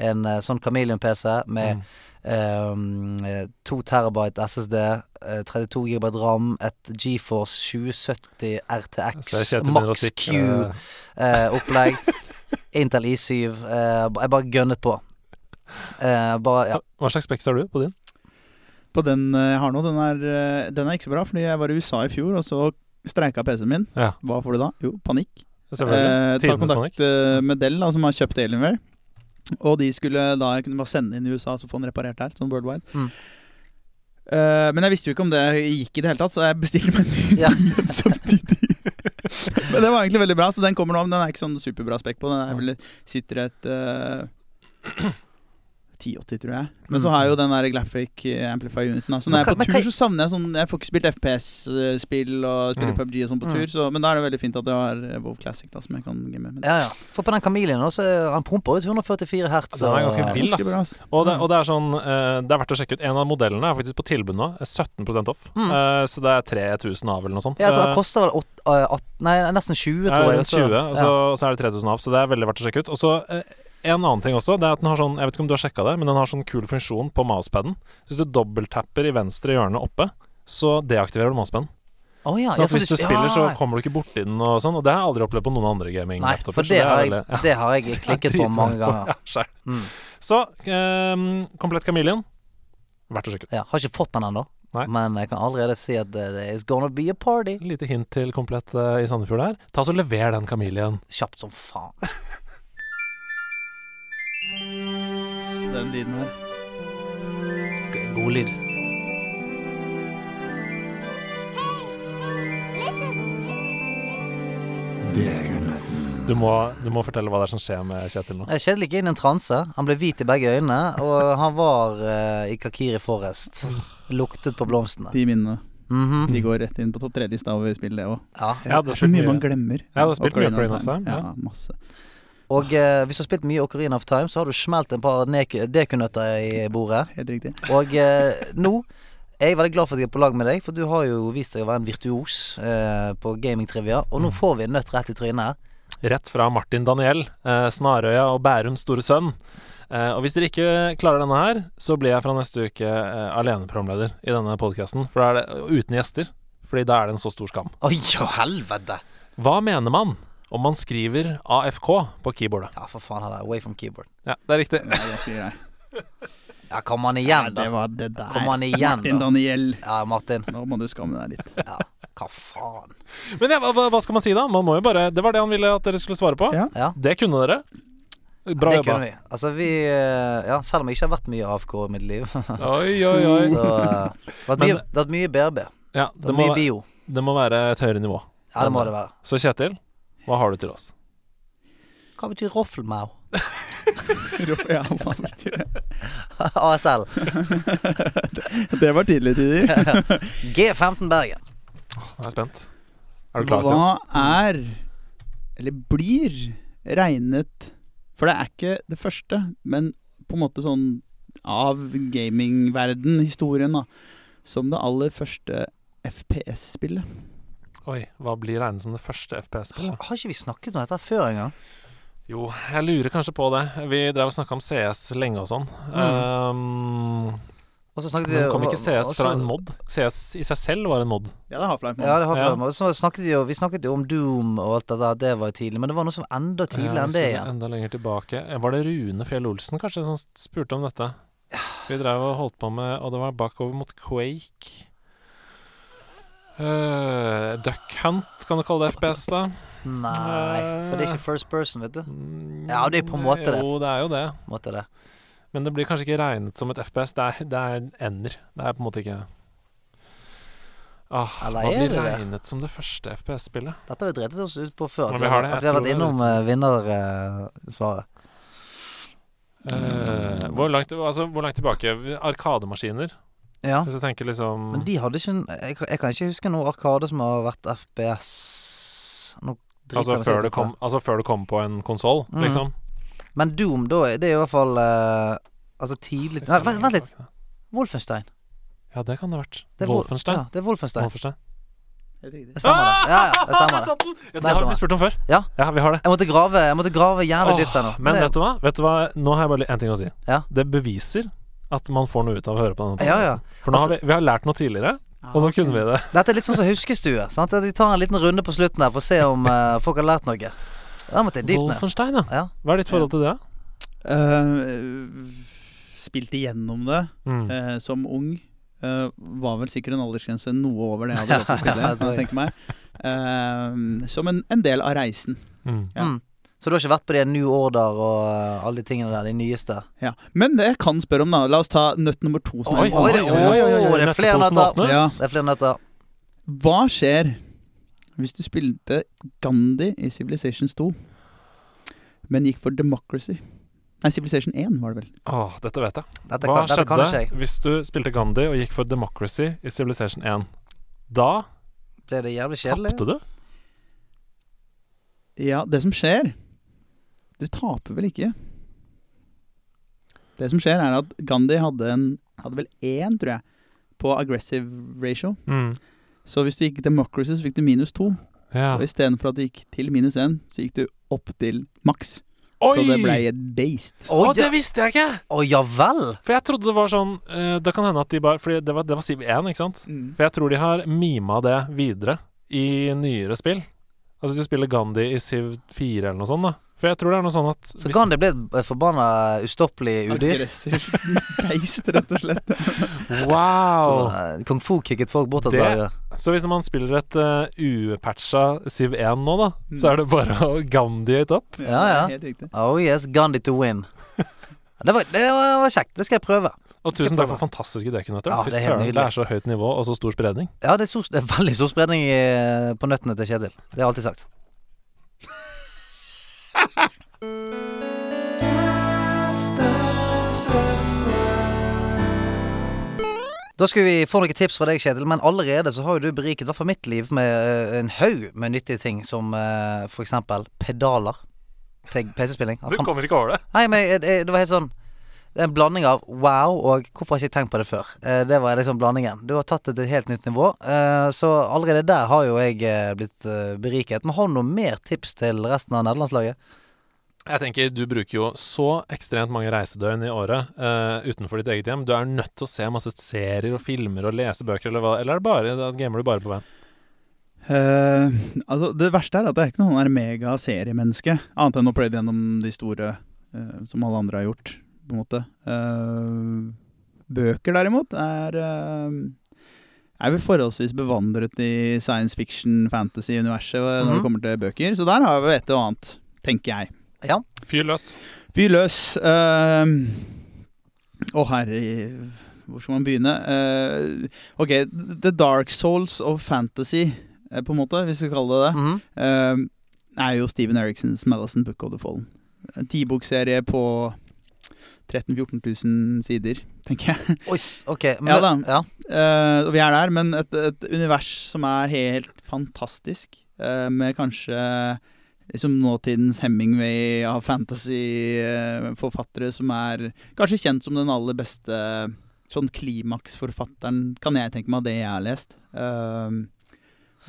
en eh, sånn Chameleon-PC med
Mm.
ehm, eh, 2 terabyte SSD, eh, 32 GB RAM, et GeForce 2070
Så jeg
RTX,
kjenner begynner å
Max
sikre-
Q-opplegg, Intel i7 eh, Jeg bare gønnet på. Eh, bare, ja.
Hva slags speks har du på din?
på den eh, jeg har nå, den er, eh, den er ikke så bra, fordi jeg var i USA i fjor, og så streika PC-en min.
Ja.
Hva får du da? Jo, panikk.
Selvfølgelig.
Eh, ta
Tidenes
kontakt eh, med Dell, da, som har kjøpt Alienware. Og de skulle da jeg kunne bare sende inn i USA, så få den reparert der, sånn worldwide.
Mm.
Eh, men jeg visste jo ikke om det gikk i det hele tatt, så jeg bestilte meg en ny <laughs>
Ja.
igjen samtidig. <laughs> men det var egentlig veldig bra, så den kommer nå. Men den er ikke sånn superbra spekk på. Den er vel, sitter et eh, 1080, tror jeg. Men så har jeg jo den der Glaphic Amplify-uniten. da. Så
Men
når jeg er
kan- men
på tur,
kan-
så savner jeg sånn Jeg får ikke spilt FPS-spill og spiller
Mm.
PubG og sånn på
Mm.
tur, så, men da er det veldig fint at jeg har eh, WoW Classic, da, som jeg kan game med. Men
Ja, ja. For på den kamelen nå, så er- han pumper ut 144 hertz.
Den er
og- eh,
ganske vill,
ganske
ass.
bra, ass.
Og
Mm.
det, og det er sånn eh, Det er verdt å sjekke ut. En av modellene er faktisk på tilbud nå. er 17 off. Eh, så det er 3000 av, eller noe sånt.
Ja, Mm. Jeg tror
Eh,
det koster vel åt- eh, atten- nei, nesten 20, tror
Ja,
jeg.
rundt
også.
altså. 20, og så,
Ja.
og så er det 3000 av, så det er veldig verdt å sjekke ut. Og så eh, en annen ting også, det er at den har sånn Jeg vet ikke om du har sjekka det, men den har sånn kul funksjon på mousepaden. Hvis du dobbelttapper i venstre hjørne oppe, så deaktiverer du mousepaden.
Å ja,
så
ja,
at hvis du spiller, så
ja.
kommer du ikke borti den og sånn. Og det har jeg aldri opplevd på noen andre
Nei,
gaming-laptoper.
for
så
det
er
har, jeg,
veldig- <laughs> ja.
det har jeg klikket på
Dritvanskelig.
mange ganger.
<laughs> Ja, skjær.
Mm.
Så eh, Komplett Kameleon, verdt å sjekke ut.
Ja, har ikke fått den ennå,
Nei.
men jeg kan allerede si at det is gonna be a party.
Lite hint til Komplett eh, i Sandefjord der. Ta så Lever den Kameleon.
Kjapt som faen.
Den lyden her.
God lyd.
Du må, du må fortelle hva det er som skjer med Kjetil nå.
Eh, Kjetil gikk inn i en transe. Han ble hvit i begge øynene, og han var eh, i Kakiri Forest. Luktet på blomstene.
De minnene.
Mhm.
De går rett inn på topp tre-lista over spill, det òg.
Ja.
Jeg hadde
det er så
spilt
mye
mye-
man glemmer.
Jeg hadde spilt mye
Ocarina
Ocarina of Time, ja.
Ja, masse.
Og eh, hvis du har spilt mye Ocarina of Time, så har du smelt en par nek- dekunøtter i bordet.
Helt riktig.
Og eh, nå er jeg veldig glad for at jeg er på lag med deg, for du har jo vist deg å være en virtuos eh, på gamingtrivia. Og nå får vi en nøtt rett i trynet her.
Rett fra Martin Daniel, eh, Snarøya og Bærums store sønn. Eh, og hvis dere ikke klarer denne her, så blir jeg fra neste uke eh, aleneprogramleder i denne podkasten. For da er det uten gjester. Fordi da er det en så stor skam.
Oi, å helvete!
Hva mener man om man skriver AFK på keyboardet?
Ja, for faen heller. Away from keyboard.
Ja, det er riktig.
Ja, det sier jeg.
Ja, kom an igjen, da.
Det var det der.
Kom
<laughs>
an igjen,
Martin
da.
Daniel.
Ja, Martin.
Nå må du skamme deg litt.
Ja, hva faen.
Men ja, hva, hva- hva skal man si, da? Man må jo bare Det var det han ville at dere skulle svare på.
<laughs> Ja.
Ja.
Det kunne dere. Bra
det
jobba.
kunne vi. Altså, vi eh, Ja, selv om jeg ikke har vært mye AFK i mitt liv, <laughs> så
Oi, oi,
eh,
oi.
det har vært mye, det har vært mye BRB.
Ja,
Det har
det,
vært
må,
mye bio.
det må være et høyere nivå.
Ja, det må det være.
Så Kjetil, hva har du til oss?
Hva betyr roffelmau? <laughs>
Ja, hva betyr det?
ASL.
det var tidlig
<laughs>
tider.
G15 Bergen.
Jeg er spent. Er du klar, Stian?
Hva er, eller blir, regnet For det er ikke det første, men på en måte sånn av gamingverden, historien, da, som det aller første FPS-spillet.
Oi, hva blir regnet som det første FPS-spillet?
Har ikke vi snakket om dette før engang?
Jo, jeg lurer kanskje på det. Vi drev og snakka om CS lenge og sånn. Um,
Og så snakket vi
men kom ikke CS
også-
fra en mod? CS i seg selv var en mod.
Ja, det er Half-Life.
Ja, det har
Ja.
flere. Og så snakket vi jo Vi snakket jo om Doom og alt det der, det var jo tidlig. Men det var noe som var enda tidligere
Ja,
enn
vi
det
skulle
igjen.
Enda lenger tilbake. Var det Rune Fjell Olsen kanskje som spurte om dette? Vi drev og holdt på med Og det var bakover mot Quake. Uh, Duck Hunt, kan du kalle det FPS, da?
Nei, for det er ikke first person, vet du.
Mm,
Ja, det er på en måte det.
Jo, det er jo det.
Måtte det.
Men det blir kanskje ikke regnet som et FPS. Det er, det er ender. Det er på en måte ikke Ah,
Eller
hva
er
blir
det det?
regnet som det første FPS-spillet?
Dette har vi drevet oss ut på før. At
Men vi
vi
har
har,
det,
at vi har
jeg tror
vært
det er
innom
litt-
eh, vinnersvaret. Mm.
Eh, hvor, langt, altså, hvor langt tilbake? Arkademaskiner.
ja.
Hvis du tenker liksom
Men de hadde ikke en- jeg, kan- jeg kan ikke huske noe Arkade som har vært FPS Nå driter
altså,
jeg meg
før
selv ut
du
i
kom,
det.
altså før du kom på en konsoll,
Mm.
liksom.
Men Doom, da er- Det er i hvert fall eh, Altså tidlig Nei, vent, vent litt. Wolfenstein.
Ja, det kan det ha vært.
Det er Wol-
Wolfenstein.
Ja, det er Wolfenstein.
Wolfenstein.
Det stemmer, det. Ja, ja, det
Der
stemmer det.
satt den! Ja,
Der
det har
stemmer.
vi spurt om før.
Ja.
vi har det.
Jeg måtte grave Jeg måtte grave jævlig
Åh,
dypt her nå.
men
det-
vet du hva? Vet du hva? Nå har jeg bare én ting å si.
Ja.
Det beviser at man får noe ut av å høre på
Ja,
denne
ja. Altså-
podcasten. For nå har vi, vi har lært noe tidligere, og nå kunne vi det.
Dette er litt sånn som huskestue. Sant? At De tar en liten runde på slutten her for å se om eh, folk har lært noe. Der måtte jeg dypt ned.
Wolfenstein, ja.
Ja.
Hva er ditt forhold til det?
Eh, spilte igjennom det
Mm.
eh, som ung. Eh, var vel sikkert en aldersgrense noe over det jeg hadde gått
Ja,
til
ja,
det, kan jeg tenke meg. Eh, som en, en del av reisen. Ja.
Mm. Så du har ikke vært på de New Order og eh, alle de tingene der, de nyeste?
Ja. Men det jeg kan spørre om, da. La oss ta nøtt nummer to. som er
Oi,
litt
oi, oi,
vanskelig.
oi, oi, oi, oi, det er flere
nøtteposen
nøtter.
åpnes.
Ja, det er flere nøtter.
Hva skjer hvis du spilte Gandhi i Civilizations 2, men gikk for Democracy? Nei, Civilization 1 var det vel.
Åh, dette vet jeg.
Dette
Hva
kan- dette kan
skjedde
ikke jeg.
hvis du spilte Gandhi og gikk for Democracy i Civilization 1? Da
Ble det jævlig kjedelig?
tapte du.
Ja, det som skjer Du taper vel ikke? Det som skjer, er at Gandhi hadde, en, hadde vel én, tror jeg, på aggressive ratio.
Mm.
Så hvis du gikk Democracy, så fikk du minus to.
Ja.
Og istedenfor at du gikk til minus én, så gikk du opp til maks. Så
Oi!
det ble et beist.
Å,
Å, det
ja-
visste jeg ikke!
å, ja vel!
For jeg trodde det var sånn eh, Det kan hende at de bare Fordi det var, det var Civ 1, ikke sant?
Mm.
For jeg tror de har mima det videre i nyere spill. Altså hvis du spiller Gandhi i Civ 4 eller noe sånt, da. For jeg tror det er noe sånn at
Så
hvis-
kan det bli et eh, forbanna ustoppelig udyr.
Aggressiv <laughs> beist, rett og slett.
Som,
Wow!
eh, Kung fu kicket folk bort et
Det-
par
Så hvis man spiller et eh, upatcha Civ 1 nå, da,
Mm.
så er det bare å Gandhi høyt opp.
Ja, ja.
<laughs> Helt riktig.
Oh yes, Gandhi to <laughs> win. Det var, det var det var kjekt. Det skal jeg prøve.
Og tusen takk for fantastiske dekknøtter.
Ja,
Fy
det er helt
søren, det
nydelig.
er så høyt nivå og så stor spredning.
Ja, det er, stor, det er veldig stor spredning i, eh, på nøttene til Kjetil. Det har jeg alltid sagt. Da skal vi få noen tips fra deg, Kjetil, men allerede så har jo du beriket i hvert fall mitt liv med eh, en haug med nyttige ting, som eh, for eksempel pedaler til PC-spilling. Ja, faen-
kommer ikke over det.
Nei, men jeg- jeg- det var helt sånn det er En blanding av wow og hvorfor har jeg ikke tenkt på det før. Eh, Det var liksom blandingen. Du har tatt det til et helt nytt nivå. eh, Så allerede der har jo jeg eh, blitt eh, beriket. Men har du noe mer tips til resten av nederlandslaget?
Jeg tenker Du bruker jo så ekstremt mange reisedøgn i året eh, utenfor ditt eget hjem. Du er nødt til å se masse serier og filmer og lese bøker, eller hva? Eller er det bare, da gamer du bare på veien?
Eh, altså, det verste er at jeg er ikke noen sånn der mega seriemenneske, annet enn å pløye det gjennom de store eh, som alle andre har gjort, på en måte. Eh, bøker, derimot, er eh, er vel forholdsvis bevandret i science fiction, fantasy-universet eh, når
Mhm.
det kommer til bøker, så der har vi et og annet, tenker jeg.
Fyr løs.
Fyr løs. eh, Å, herre Hvor skal man begynne? Eh, ok, The Dark Souls of Fantasy, eh, på en måte, hvis vi skal kalle det det
Mhm.
eh, er jo Steven Eriksens Madison Book of the Fallen. En tibokserie på 13 000-14 000 sider, tenker jeg.
Oi, s- ok. Men,
Ja da.
Ja.
Eh, og vi er der, men et, et univers som er helt fantastisk, eh, med kanskje liksom nåtidens Hemingway av fantasy-forfattere, som er kanskje kjent som den aller beste sånn klimaksforfatteren, kan jeg tenke meg, av det jeg har lest. Eh,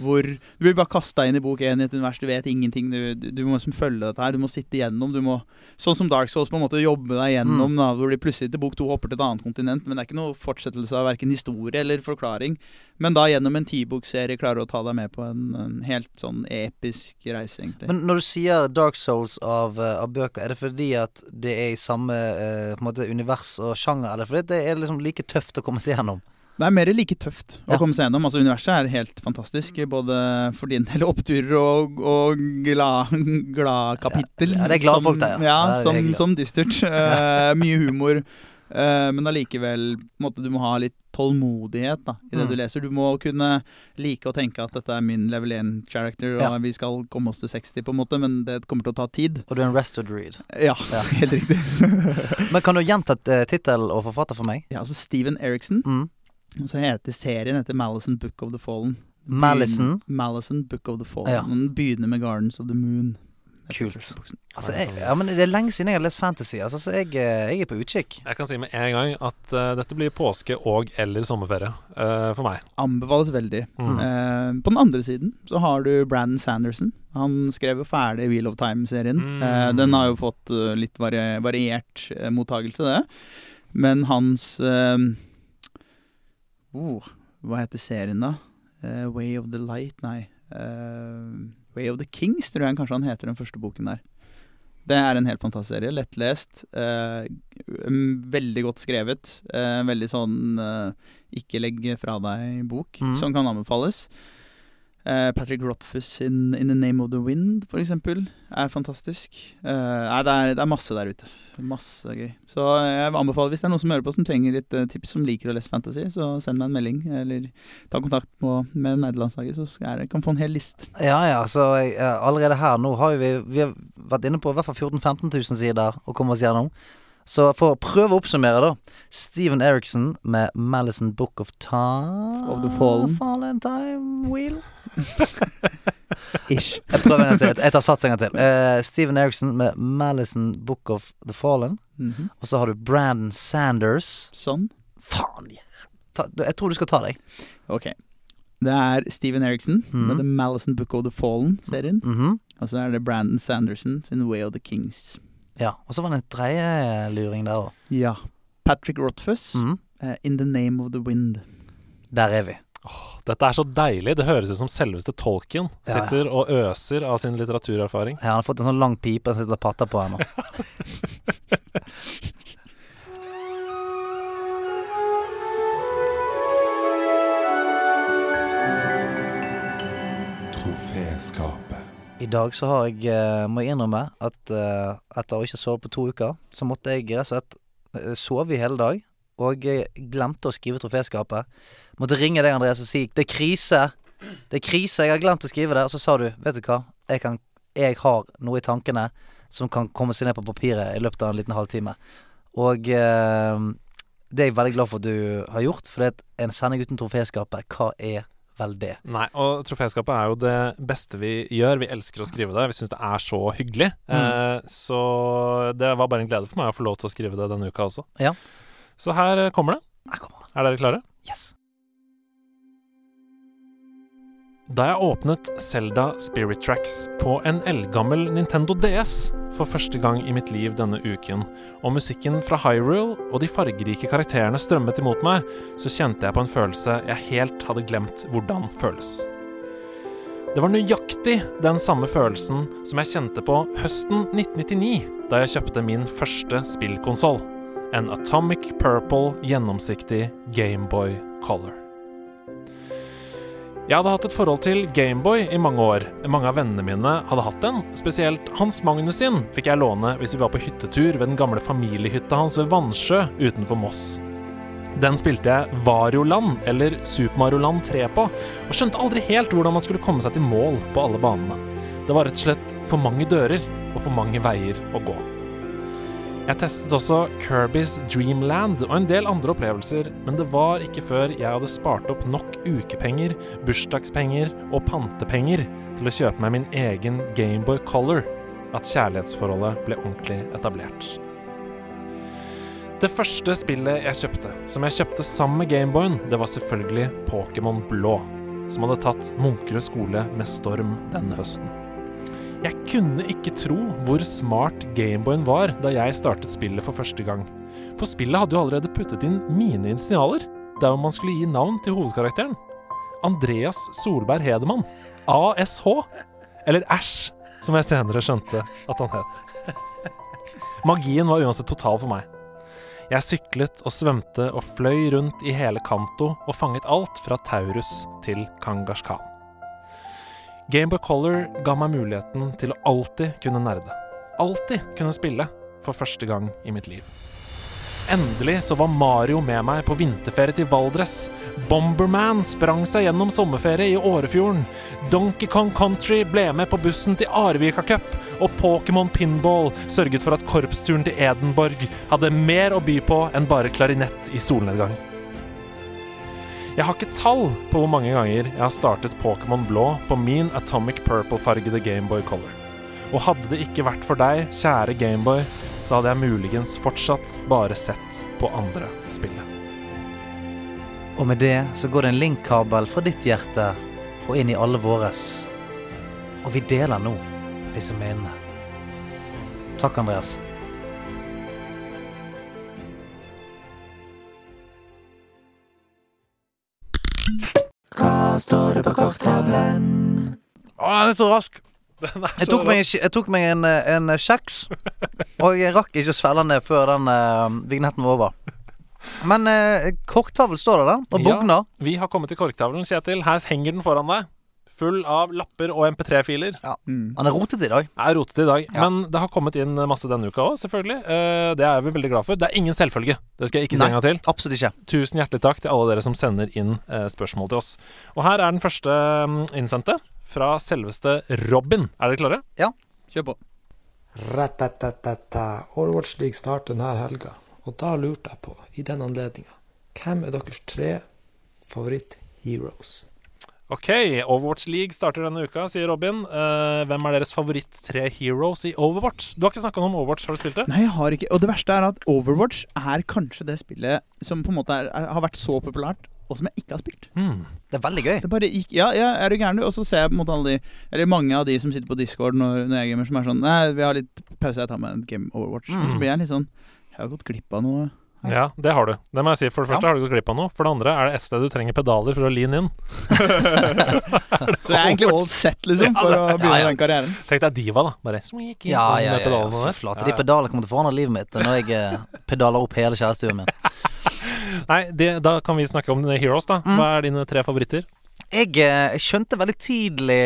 hvor du blir bare kasta inn i bok én i et univers, du vet ingenting. Du, du, du må liksom følge dette her, du må sitte igjennom. Du må, sånn som Dark Souls, på en måte jobbe deg igjennom, da, hvor de plutselig til bok to hopper til et annet kontinent. Men det er ikke noe fortsettelse av verken historie eller forklaring. Men da gjennom en tibokserie klarer du å ta deg med på en, en helt sånn episk reise, egentlig.
men når du sier Dark Souls av, eh, av bøker, er det fordi at det er i samme eh, på en måte univers og sjanger, eller fordi det er liksom like tøft å komme seg gjennom?
Det er mer like tøft å
Ja. Mm.
komme seg gjennom. Altså Universet er helt fantastisk, både for din del oppturer og, og glad glad kapittel.
Ja, det er glade
som-
folk der, ja.
ja.
Det er
som,
hyggelig.
som dystert.
<laughs>
Eh, mye humor. Eh, men allikevel på en måte, du må ha litt tålmodighet da, i det
Mm.
du leser. Du må kunne like å tenke at dette er min level 1-character, og
Ja.
vi skal komme oss til 60, på en måte, men det kommer til å ta tid.
Og du er en rested read.
Ja,
Ja.
<laughs> helt riktig. <laughs>
Men kan du gjenta eh, tittel og forfatter for meg?
ja, altså Steven Eriksen.
Mm.
Og så heter serien heter Malison Book of the Fallen. Begyn-
Malison?
Malison Book of the Fallen.
Ja.
Den begynner med Gardens of the Moon.
Kult. Altså, jeg, ja, men det er lenge siden jeg har lest fantasy, altså, så jeg, eh, jeg er på utkikk.
Jeg kan si med en gang at eh, dette blir påske og- eller sommerferie eh, for meg.
Anbefales veldig.
Mm.
Eh, på den andre siden så har du Brandon Sanderson. Han skrev jo ferdig Wheel of Time-serien.
Mm.
Eh, den har jo fått eh, litt varie variert eh, mottagelse, det. Men hans eh, oh, Hva heter serien, da? Eh, Way of the Light? Nei. eh, Way of the Kings, tror jeg kanskje han heter den første boken der. Det er en helt fantastisk serie. Lettlest. eh, m- veldig godt skrevet. eh, veldig sånn eh, ikke legg fra deg-bok,
Mm.
som kan anbefales. Eh, Patrick Rothfuss sin 'In the Name of the Wind', for eksempel, er fantastisk. Eh, nei, det er, det er masse der ute. Masse gøy. Så jeg anbefaler, hvis det er noen som hører på som trenger litt eh, tips, som liker å lese fantasy, så send meg en melding, eller ta kontakt med, med nerdelandslaget, så skal jeg, kan få en hel liste.
Ja, ja, så jeg, eh, allerede her nå har jo vi, vi har vært inne på i hvert fall 14 000-15 000 sider å komme oss gjennom. Så for å prøve å oppsummere, da. Steven Eriksen med 'Malison Book of Time'.
Of the Fallen.
Fallen Time Wheel.
<laughs> Ish.
Jeg prøver en gang til. Jeg- Jeg tar sats en gang til. Eh, Steven Eriksen med 'Malison Book of the Fallen'.
Mhm.
Og så har du Brandon Sanders.
Sånn.
Faen! ja. Ta, jeg tror du skal ta deg.
Ok. Det er Steven Eriksen
Mhm.
med The Malison Book of the Fallen-serien.
Mhm.
Og så er det Brandon Sanderson sin Way of the Kings.
Ja. Og så var det en tredjeluring der òg.
Ja. Patrick Rothfuss,
Mhm.
eh, In the Name of the Wind.
Der er vi.
Dette er så deilig. Det høres ut som selveste Tolkien
Ja, ja.
sitter og øser av sin litteraturerfaring.
Ja, han har fått en sånn lang pipe og sitter og patter på henne.
Troféskapet.
I dag så har jeg, eh, må jeg innrømme, at eh, etter å ikke sove på to uker, så måtte jeg rett og slett eh, sove i hele dag. Og jeg glemte å skrive troféskapet. Måtte ringe deg, Andreas, og si 'det er krise'. Det er krise, jeg har glemt å skrive det. Og så sa du, vet du hva, jeg, kan, jeg har noe i tankene som kan komme seg ned på papiret i løpet av en liten halvtime. Og eh, det er jeg veldig glad for at du har gjort, for det er en sending uten troféskapet. Hva er vel det?
Nei, og troféskapet er jo det beste vi gjør. Vi elsker å skrive det. Vi syns det er så hyggelig.
Mm.
Eh, så det var bare en glede for meg å få lov til å skrive det denne uka også.
Ja.
Så her eh, kommer det.
Her kommer det.
Er dere klare?
Yes.
Da jeg åpnet Selda Spirit Tracks på en eldgammel Nintendo DS for første gang i mitt liv denne uken, og musikken fra Hyrule og de fargerike karakterene strømmet imot meg, så kjente jeg på en følelse jeg helt hadde glemt hvordan føles. Det var nøyaktig den samme følelsen som jeg kjente på høsten 1999, da jeg kjøpte min første spillkonsoll. En Atomic Purple gjennomsiktig Gameboy Color. Jeg hadde hatt et forhold til Gameboy i mange år. Mange av vennene mine hadde hatt den. Spesielt Hans Magnus sin fikk jeg låne hvis vi var på hyttetur ved den gamle familiehytta hans ved Vannsjø utenfor Moss. Den spilte jeg Varioland, eller Super Mario Land 3 på, og skjønte aldri helt hvordan man skulle komme seg til mål på alle banene. Det var rett og slett for mange dører og for mange veier å gå. Jeg testet også Kirbys Dreamland og en del andre opplevelser, men det var ikke før jeg hadde spart opp nok ukepenger, bursdagspenger og pantepenger til å kjøpe meg min egen Gameboy Color at kjærlighetsforholdet ble ordentlig etablert. Det første spillet jeg kjøpte, som jeg kjøpte sammen med Gameboyen, det var selvfølgelig Pokémon Blå, som hadde tatt Munkerud skole med storm denne høsten. Jeg kunne ikke tro hvor smart Gameboyen var da jeg startet spillet for første gang. For spillet hadde jo allerede puttet inn mine initialer, der man skulle gi navn til hovedkarakteren. Andreas Solberg Hedemann, ASH, eller Æsj, som jeg senere skjønte at han het. Magien var uansett total for meg. Jeg syklet og svømte og fløy rundt i hele Kanto og fanget alt fra Taurus til Kangaskhan. Gameboy Color ga meg muligheten til å alltid kunne nerde. Alltid kunne spille, for første gang i mitt liv. Endelig så var Mario med meg på vinterferie til Valdres. Bomberman sprang seg gjennom sommerferie i Årefjorden. Donkey Kong Country ble med på bussen til Arvika Cup. Og Pokémon Pinball sørget for at korpsturen til Edenborg hadde mer å by på enn bare klarinett i solnedgang. Jeg har ikke tall på hvor mange ganger jeg har startet Pokémon Blå på min Atomic Purple-fargede Gameboy Color. Og hadde det ikke vært for deg, kjære Gameboy, så hadde jeg muligens fortsatt bare sett på andre spillet.
Og med det så går det en linkkabel fra ditt hjerte og inn i alle våres. Og vi deler nå disse minnene. Takk, Andreas. Hva står det på korktavlen? Å, <laughs> den er så rask! Jeg tok meg, en kje- jeg tok meg en, eh, en eh, kjeks, og jeg rakk ikke å svelge den ned før den eh, vignetten var over. Men eh, korktavl står det der, og bogner.
Ja, vi har kommet til korktavlen, Kjetil. Her henger den foran deg. Full av lapper og MP3-filer.
Han er rotete i dag.
er rotete i dag. Men det har kommet inn masse denne uka òg, selvfølgelig. Eh, Det er vi veldig glad for. Det er ingen selvfølge. Det skal jeg ikke si
Nei,
en gang til.
Absolutt ikke.
Tusen hjertelig takk til alle dere som sender inn eh, spørsmål til oss. Og her er den første mm, innsendte, fra selveste Robin. Er dere klare?
Kjør på.
Ratatatata. Overwatch League starter denne helga, og da lurte jeg på, i den anledninga, hvem er deres tre favoritt-heroes?
OK, Overwatch League starter denne uka, sier Robin. Eh, hvem er deres favoritt-tre heroes i Overwatch? Du har ikke snakka om Overwatch, har du spilt det?
Nei, jeg har ikke Og det verste er at Overwatch er kanskje det spillet som på en måte er, er, har vært så populært, og som jeg ikke har spilt.
Det er veldig gøy.
Det bare gikk Ja, ja er du gæren, du? Og så ser jeg på en måte alle de Eller mange av de som sitter på Discord når, når jeg gamer, som er sånn Nei, vi har litt pause, jeg tar meg en game Overwatch.
Mm.
Og så blir jeg litt sånn Jeg har gått glipp av noe.
Ja, det har du. Det må jeg si. For det første har du gått glipp av noe. For det andre er det et sted du trenger pedaler for å lean inn. så er det
Så jeg er egentlig all
Overwatch.
set, liksom, for å begynne
ja.
den karrieren.
Tenk deg diva, da. Bare sweek inn
Ja,
på den
ja,
med
ja.
pedalene
ja,
der.
Fy flate.
Ja,
De
ja.
pedalene kommer til å forandre livet mitt når jeg eh, pedaler opp hele kjærestuen min.
Nei, det, da kan vi snakke om dine heroes, da.
Mm.
Hva er dine tre favoritter?
Jeg eh, skjønte veldig tidlig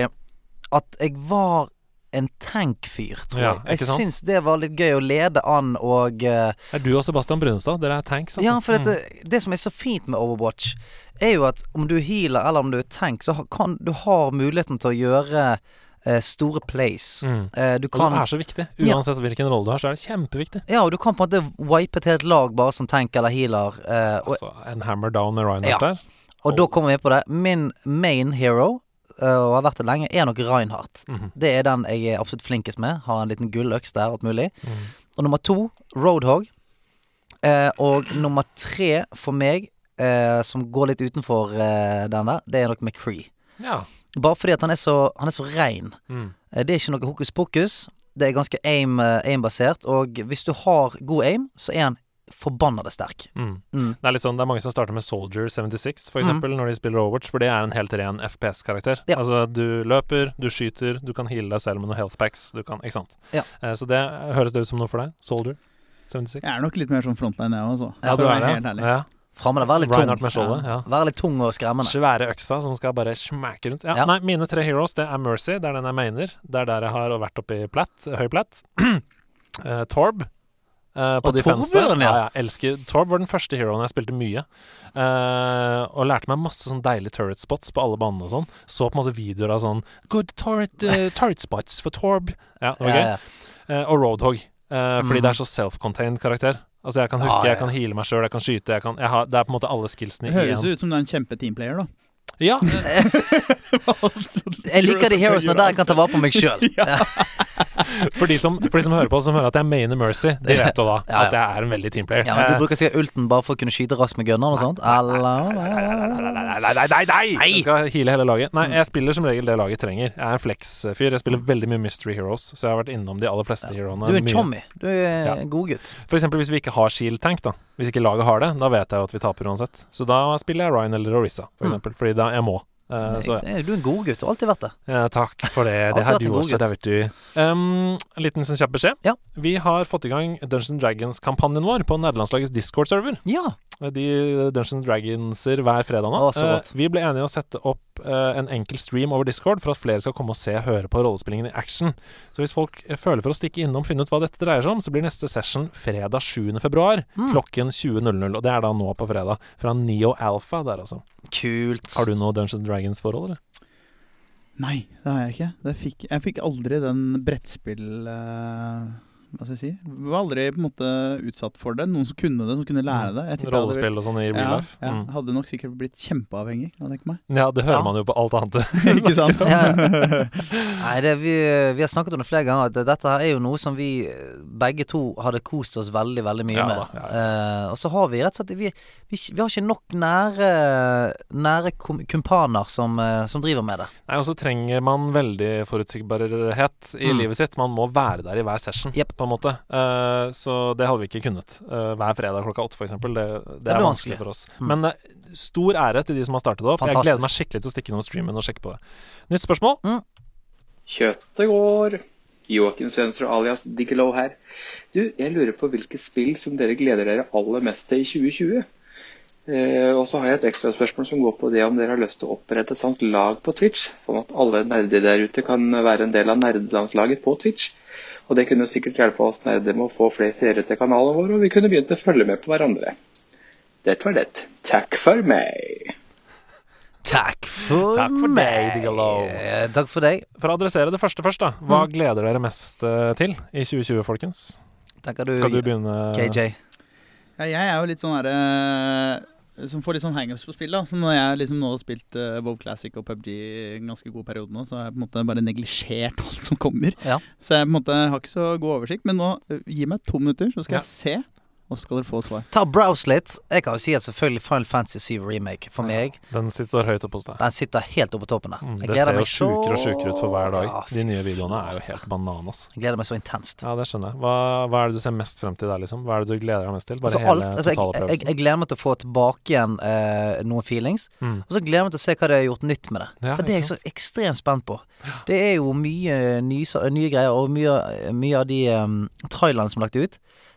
at jeg var en tank-fyr, tror
Ja,
jeg. Jeg
ikke sant?
syns det var litt gøy å lede an og eh,
Er du og Sebastian Brunestad? Dere er tanks, altså.
Ja, for eh, dette, det som er så fint med Overwatch, er jo at om du er healer eller om du er tank, så ha- kan du har muligheten til å gjøre eh, store plays.
Mm.
Eh, du
Og
kan
det er så viktig.
Ja.
Uansett hvilken rolle du har, så er det kjempeviktig.
Ja, og du kan på en måte wipe et helt lag bare som tank eller healer. Eh, og,
Altså, en hammer down med Reinhardt
Ja.
der.
og da kommer vi på det. Min main hero, eh, og har vært det lenge, er nok Reinhardt.
Mhm.
Det er den jeg er absolutt flinkest med. Har en liten gulløks der, alt mulig.
Mhm.
Og nummer to, Roadhog. Eh, og nummer tre for meg, eh, som går litt utenfor eh, den der, det er nok McCree.
Ja.
Bare fordi at han er så, han er så rein.
Mm.
Eh, Det er ikke noe hokus pokus. Det er ganske aim, eh, aim-basert, og hvis du har god aim, så er han forbannede sterk.
Mm.
Mm.
Det er litt sånn, det er mange som starter med Soldier 76,
Mm.
for eksempel, når de spiller Overwatch, for det er en helt ren FPS-karakter.
Ja.
Altså, du løper, du skyter, du kan heale deg selv med noen health packs, du kan, ikke sant.
Ja.
Eh, så det høres det ut som noe for deg? Soldier 76?
Jeg er nok litt mer sånn frontline, jeg òg, altså.
Ja,
For
du
å
er
være
det.
helt ærlig.
Ja.
Framme der, være litt tung.
Reinhardt med skjoldet, ja.
Være litt tung og skremmende.
Svære øksa som skal bare smæke rundt. Ja,
Ja.
Nei, mine tre heroes, det er Mercy, det er den jeg mener. Det er der jeg har vært oppe i platt, høy platt. <clears throat> Eh, Torb. eh, på
Og
defense
Torbjørn,
der.
ja.
ja. Jeg elsker Torb var den første heroen jeg spilte mye. Eh, og lærte meg masse sånn deilige turret spots på alle banene og sånn. Så på masse videoer av sånn Good turret,
<laughs>
eh, turret spots for Torb. Ja, det var gøy.
Ja, ja.
Eh, og Roadhog. eh, fordi
Mhm.
det er så self-contained karakter. Altså Jeg kan
Ja, ja,
hooke, jeg kan heale meg sjøl, jeg kan skyte. Jeg kan, jeg har, det er på en måte alle skillsene
Det
i
høres
én.
jo ut som du er en kjempe-teamplayer, da.
Ja, eh,
Jeg liker de heroesene der jeg kan ta vare på meg sjøl.
<laughs> For de som, for de som hører på, som hører at jeg mainer Mercy, de vet jo da
Ja, ja.
at jeg er en veldig teamplayer.
Ja, men du
Eh,
bruker sikkert ulten bare for å kunne skyte raskt med gunneren og sånt? Eller
Eh, Nei, nei, nei, nei, nei! Jeg skal heale hele laget.
Mm.
Nei, jeg spiller som regel det laget trenger. Jeg er en flex-fyr. Jeg spiller veldig mye Mystery Heroes, så jeg har vært innom de aller fleste heroene.
Du er en
mye.
chommy. Du er
Ja.
en godgutt.
For eksempel hvis vi ikke har shield tank, da. Hvis ikke laget har det, da vet jeg jo at vi taper uansett. Så da spiller jeg Ryan eller Orisa, for
Mm.
eksempel. Fordi da jeg må. Eh, så ja.
Du er en godgutt. Du har alltid vært det.
Ja, takk
<laughs>
for det.
Alltid
Det har
hatt
du
en god
også, det vet du. Um, en liten sånn kjapp beskjed.
Ja.
Vi har fått i gang Dungeons and Dragons-kampanjen vår på nederlandslagets Discord-server.
Ja.
De eh, Dungeons and Dragonser hver fredag nå.
Å, så godt.
Eh, vi ble enige å sette opp eh, en enkel stream over Discord for at flere skal komme og se og høre på rollespillingen i action. Så hvis folk eh, føler for å stikke innom og finne ut hva dette dreier seg om, så blir neste session fredag 7. februar
Mm.
klokken 20.00. Og det er da nå på fredag. Fra Neo Alpha der, altså.
Kult.
Har du noe Dungeons and Dragons-forhold, eller?
Nei, det har jeg ikke. Det fikk, jeg fikk aldri den brettspill... eh, hva skal jeg si? Var aldri på en måte utsatt for det. Noen som kunne det, som kunne lære det. Jeg tipper jeg
Mm.
hadde-
Rollespill og sånn i real
ja,
life?
Ja,
Mm.
Hadde nok sikkert blitt kjempeavhengig, kan jeg tenke meg.
Ja, det
Ja.
hører man jo på alt annet.
Ikke sant?
Ja. Nei, det, vi, vi har snakket om det flere ganger. At dette her er jo noe som vi eh, begge to hadde kost oss veldig veldig mye
Ja
med.
da, ja,
Eh, og så har vi rett og slett Vi, vi, vi har ikke nok nære, nære kom- kumpaner som, eh, som driver med det.
Nei, Og så trenger man veldig forutsigbarhet i
Mm.
livet sitt. Man må være der i hver session,
Jepp.
på en måte. Eh, så det hadde vi ikke kunnet. Eh, hver fredag klokka åtte, f.eks. Det, det,
blir
det
vanskelig.
er vanskelig for oss.
Mm.
Men eh, stor ære til de som har startet det opp. Jeg
Fantastisk.
gleder meg skikkelig til å stikke innom streamen og sjekke på det. Nytt spørsmål.
Kjøttet går. Joakim Svensrud alias Diggelow her. Du, jeg lurer på hvilke spill som dere gleder dere aller mest til i 2020? Eh, og så har jeg et ekstraspørsmål som går på det om dere har lyst til å opprette et sånt lag på Twitch, sånn at alle nerder der ute kan være en del av nerdelandslaget på Twitch. Og det kunne jo sikkert hjelpe oss nerder med å få flere seere til kanalen vår, og vi kunne begynt å følge med på hverandre. Dette var det. Takk for meg.
Takk for, eh,
Takk for deg, Digalow.
Takk for deg.
For å adressere det første først, da. Hva
Mm.
gleder dere mest eh, til i 2020, folkens?
Tenker du-
Skal du begynne,
KJ?
<laughs> Ja, jeg er jo litt sånn herre Som får litt sånn hangups på spill. da Så når jeg liksom nå har spilt uh, WoW Classic og PubG en ganske god periode nå, så har jeg på en måte bare neglisjert <laughs> alt som kommer. Så jeg på en måte har ikke så god oversikt. Men nå, eh, gi meg to minutter, så skal
Ja.
jeg se, og så skal dere få et svar.
Ta og Browse litt. Jeg kan jo si at selvfølgelig Final Fantasy 7 Remake for meg
Den sitter høyt oppe hos deg.
Den sitter helt oppe på toppen der. Jeg
Mm, Det ser
gleder
jo
meg så
sjukere og sjukere ut for hver dag.
Ja,
De nye videoene er jo helt bananas.
Jeg gleder meg så intenst.
Ja, det skjønner jeg. Hva, hva er det du ser mest frem til der, liksom? Hva er det du gleder deg mest til? Bare
Altså,
hele
alt, altså, jeg, jeg,
totalopplevelsen?
jeg gleder meg til å få tilbake igjen eh, noen feelings.
Mm.
Og så gleder jeg meg til å se hva de har gjort nytt med det.
Ja,
For det er jeg
ikke
så ekstremt spent på. Det er jo mye nye, sa- nye greier, og mye, mye av de um, trailerne som er lagt ut.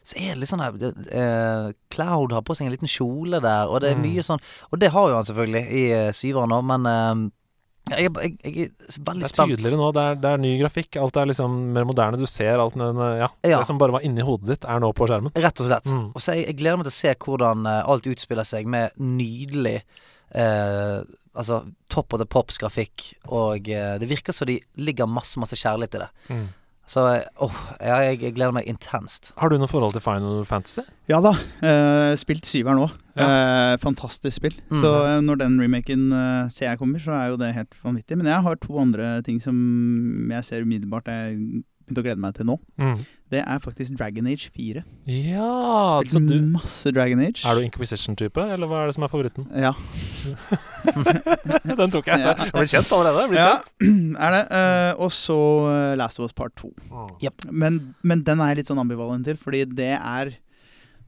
Så er det litt sånn her det- eh, Cloud har på seg en liten kjole der, og det er
Mm.
mye sånn Og det har jo han selvfølgelig i eh, syveren òg, men eh, jeg, jeg, jeg er veldig
Det er
spent.
tydeligere nå. Det er, det er ny grafikk. Alt er liksom mer moderne. Du ser alt den Ja.
Ja.
Det som bare var inni hodet ditt, er nå på skjermen.
Rett og slett.
Mm.
Og så jeg, jeg gleder meg til å se hvordan eh, alt utspiller seg med nydelig eh, Altså top of the pops-grafikk, og eh, det virker som de ligger masse, masse kjærlighet i det.
Mm.
Så eh, åh, ja, jeg, jeg gleder meg intenst.
Har du noe forhold til Final Fantasy?
Ja da. eh, spilt syveren nå. Eh, fantastisk spill.
Mm.
Så eh, når den remaken eh, ser jeg kommer, så er jo det helt vanvittig. Men jeg har to andre ting som jeg ser umiddelbart jeg begynte å glede meg til nå.
Mm.
Det er faktisk Dragon Age 4.
Ja så du,
Masse Dragon Age.
Er du Inquisition-type, eller hva er det som er favoritten? <laughs>
Ja.
Den tok jeg. altså. Jeg ble kjent allerede. Jeg ble
Ja, <clears throat>
kjent.
er det. Eh, og så eh, Last of Us Part 2. Men, men den er jeg litt sånn ambivalent til, fordi det er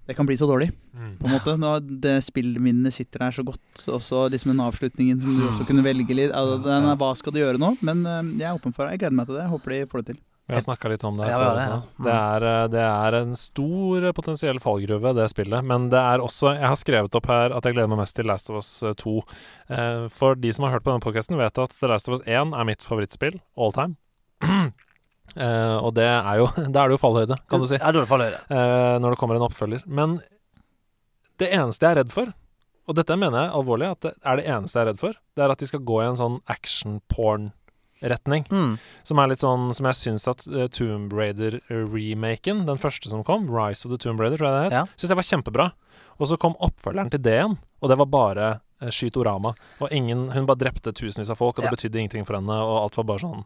Det kan bli så dårlig,
Mm.
på en måte. Når det spillminnene sitter der så godt, og så liksom den avslutningen som du også kunne velge litt altså, den er, Hva skal du gjøre nå? Men eh, jeg er åpen for det. Jeg gleder meg til det. Jeg håper de får det til.
Vi har snakka litt om det.
Ja,
her
vi har
før
det,
også. det, er, eh, det er en stor eh, potensiell fallgruve, det spillet. Men det er også Jeg har skrevet opp her at jeg gleder meg mest til Last of Us eh, 2. Eh, For de som har hørt på denne podkasten, vet at The Last of Us 1 er mitt favorittspill all time. <clears throat> Eh, og det er jo <laughs> Da er det jo fallhøyde, kan du si.
Ja, da er det fallhøyde.
Eh, når det kommer en oppfølger. Men det eneste jeg er redd for, og dette mener jeg alvorlig, at det er det eneste jeg er redd for, det er at de skal gå i en sånn action-porn-retning.
Mm.
Som er litt sånn som jeg syns at eh, Tomb Raider-remaken, den første som kom, Rise of the Tomb Raider, tror jeg det het, syns jeg var kjempebra. Og så kom oppfølgeren til det igjen, og det var bare eh, skytorama. Og ingen Hun bare drepte tusenvis av folk, og det betydde ingenting for henne, og alt var bare sånn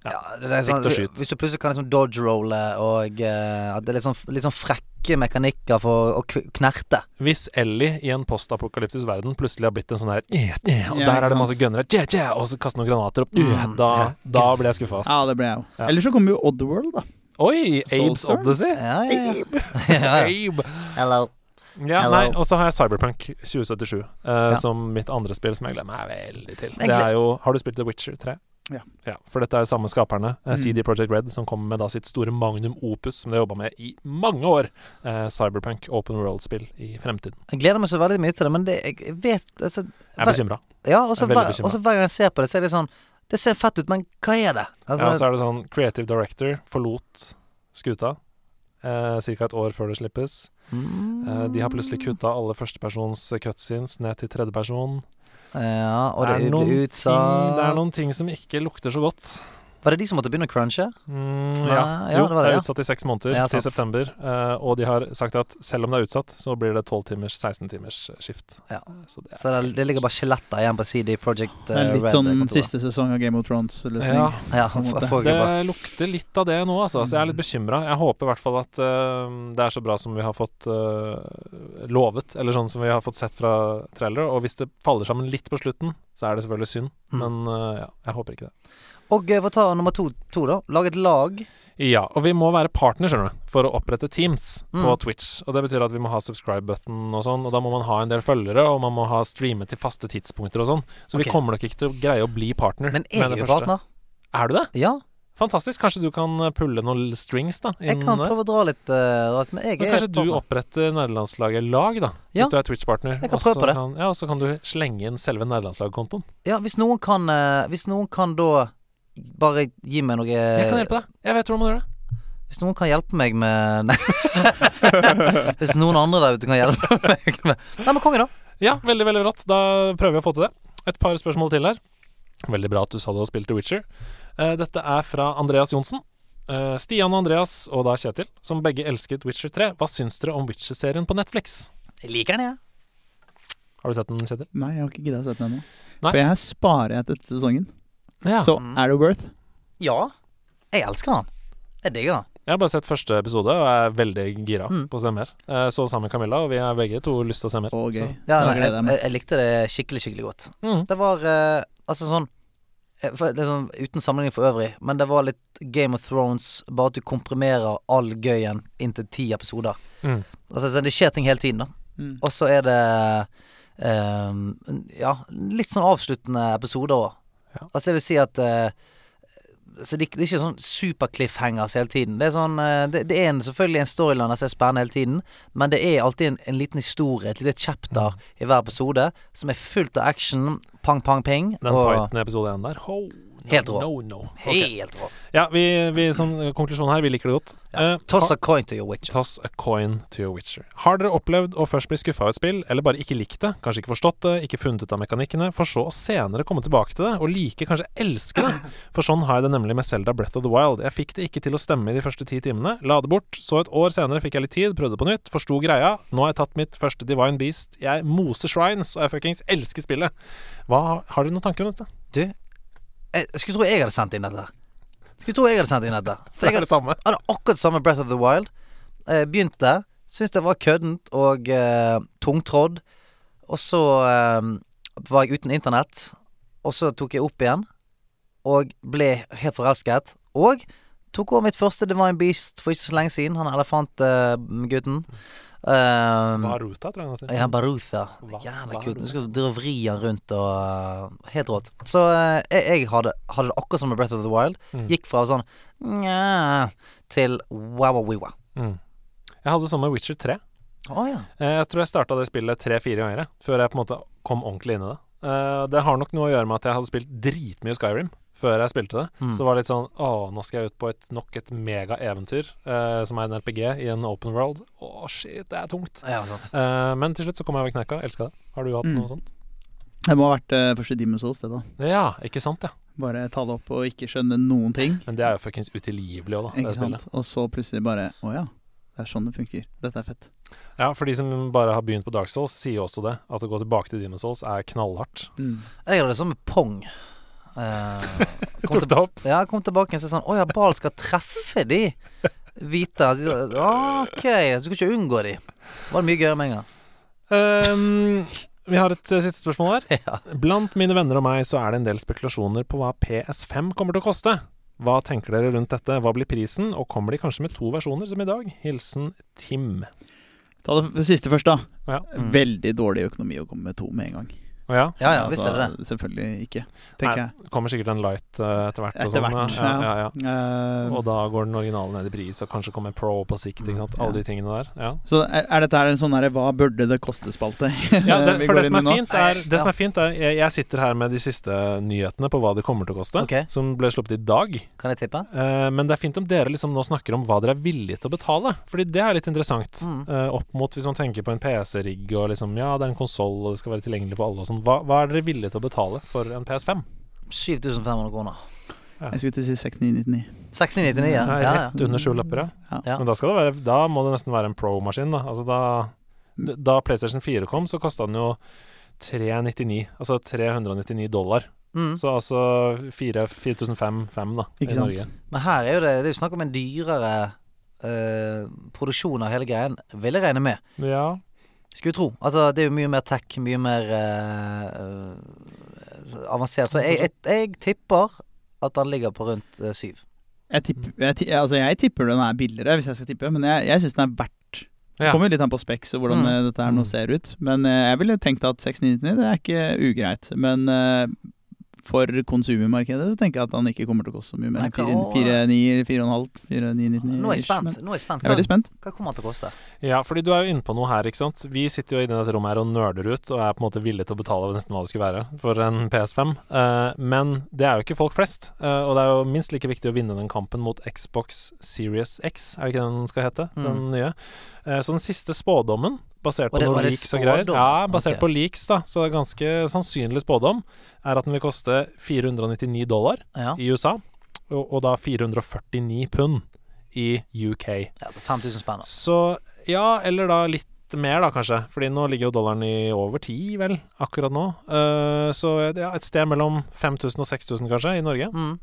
Det er sånn,
Sikt og skyt.
Hvis du plutselig kan liksom dodge-rolle, og eh, at det er litt sånn, litt sånn frekke mekanikker for å k- knerte.
Hvis Ellie i en postapokalyptisk verden plutselig har blitt en sånn her eh, eh, Og der
Ja, ikke
er det masse
sant.
gunnere, tje, tje, og så kaster noen granater opp eh,
Mm,
da, da blir jeg skuffa, ass.
Ja, det ble jeg òg.
Ja.
Eller så kommer jo Oddworld, da.
Oi! Abes
Soulstorm?
Odyssey.
Ja, Eh, ja,
<laughs>
Abe.
ja. Ja, ja.
Abe.
Hello.
Ja,
Hello.
nei, Og så har jeg Cyberpunk 2077 eh,
Ja.
som mitt andre spill som jeg gleder meg veldig til.
Jeg
Det
gled-
er jo, Har du spilt The Witcher 3?
Ja.
For dette er jo samme skaperne, eh,
Mm.
CD Projekt Red, som kommer med da sitt store magnum opus som de har jobba med i mange år. Eh, Cyberpunk open world-spill i fremtiden.
Jeg gleder meg så veldig mye til det, men det, jeg- jeg vet altså,
Jeg er
hver-
bekymret.
Ja, og så
Jeg er veldig
hver,
bekymret.
og så hver gang jeg ser på det, så er det sånn Det ser fett ut, men hva er det? Altså,
ja, så er det sånn Creative Director forlot skuta eh, ca. et år før det slippes.
mm.
Eh, de har plutselig kutta alle førstepersons eh, cutscenes ned til tredjeperson.
Ja, og det
er
blir
noen
utsatt.
Ting, det er noen ting som ikke lukter så godt.
Var det de som måtte begynne å crunche?
Mm,
Nei,
ja.
ja,
jo,
det var det,
er
ja.
utsatt i seks måneder
Ja,
til
sant.
september. eh, og de har sagt at selv om det er utsatt, så blir det 12 timers, 16 timers eh, skift.
Ja.
Så det,
Så det, det ligger bare skjeletter igjen på CD Project eh,
Det er litt sånn
siste
siste sesong av Game of Thrones-løsning.
Ja.
Ja,
på en måte.
får jeg
Det lukter litt av det nå, altså. Så jeg
Mm.
er litt bekymra. Jeg håper i hvert fall at eh, det er så bra som vi har fått eh, lovet, eller sånn som vi har fått sett fra trailer. Og hvis det faller sammen litt på slutten, så er det selvfølgelig synd.
Mm.
Men eh, ja, jeg håper ikke det.
Og eh, få ta nummer to, to da. Lage et lag.
Ja, og vi må være partner, skjønner du, for å opprette teams på
Mm.
Twitch. Og det betyr at vi må ha subscribe-button og sånn, og da må man ha en del følgere, og man må ha streame til faste tidspunkter og sånn. Så
Ok.
vi kommer nok ikke til å greie å bli partner.
Men jeg
med det
er jo
første.
partner.
Er du det?
Ja.
Fantastisk. Kanskje du kan pulle noen strings da
Jeg kan prøve å dra litt, eh, rart, men jeg
Men
er
kanskje
på
du oppretter nederlandslaget lag, da.
Ja.
Hvis du er Twitch-partner.
Jeg kan
Og
prøve
så
på det.
Kan, ja, og så kan du slenge inn selve nederlandslagkontoen.
Ja, hvis noen kan eh, Hvis noen kan da bare gi meg noe eh,
Jeg kan hjelpe deg. Jeg vet hvordan man gjør det.
Hvis noen kan hjelpe meg med <laughs> Nei. hvis noen andre der ute kan hjelpe <laughs> meg med Nei, men konge, da.
Ja, veldig, veldig rått. Da prøver vi å få til det. Et par spørsmål til her. Veldig bra at du sa du har spilt The Witcher. Eh, Dette er fra Andreas Johnsen. Eh, Stian og Andreas, og da Kjetil, som begge elsket Witcher 3, hva syns dere om Witcher-serien på Netflix?
Jeg liker den, jeg.
Har du sett den, Kjetil?
Nei, jeg har ikke gidda å sette den ennå.
Nei.
For jeg sparer etter sesongen.
Ja.
Så er det worth?
Ja. Jeg elsker han. Jeg digger han.
Jeg har bare sett første episode og er veldig gira
Mm.
på å se mer. Eh, Så sammen med Camilla, og vi har begge to lyst til å se mer.
Å, gøy.
Så-
Ja,
Da
nei,
gleder
jeg,
jeg meg.
jeg, jeg likte det skikkelig, skikkelig godt.
Mm.
Det var eh, altså sånn eh, for, det er sånn, Uten sammenligning for øvrig, men det var litt Game of Thrones, bare at du komprimerer all gøyen inn til ti episoder.
Mm.
Altså, så det skjer ting hele tiden, da.
Mm.
Og så er det eh, Ja, litt sånn avsluttende episoder òg. Altså, jeg vil si at eh, så det, det er ikke sånn super-cliffhangers hele tiden. Det er, sånn, eh, det, det er en, selvfølgelig en storyline som er spennende hele tiden, men det er alltid en, en liten historie, et lite chapter i hver episode, som er fullt av action. Pang, pang, ping.
Den fighten i episode én der, ho, no,
Helt rå.
No, no.
Helt rå.
Ja, vi, vi som konklusjon her, vi liker det godt. Eh,
Toss
har-
a coin to your witcher.
Toss a coin to your witcher. Har dere opplevd å først bli skuffa av et spill, eller bare ikke likt det, kanskje ikke forstått det, ikke funnet ut av mekanikkene, for så å senere komme tilbake til det, og like, kanskje elske det? For sånn har jeg det nemlig med Selda Breath of the Wild. Jeg fikk det ikke til å stemme i de første ti timene, la det bort, så et år senere fikk jeg litt tid, prøvde på nytt, forsto greia, nå har jeg tatt mitt første Divine Beast, jeg moser shrines, og jeg fuckings elsker spillet. Hva, har dere noen tanker om dette?
Du, jeg Eh, skulle tro jeg hadde sendt inn dette. Skulle tro jeg hadde sendt inn dette. For jeg
Det er det samme.
hadde akkurat samme Breath of the Wild. Eh, begynte, syntes det var køddent og eh, tungtrådd. Og så eh, var jeg uten internett, og så tok jeg opp igjen. Og ble helt forelsket. Og tok over mitt første Divine Beast for ikke så lenge siden. Han eh, elefantgutten. Uh,
Baruta, tror Mm. jeg han heter.
Ja, Barutha.
Va-
Jævla kult. Du skal drive og vri han rundt og Helt rått. Så eh, jeg, jeg hadde, hadde det akkurat som med Breath of the Wild.
Mm.
Gikk fra sånn nja til wow-wow-wow.
Mm. Jeg hadde det sånn med Witcher 3.
Å ja.
Eh, Jeg tror jeg starta det spillet tre-fire ganger jeg, før jeg på en måte kom ordentlig inn i det. Eh, Det har nok noe å gjøre med at jeg hadde spilt dritmye Skyrim før jeg spilte det.
Mm.
Så det var litt sånn Å, nå skal jeg ut på et, nok et megaeventyr, eh, som er en RPG i en open world. Å, shit, det er tungt.
Ja, sant.
Eh, men til slutt så kom jeg over kneika. Elska det. Har du hatt
Mm.
noe sånt?
Det må ha vært eh, første Dimens Souls, det, da.
Ja, ikke sant, ja.
Bare ta det opp og ikke skjønne noen ting.
Men det er jo fuckings utilgivelig òg, da.
Ikke
Det spillet.
sant? Og så plutselig bare Å ja, det er sånn det funker. Dette er fett.
Ja, for de som bare har begynt på Dark Souls, sier jo også det. At å gå tilbake til Demon's Souls er knallhardt.
Jeg hadde det sånn med pong. Eh, kom
Tok det opp.
Ja, jeg kom tilbake igjen og sa sånn Å ja, ball skal treffe de hvite. De sa, OK, så du skal ikke unngå de. Var det mye gøyere med en gang.
Ehm, vi har et eh, siste spørsmål
<laughs>
her. Blant mine venner og meg så er det en del spekulasjoner på hva PS5 kommer til å koste. Hva tenker dere rundt dette, hva blir prisen, og kommer de kanskje med to versjoner som i dag? Hilsen Tim.
Ta det f- siste først, da.
Ja.
Mm.
Veldig dårlig økonomi å komme med to med en gang. Altså,
Å ja?
Ja altså, ja, visst er det det.
Selvfølgelig ikke, tenker jeg.
Nei, det kommer sikkert en light eh, etter hvert. og
Etter
sånn,
hvert,
ja. Ja, ja, ja.
Eh,
Og da går den originale ned i pris, og kanskje kommer Pro på sikt. Ikke
Mm,
sant? Alle de tingene der.
<laughs>
Ja.
så er, er dette her en sånn derre hva burde det koste-spalte?
Ja, det,
<laughs>
Eh,
vi
for
går
det som, er
inn i nå?
fint er, det som er fint, er jeg, jeg sitter her med de siste nyhetene på hva det kommer til å koste,
Ok.
som ble sluppet i dag.
Kan jeg tippe?
Eh, men det er fint om dere liksom nå snakker om hva dere er villige til å betale, Fordi det er litt interessant.
Mm.
Eh, opp mot hvis man tenker på en PC-rigg og liksom ja, det er en konsoll og det skal være tilgjengelig for alle og sånn. Hva, hva er dere villige til å betale for en PS5?
7500 kroner.
Jeg skulle til å si 6999.
1699, ja.
Nei,
ja,
Rett under sju lapper, ja.
Ja.
Ja.
Men da, skal det være, da må det nesten være en pro-maskin, da. Altså da, da PlayStation 4 kom, så kosta den jo 399, altså 399 dollar.
Mm.
Så altså 4500-5 da, i
Ikke sant?
Norge.
Men her er jo det, det er jo snakk om en dyrere eh, produksjon av hele greien, vil jeg regne med.
Ja.
Skulle tro. Altså, det er jo mye mer tech, mye mer eh, eh, avansert. Så jeg, jeg, jeg tipper at den ligger på rundt eh, syv.
Jeg, tipper- jeg, ti- altså jeg tipper den er billigere, hvis jeg skal tippe, men jeg, jeg syns den er verdt Det
Ja.
kommer jo litt an på Specs og hvordan
Mm.
eh, dette her nå ser ut, men eh, jeg ville tenkt at 6999 det er ikke ugreit. Men eh, for konsumermarkedet, så tenker jeg at han ikke kommer til å koste så mye mer enn
Nei, hva-
4,9, 4,5, 4,999.
Nå er jeg spent. Nå er jeg spent.
Jeg er veldig spent.
Hva kommer den til å koste?
Ja, fordi du er jo inne på noe her, ikke sant. Vi sitter jo i dette rommet her og nerder ut, og er på en måte villig til å betale nesten hva det skulle være for en PS5. Eh, men det er jo ikke folk flest, eh, og det er jo minst like viktig å vinne den kampen mot Xbox Series X, er det ikke den den skal hete? Den
Mm.
nye. Eh, så den siste spådommen, basert
Var
på
det- var
noen
det
leaks og greier
spådom?
Ja, basert
Ok.
på leaks, da, så det er ganske sannsynlig spådom, er at den vil koste 499 dollar
Ja.
i USA, og, og da 449 pund i UK.
Altså 5000 spenn. da.
Så ja, eller da litt mer, da kanskje. Fordi nå ligger jo dollaren i over ti, vel, akkurat nå. Eh, så ja, et sted mellom 5000 og 6000, kanskje, i Norge.
Mm.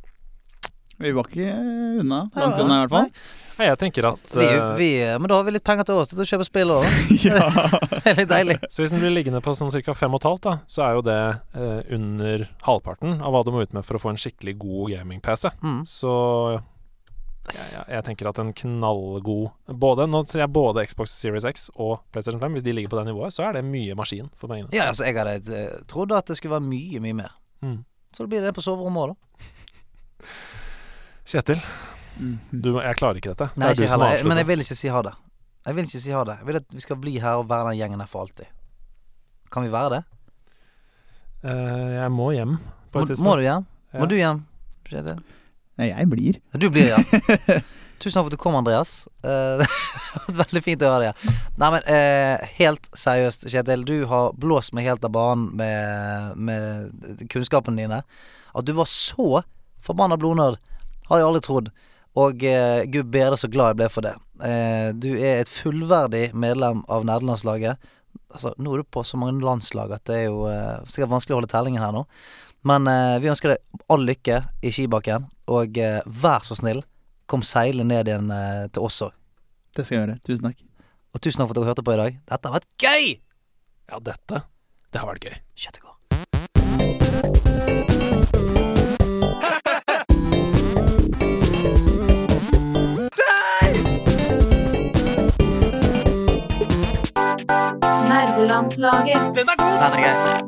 Vi var ikke eh, unna.
Nei,
Langt
nei,
unna, i hvert fall. <laughs>
Nei, jeg tenker at
Vi,
eh,
vi, men da har vi litt penger til oss til å kjøpe spill òg. Det er litt deilig.
Så hvis den blir liggende på sånn ca. 5,5, da, så er jo det eh, under halvparten av hva du må ut med for å få en skikkelig god gaming-PC.
Mm.
Så jeg, jeg, jeg tenker at en knallgod både, Nå sier jeg både Xbox Series X og PlayStation 5. Hvis de ligger på det nivået, så er det mye maskin for pengene.
Ja, altså, jeg hadde eh, trodd at det skulle være mye, mye mer.
Mm.
Så det blir det på soverommet òg, da.
Kjetil, du, må- jeg klarer ikke dette.
Mm. Nei,
det er
ikke
du som
heller. Jeg-
avslutter.
Men jeg vil ikke si ha det. Jeg vil ikke si ha det. Jeg vil at vi skal bli her og være den gjengen her for alltid. Kan vi være det?
Eh, jeg må hjem på
Må,
et tidspunkt.
må du hjem?
Ja.
Må du hjem? Kjetil?
Nei, jeg blir.
Du blir ja. Tusen takk for at du kom, Andreas. Eh, <laughs> det har vært veldig fint å ha deg her. Nei, men eh, helt seriøst, Kjetil. Du har blåst meg helt av banen med, med kunnskapene dine. At du var så forbanna blodnerd, har jeg aldri trodd. Og eh, gud bedre så glad jeg ble for det. Eh, du er et fullverdig medlem av nerdelandslaget. Altså, nå er du på så mange landslag at det er jo eh, sikkert vanskelig å holde tellingen her nå. Men eh, vi ønsker deg all lykke i skibakken, og eh, vær så snill, kom seile ned igjen eh, til oss òg.
Det skal jeg gjøre. Tusen takk.
Og tusen takk for at dere hørte på i dag. Dette har vært gøy!
Ja, dette Det har vært gøy.
Nerdelandslaget.
Den er god! Den er gøy.